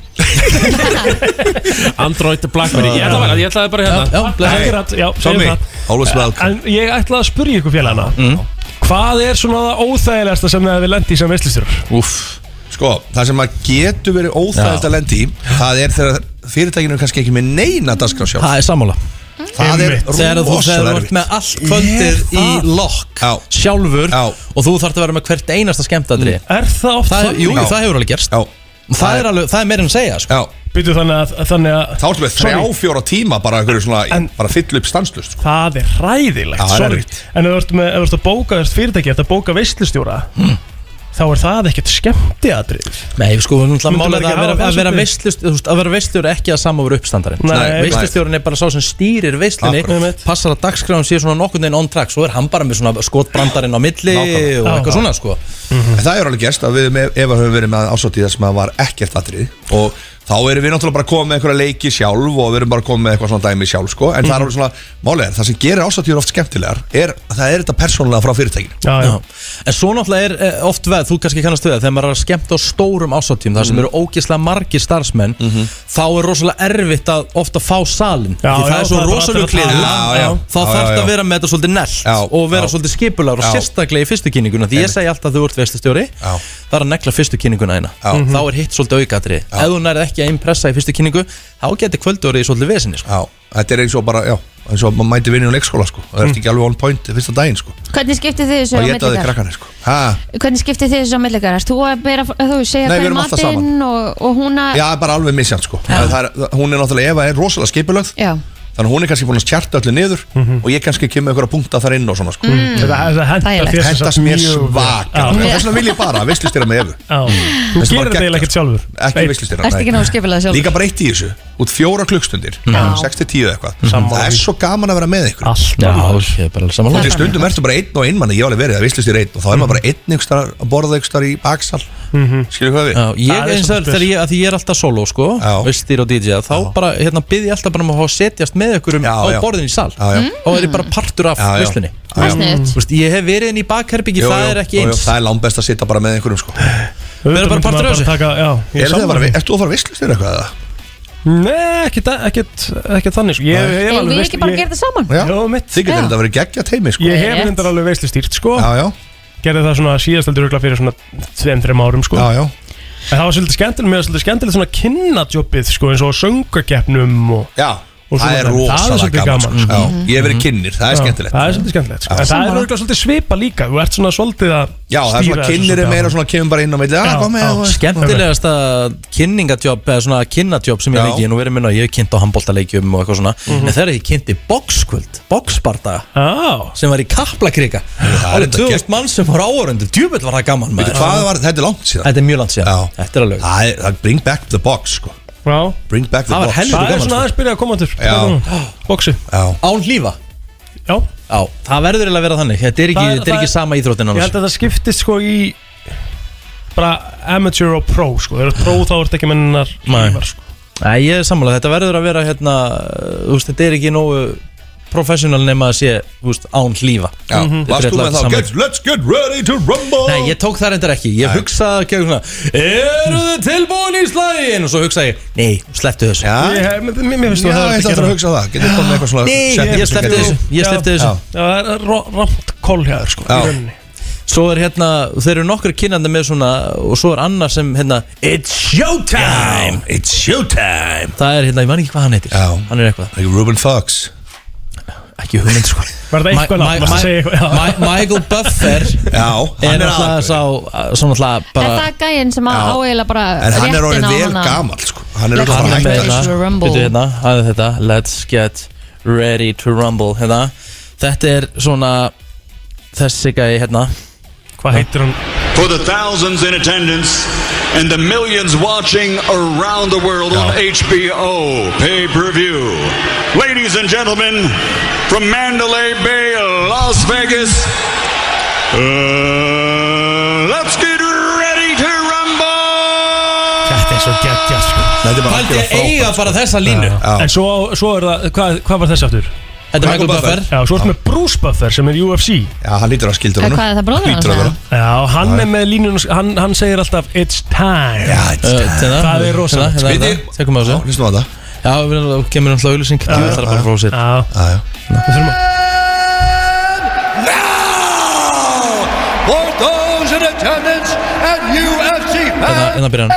Android og Blackberry Ég ætlaði bara- ég ætlaði bara hérna Já, Blackberry. Akkurat, já, segjum Tommy, það. always welcome. En ég ætlaði að spyrja ykkur félagana Mm. Hvað er svona það óþægilegasta sem þið hefði lendi í sem veistlistjórar? Úff Sko, það sem að getur verið Já. óþægild að lendi í Það er þegar fyrirtækinu er kannski ekki með neina dagskrá sjálf Það er sammála Það Þegar er þú þegar þú ert með allt kvöldið í lokk Sjálfur Og þú þarf að vera með hvert einasta skemmtadri Mm. Er það oft það? þannig? Jú, Já. það hefur alveg gerst Já Það er alveg, það er meira en að segja sko. Býtu þannig að, þannig að Þá ertu með þrjá, Sorry. fjóra tíma bara, einhverju svona, bara fyll upp stanslust sko. Það er hræðilegt, Já, það er sorry erfitt. En ef þú ert með- ef þú ert að bóka þérst fyrirtæki, ef þú ert að bóka veistlistjóra Mm. Þá er það ekkert skemmtiatrið Nei, sko, við náttúrulega Myndum málið er að ekki vera, hafa það að vera svolítið? veistlust þú veist, Að vera veistlur ekki að samofur uppstandarinn Nei, nei. Veistlustjórinn er bara sá sem stýrir veistlunni Passar að dagskráðum sé svona nokkurn veginn on track Svo er hann bara með svona skotbrandarinn á milli Og Nákvæmlega. eitthvað Já. svona sko En það er alveg gerst að við með, ef að höfum verið með ásótt í það sem að var ekkert atrið og þá erum við náttúrulega bara að koma með einhverja leiki sjálf og við erum bara að koma með eitthvað svona dæmi sjálf sko. en það Mhm. er alveg svona, málið er, það sem gerir ásótt oft skemmtilegar er að það er þetta persónulega frá fyrirtækinu já, já. En svo náttúrulega er eh, oft veð, þú kannski kannast við það Þegar maður er að skemmta á stórum ásáttíum þar sem Mhm. eru ógislega margir starfsmenn Þá er rosalega erfitt að ofta fá salin Já, Því það já, er svo það er bara allir rosalega að tala. kliður Já, já. Þá Já, já, þarf já. að vera með þetta svolítið nellt Og vera svolítið skipular og Já. sérstaklega í fyrstu kynninguna Því ég Einmitt. segi alltaf að þú ert vestustjóri Það er að negla fyrstu kynninguna eina Þá Mhm. er hitt svolítið aukatri Ef þú nærið ekki að impressa í fyrstu kynningu Þá getur kvöldurið svolítið vesinni sko. Já, þetta er eins og bara, já, eins og maður mæti vinni á leikskóla sko. það Mm. er ekki alveg on point fyrsta daginn sko. Hvernig skiptið þið þessu á og milli getaði ykkar? krakkana sko. ha, Hvernig skiptið þið þessu á milli ykkar? Ert Þú að meira, þú segja Nei, við hver erum alltaf matinn og, og hún að já, bara alveg misjant sko. það er, það- hún er náttúrulega, Eva er rosalega skipulögð Já. þannig að hún er kannski búin að tjarta öllu niður og ég kannski kemur einhverja punkta þar inn og svona sko. Mhm. Mm. Þetta- þetta hentar Þægilegt. þér sem sagt hendast mér mjög vel. svaka Já. þess vegna vil ég bara visslistir með Evu Já. Þú gerir þetta eiginlega ekkert sjálfur ekki visslistir Ertu ekki náðu skipulega sjálf? líka bara eitt í þessu, út fjóra klukkstundir Já. 6-10 eitthvað, það er svo gaman að vera með ykkur Alltaf Já, ég er bara alveg Og samanlega til stundum ertu bara einn og einn manni, ég hef alveg verið að visslu sér einn og þá er maður bara einn ykkur starf að borða ykkur starf í baksal Skilju hvað við? Já, ég eins og þegar ég, að því ég er alltaf solo sko, veistýr og DJ þá bara, hérna, byrði ég alltaf bara um að fá að setjast með ykkur um á já. borðin í sal Já, já. og er ég bara partur af Já, já. veistlunni Það er sniðugt. Þú veist, ég hef verið inn í bakherbyggi, það er ekki eins Það er langbest að sitja bara með einhverjum sko Við erum bara partur af þessu taka, já, ég Er þið að sammála fara, því. ert þú að fara visslu sér eitthvað eða? Nei, ekkert ekkit, ekkit þannig sko. Ég, ég, hef Eigum alveg við veist- ekki bara að ég- gera þetta saman? Já, mitt Þið getur þetta verið geggja teimi sko Ég hef hendur alveg veislu stýrt sko Já, já Gerði það svona síðastaldur ögla fyrir svona 2-3 árum sko Já, já En það var svolítið skemmtilegt Mér var svolítið skemmtilegt svona kynnajobbið sko eins og söngakeppnum og Já Það er rosalega gaman, sko. Já, Ég hef verið kynnir, það er skemmtilegt Það er svolítið skemmtilegt sko. En Já. það er Sammála. auðvitað svolítið svipa líka Þú ert svona svolítið að Já, það er stýra svona þessu kynnir er svolítið meira áfram. svona kemur bara inn á milli Já, kom með þú veist. Skemmtilegasta kynningadjob eða svona kynnajob sem ég Já. leiki nú verið minn að ég hef kynnt á handbóltaleikjum og eitthvað svona Mhm. en þegar ég kynnti bokskvöld, boksbardaga ah. sem var í kaplakrika það er það er þetta 2000 mann sem var áörundu djúbill var það gaman Veitu, maður. hvað var- Þetta er langt síðan Þetta er mjög langt síðan Þetta er alveg Það er bring back the box sko Já Bring back the Það var box helviti Það er svona aðeins byrjað að koma til sko. Já. Boksi Já Án hlýfa Já Já, það verður eiginlega að vera þannig Þetta er ekki, Það- þetta er það ekki er- sama íþróttin Ég held annars að það skiptist sko í bara amateur og pro sko Þegar þú ert pro þá ert ekki sko. mennar Nei, Nei, ég er sammála Þetta verður að vera hérna Þú veist, þetta er ekki nógu professional nema að sé, þú veist, án hlýfa Já, varst þú með þá get, Let's get ready to rumble Nei, ég tók það reyndar ekki Ég hugsaði ekki svona Eru þið tilbúin í slagin? Og svo hugsaði ég Nei, slepptu þessu Ég- mér- Mér mér finnst þú Já, hefðir ég ætla gera aftur að hugsa það. Getur komið með eitthvað svona Nei, setningu ég sleppti sem þessu getur- Ég sleppti Já. þessu Já, það er ro- rámt koll hér sko í rauninni. Svo er hérna, þeir eru nokkru kynnandi með svona og svo er annar sem hérna It's showtime! it's showtime! Það er hérna, ég man ekki hvað hann heitir Já. Hann er eitthvað Like Ruben Fox Ekki hugmynd sko Var það eitthvað langt, varstu að segja eitthvað? Já. Michael Buffer Já, er hann er alltaf aðal- sá, svona alltaf bara Þetta er gæinn sem að Já. áeila bara En hann er orðinn réttina á vel hana. gamall, sko. Hann er Let's get ready to rumble. hérna, hann er þetta Let's get ready to rumble hérna. Þetta er svona þessi gæi hérna Hvað heitir hann? For the thousands in attendance and the millions watching around the world on HBO pay per view. Ladies and gentlemen, from Mandalay Bay, Las Vegas, uh, let's get ready to rumble! Þetta er svo geggja sko Þetta er bara Taldi algjörlega frábært, eiga sko. bara þessa línu. Já. En svo, svo er það, hvað, hvað var þess aftur? Þetta er Michael Buffer. Já, svo ertu með Bruce Buffer sem er í UFC Já, hann lítur að skildur Eh, Hvað er það bróður hans? eða? Já, hann er með línun hann, hann segir alltaf It's time Já, it's time Það er rosa Tekum hérna, við á þessu Hlustum á þetta Já, við erum að kemur um hlaulusing Það er bara frá sér Já, já Við þurfum að For those in attendance and UFC Hérna, hérna byrjar hann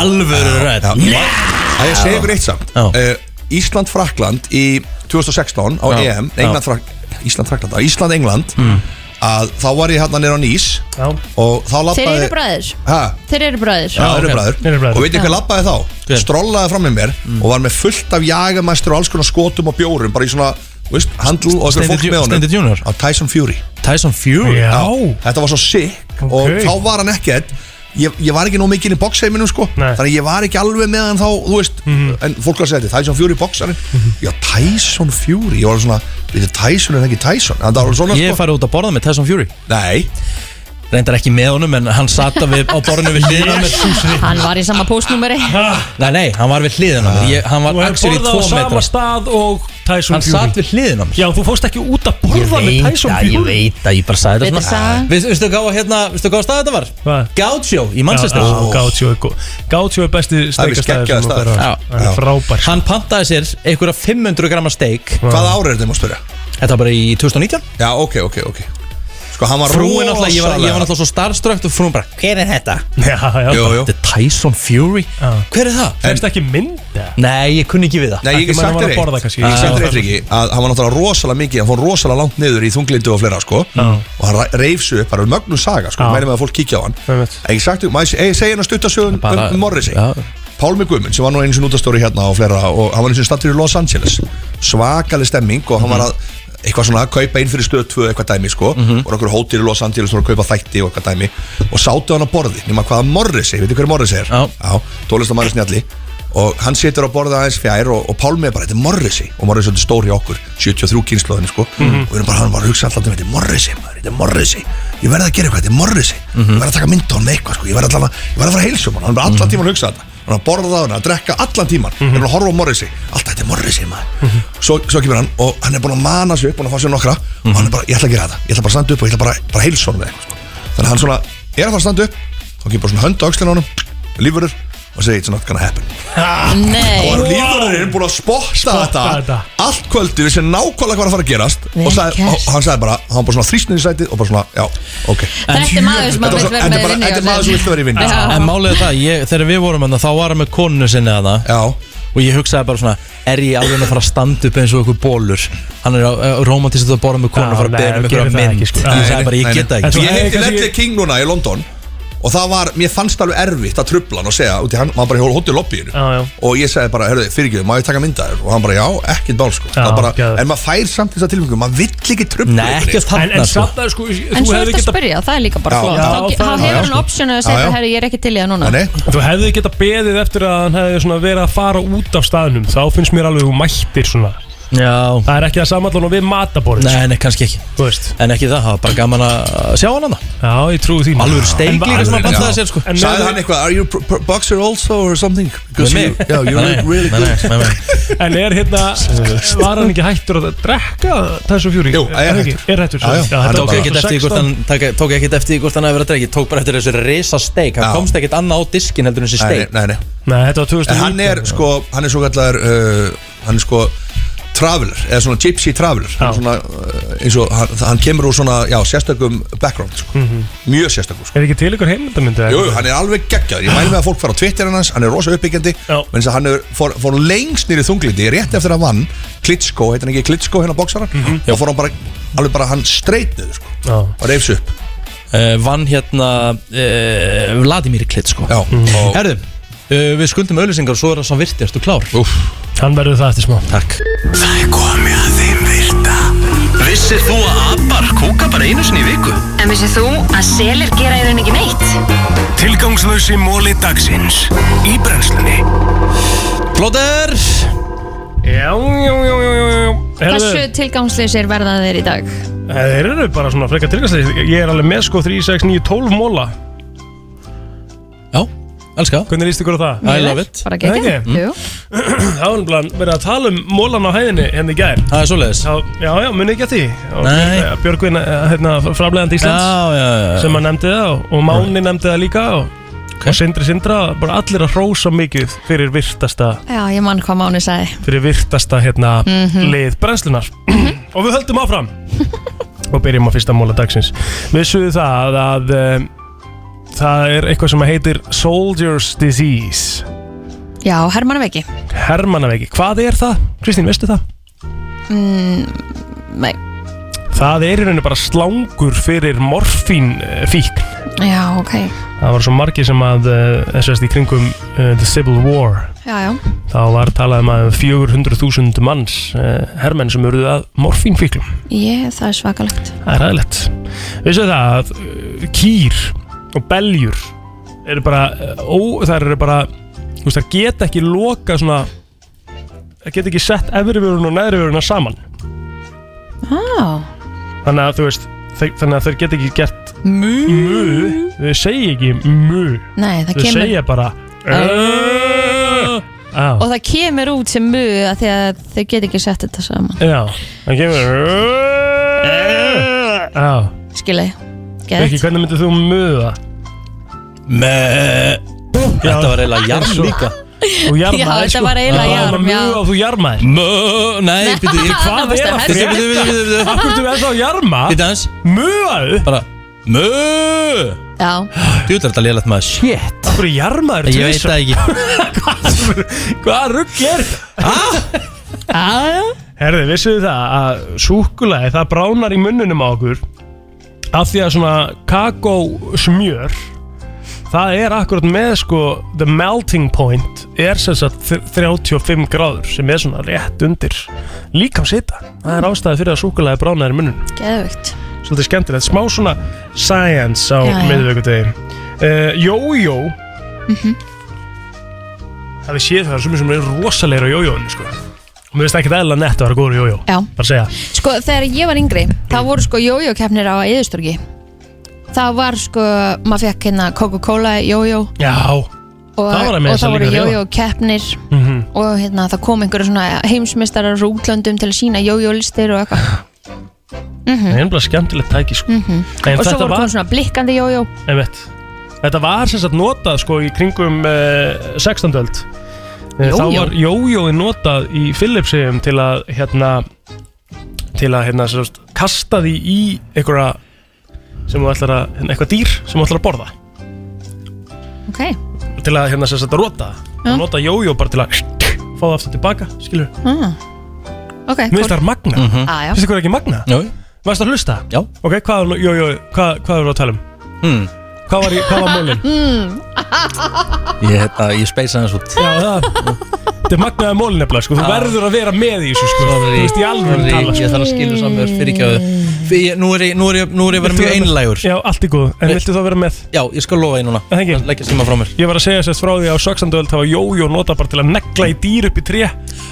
Alvöru rætt Það ég segi ykkur eitt samt Eh, Ísland-Frakland í 2016 á Já. Mm. EM Já. Ísland-Frakland Ísland-England að þá var ég hérna nýra á Nýs Já. og þá Þeir labbaði eru bræður Ha? Þeir eru bræður Já, þeir eru bræður. Og veitir hvað Já. labbaði þá? Strollaði fram með mér Mm. og var með fullt af jagamæstur og alls konar skotum og bjórum bara í svona, þú veist, handl og eitthvað Steindi fólk Ju- með honum Steindi Junior? Á Tyson Fury Tyson Fury? Já, Þetta var svo sick og þá var hann ekkert Ég, ég var ekki nóg mikið inn í boxheiminum sko Nei. Þannig að ég var ekki alveg með hann þá, þú veist En fólk var að segja þetta, Tyson Fury boxarinn Já, Tyson Fury, ég var svona Við Tyson en ekki Tyson En það var svona Ég sko farið út að borða með Tyson Fury Nei Reyndar ekki með honum en hann sata við, á borðinu við hliðina á mér Hann var í sama postnúmeri Nei, nei, hann var við hliðina á mér Ég- Hann var axir í borða á tvo sama metra stað og Tyson Hann Fury sat við hliðina á mér Já, þú fórst ekki út að borða með Tyson að, Fury ég veit að, ég bara sagði Betri þetta saga. svona Veist- Veistu hvað var hérna, veistu hvað stað þetta var? Hvað? Gaucho í Manchester Já, já, Gaucho er góð Gátjó er besti steikastæður sem þú ferð á. Hann er frábær Hann pantaði sér einhverja 500 gramma steik Hvaða ára er þetta, ég má spyrja? Þetta var bara í 2019 Já, ok, ok, ok Sko, hann var Frúin alltaf, ég var, ég var rosalega- alltaf svo starströkt og frúin bara, hver er þetta? Já, já Jú, jú. Þetta er Tyson Fury Ah. Hver er það? Fyrst ekki mynd Nei, ég kunni ekki við það Nei, ég get sagt þér eitt Ég get sagt þér eitt ekki að hann var náttúrulega rosalega mikið hann fór rosalega langt niður í þunglindu og fleira sko og hann reyf sig upp, bara mögnu saga sko, Já. mæri með að fólk kíkja á hann Einmitt. En ég get sagt þér, maður ég segi hann að stutta sögum Bara- um Morrissey Pálmi Guðmund sem var nú eins og nútastóri hérna og fleira og hann var eins og stattur í Los Angeles svakaleg stemming og hann var að eitthvað svona að kaupa inn fyrir stöð 2 eitthvað dæmi sko og okkur hótir í Los Angeles og voru að kaupa þætti og eitthvað dæmi og sátu hann á borði nema hvaða Morrissey, veitu hver Morrissey er? Já, Já tólistamæri snjalli og hann situr á borða aðeins fjær og, og Pálmi er bara, þetta er Morrissey og Morrissey er stór hjá okkur, 73 kynnslóðinni sko og við erum bara, hann var að hugsa alltaf um, þetta er Morrissey, maður, þetta er Morrissey ég verði að gera eitthvað, þetta er Morrissey ég verði að taka mynd á hann með eitthvað sko, ég verði allan að ég verði að fara að heilsum hann, hann verði allan tíman að hugsa þetta hann er að borða það, hann er að drekka allan tíman mm hann er að horfa á Morrissey, alltaf þetta er Morrissey maður svo, svo kemur hann og hann er búin að mana sig upp búin að fá sér nokkra og hann er bara, ég ætla að gera þetta ég ætla bara að standa upp og ég ætla bara, bara heilsum með eitthvað sko. þannig að hann svona, er að fara að standa upp þá kemur bara svona hönd á öxlinn á honum lífurður og segir it's not gonna happen Nei og lífurðurinn búin að spotta þetta, allt kvöldi við sem nákvæmlega hvað er að fara að gerast Vel og sagði, gert. og hann sagði bara, hann var bara svona þrýsnir í sætið og bara svona, já, ok Þetta er maður sem Þetta maður vill var vera svo- þetta með hérna. er bara- vinni þetta er maður sem vill vera í vinnu Já. En málið er það, ég, þegar við vorum hann þá var hann með konunu sinni að Já Og ég hugsaði bara svona, er ég alveg að fara að standa upp eins og einhver bólur Hann er uh, romantiskt að borða með konun og fara að beða um einhverja mynd Ég sagði bara, ég get það ekki Ég hitti Ledley King núna í London Og það var, mér fannst alveg erfitt að trubla hann og segja Úti hann, maður bara hjóla hótti í lobbyinu Já, já. Og ég segði bara, herruði, fyrirgjöðu, má ég taka mynda þér Og hann bara, já, ekkert bál sko Það Já, bara, geðveikt. En maður fær samt þess að tilfengu, maður vill ekki trubla Nei, einhverju. ekkert þarna, En- en sko. samt að, sko, En svo ertu að spyrja, það er líka bara Já, flott já, Þá- það- Þá já, hefur hann sko. optionu að Já, segja já. Herri, ég er ekki til í það núna Þú hefði geta beðið eftir að hann hefði svona verið að fara út af staðnum Þá finnst mér alveg þú mættir svona Já Það er ekki að samallan og við mataborðið sko, Nei, nei, kannski ekki Þú veist En ekki það, það var bara gaman að sjá hann hann Já, ég trúi því Alveg steik líka sem að banta sér sko Sagði hann eitthvað, are you pr- pr- boxer also or something? Because Með you- mig? Já, you're Nei, really nei, good nei, nei, nei. En er hérna, var hann ekki hættur að drekka þessu fjúri? Jú, er hættur. Er hættur, sorry. Já, Hann þetta tók var ekkert eftir 2016. því hvort hann taka- tók ekkert eftir því hvort hann hafi verið að dregi Tók bara eftir þessu risa steik Hann Já. komst ekkert annað á diskin heldur en þessi Nei, steik nei, nei Nei, þetta var En 2019 hann er sko, hann er svo kallar uh, hann er sko traveler, eða svona gypsy traveler Hann er svona, uh, eins og hann, hann kemur úr svona, já, sérstökum background sko. Mhm. mjög sérstakur sko. Er ekki til ykkur heimildamöndu? Jú, jú, hann er alveg geggjaður, ég mæli með að fólk fara á Twitter hans, hann er rosa uppbyggjandi menn þess að hann er, fór, fór lengst nýri þunglindi rétt eftir að hann vann, Klitschko, heitir hann ekki Klitschko hérna bóksaran, mm -hmm. og fór hann bara alveg bara hann streitnið, sko, og reyfs upp uh, Vann hérna uh, Vladimir Klitsko Já og... Herðu, uh, við skuldum auðlýsingar og svo er það svo virti, ertu klár? Úf. Hann verður það eftir smá Takk Það er komið að þeim virta Vissir þú að abar kúka bara einu sinni í viku? En vissið þú að selir gera í raun ekki neitt? Tilgangslösi móli dagsins Í brennslunni Plóter Já, já, já, já, já, já Hversu tilgangsleysir verða þeir í dag? Það eru bara svona frekar tilgæmstæði Ég er alveg með sko 3, 6, 9, 12 móla Já, elska Hvernig líst ykkur á Ah. það? I love it Bara gegja Það Jú. Það var nefnilega verið að tala um mólan á hæðinni henni í gær Það er svoleiðis Já, já, já munið ekki að því Og Nei. Ah. Björg- Björgvin, eh, hérna, framlegandi Íslands Já, já, já, já. Sem að nefndi það og- og Máni nefndi það líka og, og Sindri Sindra Bara allir að hrósa mikið fyrir virtasta Já, ég mann hvað Máni sagði Fyrir virtasta hérna Mhm. lið brennslunar Og við höldum áfram Og byrjum á fyrsta móla dagsins Vissuðu það að um, Það er eitthvað sem heitir Soldier's Disease Já, Hermann Veiki Hermannaveiki, hvað er það? Kristín, veistu það? mm, Nei Það er í rauninu bara slangur fyrir morfín fíkn Já, ok Það var svo margir sem að eh, SSD í kringum uh, The Civil War Já, já Þá var talað um að 400.000 manns uh, hermenn sem eruðu að morfínfíklum Ég, það er svakalegt Það er aðeinlegt Vissu það að uh, kýr og beljur eru bara uh, ó, Það eru bara þú veist, Það geta ekki loka svona Það geta ekki sett efrivörun og neðrivöruna saman ah. Þannig að þú veist þau, Þannig að þeir geta ekki gert Mú Þau segja ekki mú Nei, það Þau Mm. kemur segja bara Á. Og það kemur út sem mu að því að þau get ekki sett þetta saman Já, það kemur Já Skilji Ekki, Gett hvernig myndir þú möða? Með Þetta var eiginlega sko. jarm líka Þú jarmaðir Já, þetta var eiginlega jarm, já. Möða og þú jarmaðir Mö, nei, byrju, ég Hvað það er var það? Byrju, byrju, byrju, byrju, byrju. Akkur þú er þá að jarma? Byrju aðeins Möðu? Bara Mö Já Þú er þetta lélegt maður Shit Akkur jarmaðir Ég veit það ekki Hvað rugg er þetta? Herði, vissuðu það að súkulæði það bránar í munnunum á okkur af því að svona kakó smjör það er akkurat með sko the melting point er sem sagt þr- 35 gráður sem er svona rétt undir líkam sita það er ástæði fyrir að súkulæði bránar í munnunum Geðvögt svolítið skemmtilegt, smá svona science á Já, já. miðvíkudegi uh, Jójó Mhm. það við séð það er sumir sem er rosalegir á jójóinu sko og mér finnst ekki eðla nett að vera góður í jójó Já. bara segja Sko, þegar ég var yngri, þá Mm. voru sko jójókeppnir á Eðustorgi. Það var sko, maður fekk hérna Coca-Cola, jójó já og Það var að meira og sem það voru líka, já. jójókeppnir Mhm. og hérna, það kom einhverju svona heimsmeistarar úr útlöndum til að sína jójólistir og eitthvað. Mhm. það er einnig skemmtilegt tæki sko Mhm. en Og svo þetta voru var komið svona blikkandi jójó. einmitt Þetta var sem sagt notað sko í kringum uh, 16. öld Eh, Jójó. Þá var jójói notað í Philipsheim til að hérna til að hérna sem sagt kasta því í einhverja sem þú ætlar að, hérna, eitthvað dýr sem þú ætlar að borða Ok, til að hérna sem sagt að rota það og nota jójó bara til að fá það aftur tilbaka, skilur ah. ok Mér finnst það er magna Á, já. mm -hmm. Finnst það ekki magna? Jó Varst það að hlusta? Já Ok, hvað, jó, jó, hvað, hvað erum við að tala um? Hmm. Hvað var, í- hvað var mólin? Mm. Ég, hérna, ég speysa hans út Já, það Þetta er magnaði mólin nefnilega, sko Þú Já. verður að vera með í þessu, sko Þú veist, í alveg Sorry, tala sko. Ég þarf að skilja saman fyrirgjáðu Fy- ég- Nú er ég, nú er ég, nú er ég verið mjög Viltu vera með- einlægur Já, allt í góð En viltu þá vera með? Já, ég skal lofa því núna Það ekki Leggja síma frá mér Ég var að segja sérst frá því að á 16. öld hafa jójó nota bara til að negla í dýr upp í tré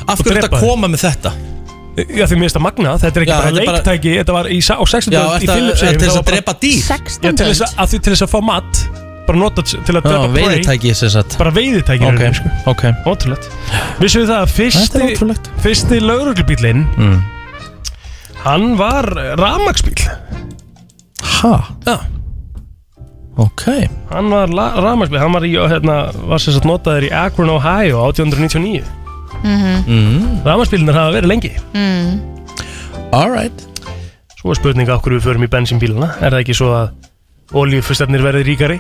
Af hverju ertu að koma með þetta? Já, því mér finnst það magna Þetta er ekki Já, bara þetta er bara- leiktæki Þetta var í, sa- á 16. Já, öld í ertu að- Philipsheim ertu til þess þá að var bara- drepa dýr? 16. Já, til þess að- að því til þess að fá mat Bara nota t- til að drepa prey. veiðitæki sem sagt Bara veiðitæki sko. Ok, ok Ótrúlegt Vissum við það að Þetta er fyrsti, fyrsti lauruglubílinn Mm. Hann var ramagsbíl Ha? Já Ok Hann var ramagsbíl Hann var, í, hérna, var sem sagt notaður í Akron, Ohio 1899 Mhm. mm. Ramagsbílinnir hafa verið lengi mm. Alright Svo er spurning af hverju við förum í bensínbíluna Er það ekki svo að oljufustefnir verði ríkari?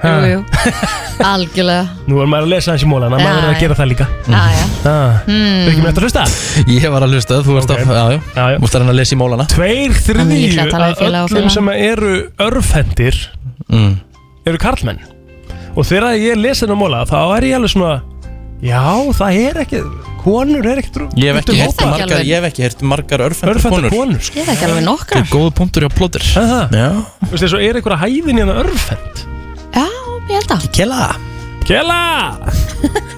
Ha, Jú, jú Algjörlega Nú er maður að lesa hans í mólana Maður Já, er já. að gera það líka Já, já Ah. Mm. Er ekki með þetta að hlusta? Ég var að hlusta, þú varst okay. að, já, já, já. Múst að reyna að lesa í mólana Hann er Tveir líklega þriðju að tala við af félaga og öllum félaga. sem eru örfendir mm. eru karlmenn og þegar ég les þennan móla þá er ég alveg svona já það er ekki konur er ekki trú Ég hef ekki heyrt hópa. margar, ég hef ekki heyrt margar örfendur örfendar konur konur sko. Ég er ekki alveg nokkar er góð punktur hjá plótir Já Þú veist þessu er einhverja hæðin hérna örfend Já, ég held að Kjela Kjela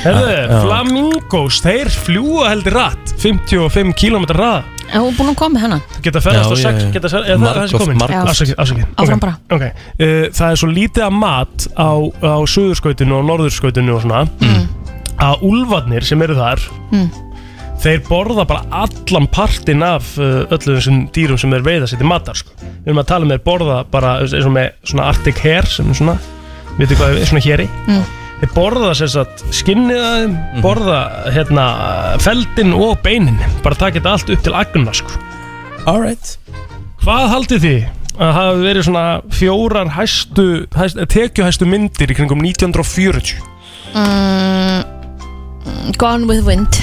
Herðu, Ah, Já. flamingos, þeir fljúa heldur rætt 55 km ræða En hún er búin að koma með hennan geta ferðast Já, já, á 6 já. geta fer- eða það er þessi Markov, komin Markov. Afsakið, afsakið. Áfram Ok, bara. ok. Eh, Það er svo lítið að mat á, á suðurskautinu og norðurskautinu og svona að úlfarnir sem eru þar Mm. þeir borða bara allan partinn af uh, öllu þessum dýrum sem er veiða sér til matar sko. við erum að tala með borða bara eins og með svona Arctic Hare sem er svona, veitu hvað er svona hér í Mm. þeir borða sér satt skinnið að þeim borða hérna feldin og beinin bara taka þetta allt upp til agna sko. alright hvað haldið þið að hafi verið svona fjórar hæstu, hæstu tekjuhæstu myndir í kringum 1940 mm, Gone with wind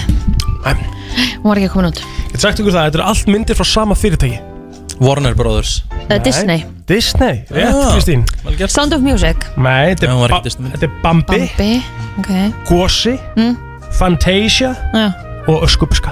Hún var ekki að koma út Ég get sagt ykkur það, þetta eru allt myndir frá sama fyrirtæki Warner Brothers Eh, Disney. Disney, rétt Já. Kristín Sound of Music Nei, þetta Ah. hún var er, ekki ba þetta er Bambi, Bambi Ok Gosi, mm. Fantasia Já og Öskubuska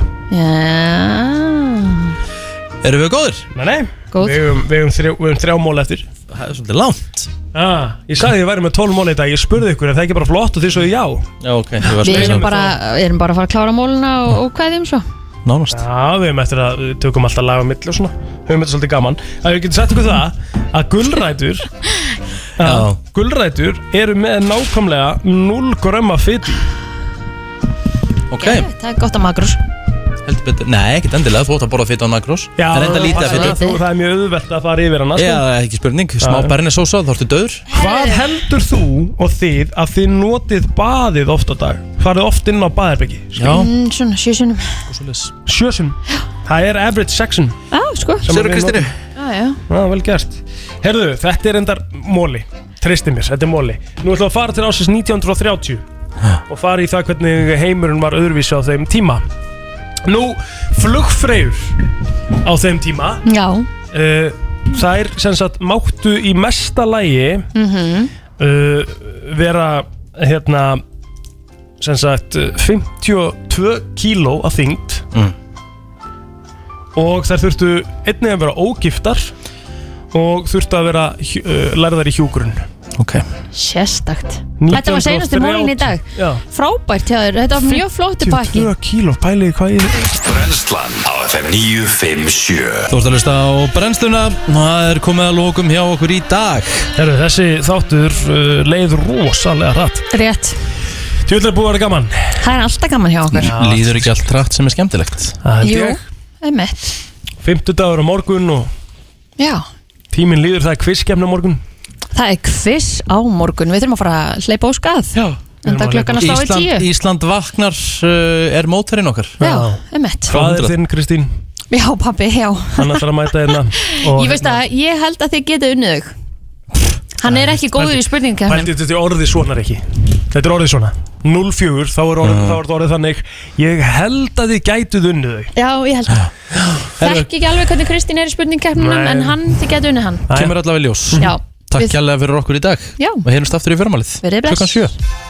Já Erum við góðir? Nei, nei, Góð. við höfum- við höfum þrjá, um þrjá mól eftir Það er svolítið langt ah, Ég sagði að ég væri með 12 mól í dag, ég spurði ykkur er það ekki bara flott og þið svo já Já, ok, þú varst Við leysin erum bara, erum bara að fara að klára móluna og, og kveðjum svo Nánast Já, við höfum eftir að við tökum alltaf laga mill og svona Höfum þetta svolítið gaman Það við getum sagt ykkur það að gulrætur að Gulrætur eru með nákvæmlega 0 grömma fytu Ok, Það er gott að magrús heldur betur Nei, ekkert endilega, þú átt að borða fytu á nakrós Já, Það sko. er enda lítið að það, fytu það, það er mjög auðvelt að fara yfir hann Já, ekki spurning, smá Já. bernir sósa, þá ertu döður Hvað heldur þú og þið að þið notið baðið oft á dag? Farið oft inn á baðherbyggi? mm, Svona, sjösunum Sjösun Það er average section Já, sko Sem Séra við Kristínu. notum. Já, já Já, vel gert Herðu, þetta er endar móli Tristi mér, þetta er móli Nú ætlum við að fara til ásins 1930 Og fara í það hvernig heimurinn var öðruvísi á þeim tíma Nú, flugfreyjur á þeim tíma Já uh, Þær sem sagt máttu í mesta lægi Mhm. uh, vera hérna sem sagt uh, 52 kíló að þyngd Mm. og þær þurftu einnig að vera ógiftar og þurftu að vera hjú- uh, lærðar í hjúgrun Sérstakt Þetta var seinasti mólin í dag Já. Frábært hjá þér, þetta var mjög flóttu pakki 52 kíló, pæliði hvað ég Brennslan á FM 957 Þú ert að hlusta á brennsluna Það er komið að lókum hjá okkur í dag Herru, þessi þáttur uh, leið rosalega hratt Rétt, Tjóðlega búið að vera gaman það er alltaf gaman hjá okkur Líður ekki allt rætt sem er skemmtilegt Jú, einmitt Fymtudagur á morgun og Já, tíminn líður það er kvisskeppni á morgun Það er kviss á morgun, við þurfum að fara að hleypa á skað Já, en það klukkan að slá í tíu Ísland, Ísland vaknar uh, er mótarinn okkar Já, emmett Hvað er þinn Kristín? Já, pappi, já Hann ætlar að mæta hérna Ég veist að ég held að þið geta unnið þau Hann er ekki góður í spurningkæmnum Pældi þetta er orðið svona ekki Þetta er orðið svona 04, þá er Mm. orðið, Já. þá er þetta orðið þannig Ég held að þið gætuð unnið þau Já, ég held það Herru, Þekki ekki alveg hvernig Kristín er í spurningkæmnum Nei. En hann, þið geta unnið hann Kemur allavega í ljós Já, Takk við- kærlega fyrir okkur í dag Já. Og heyrumst aftur í fyrramálið Verið bless. Klukkan sjö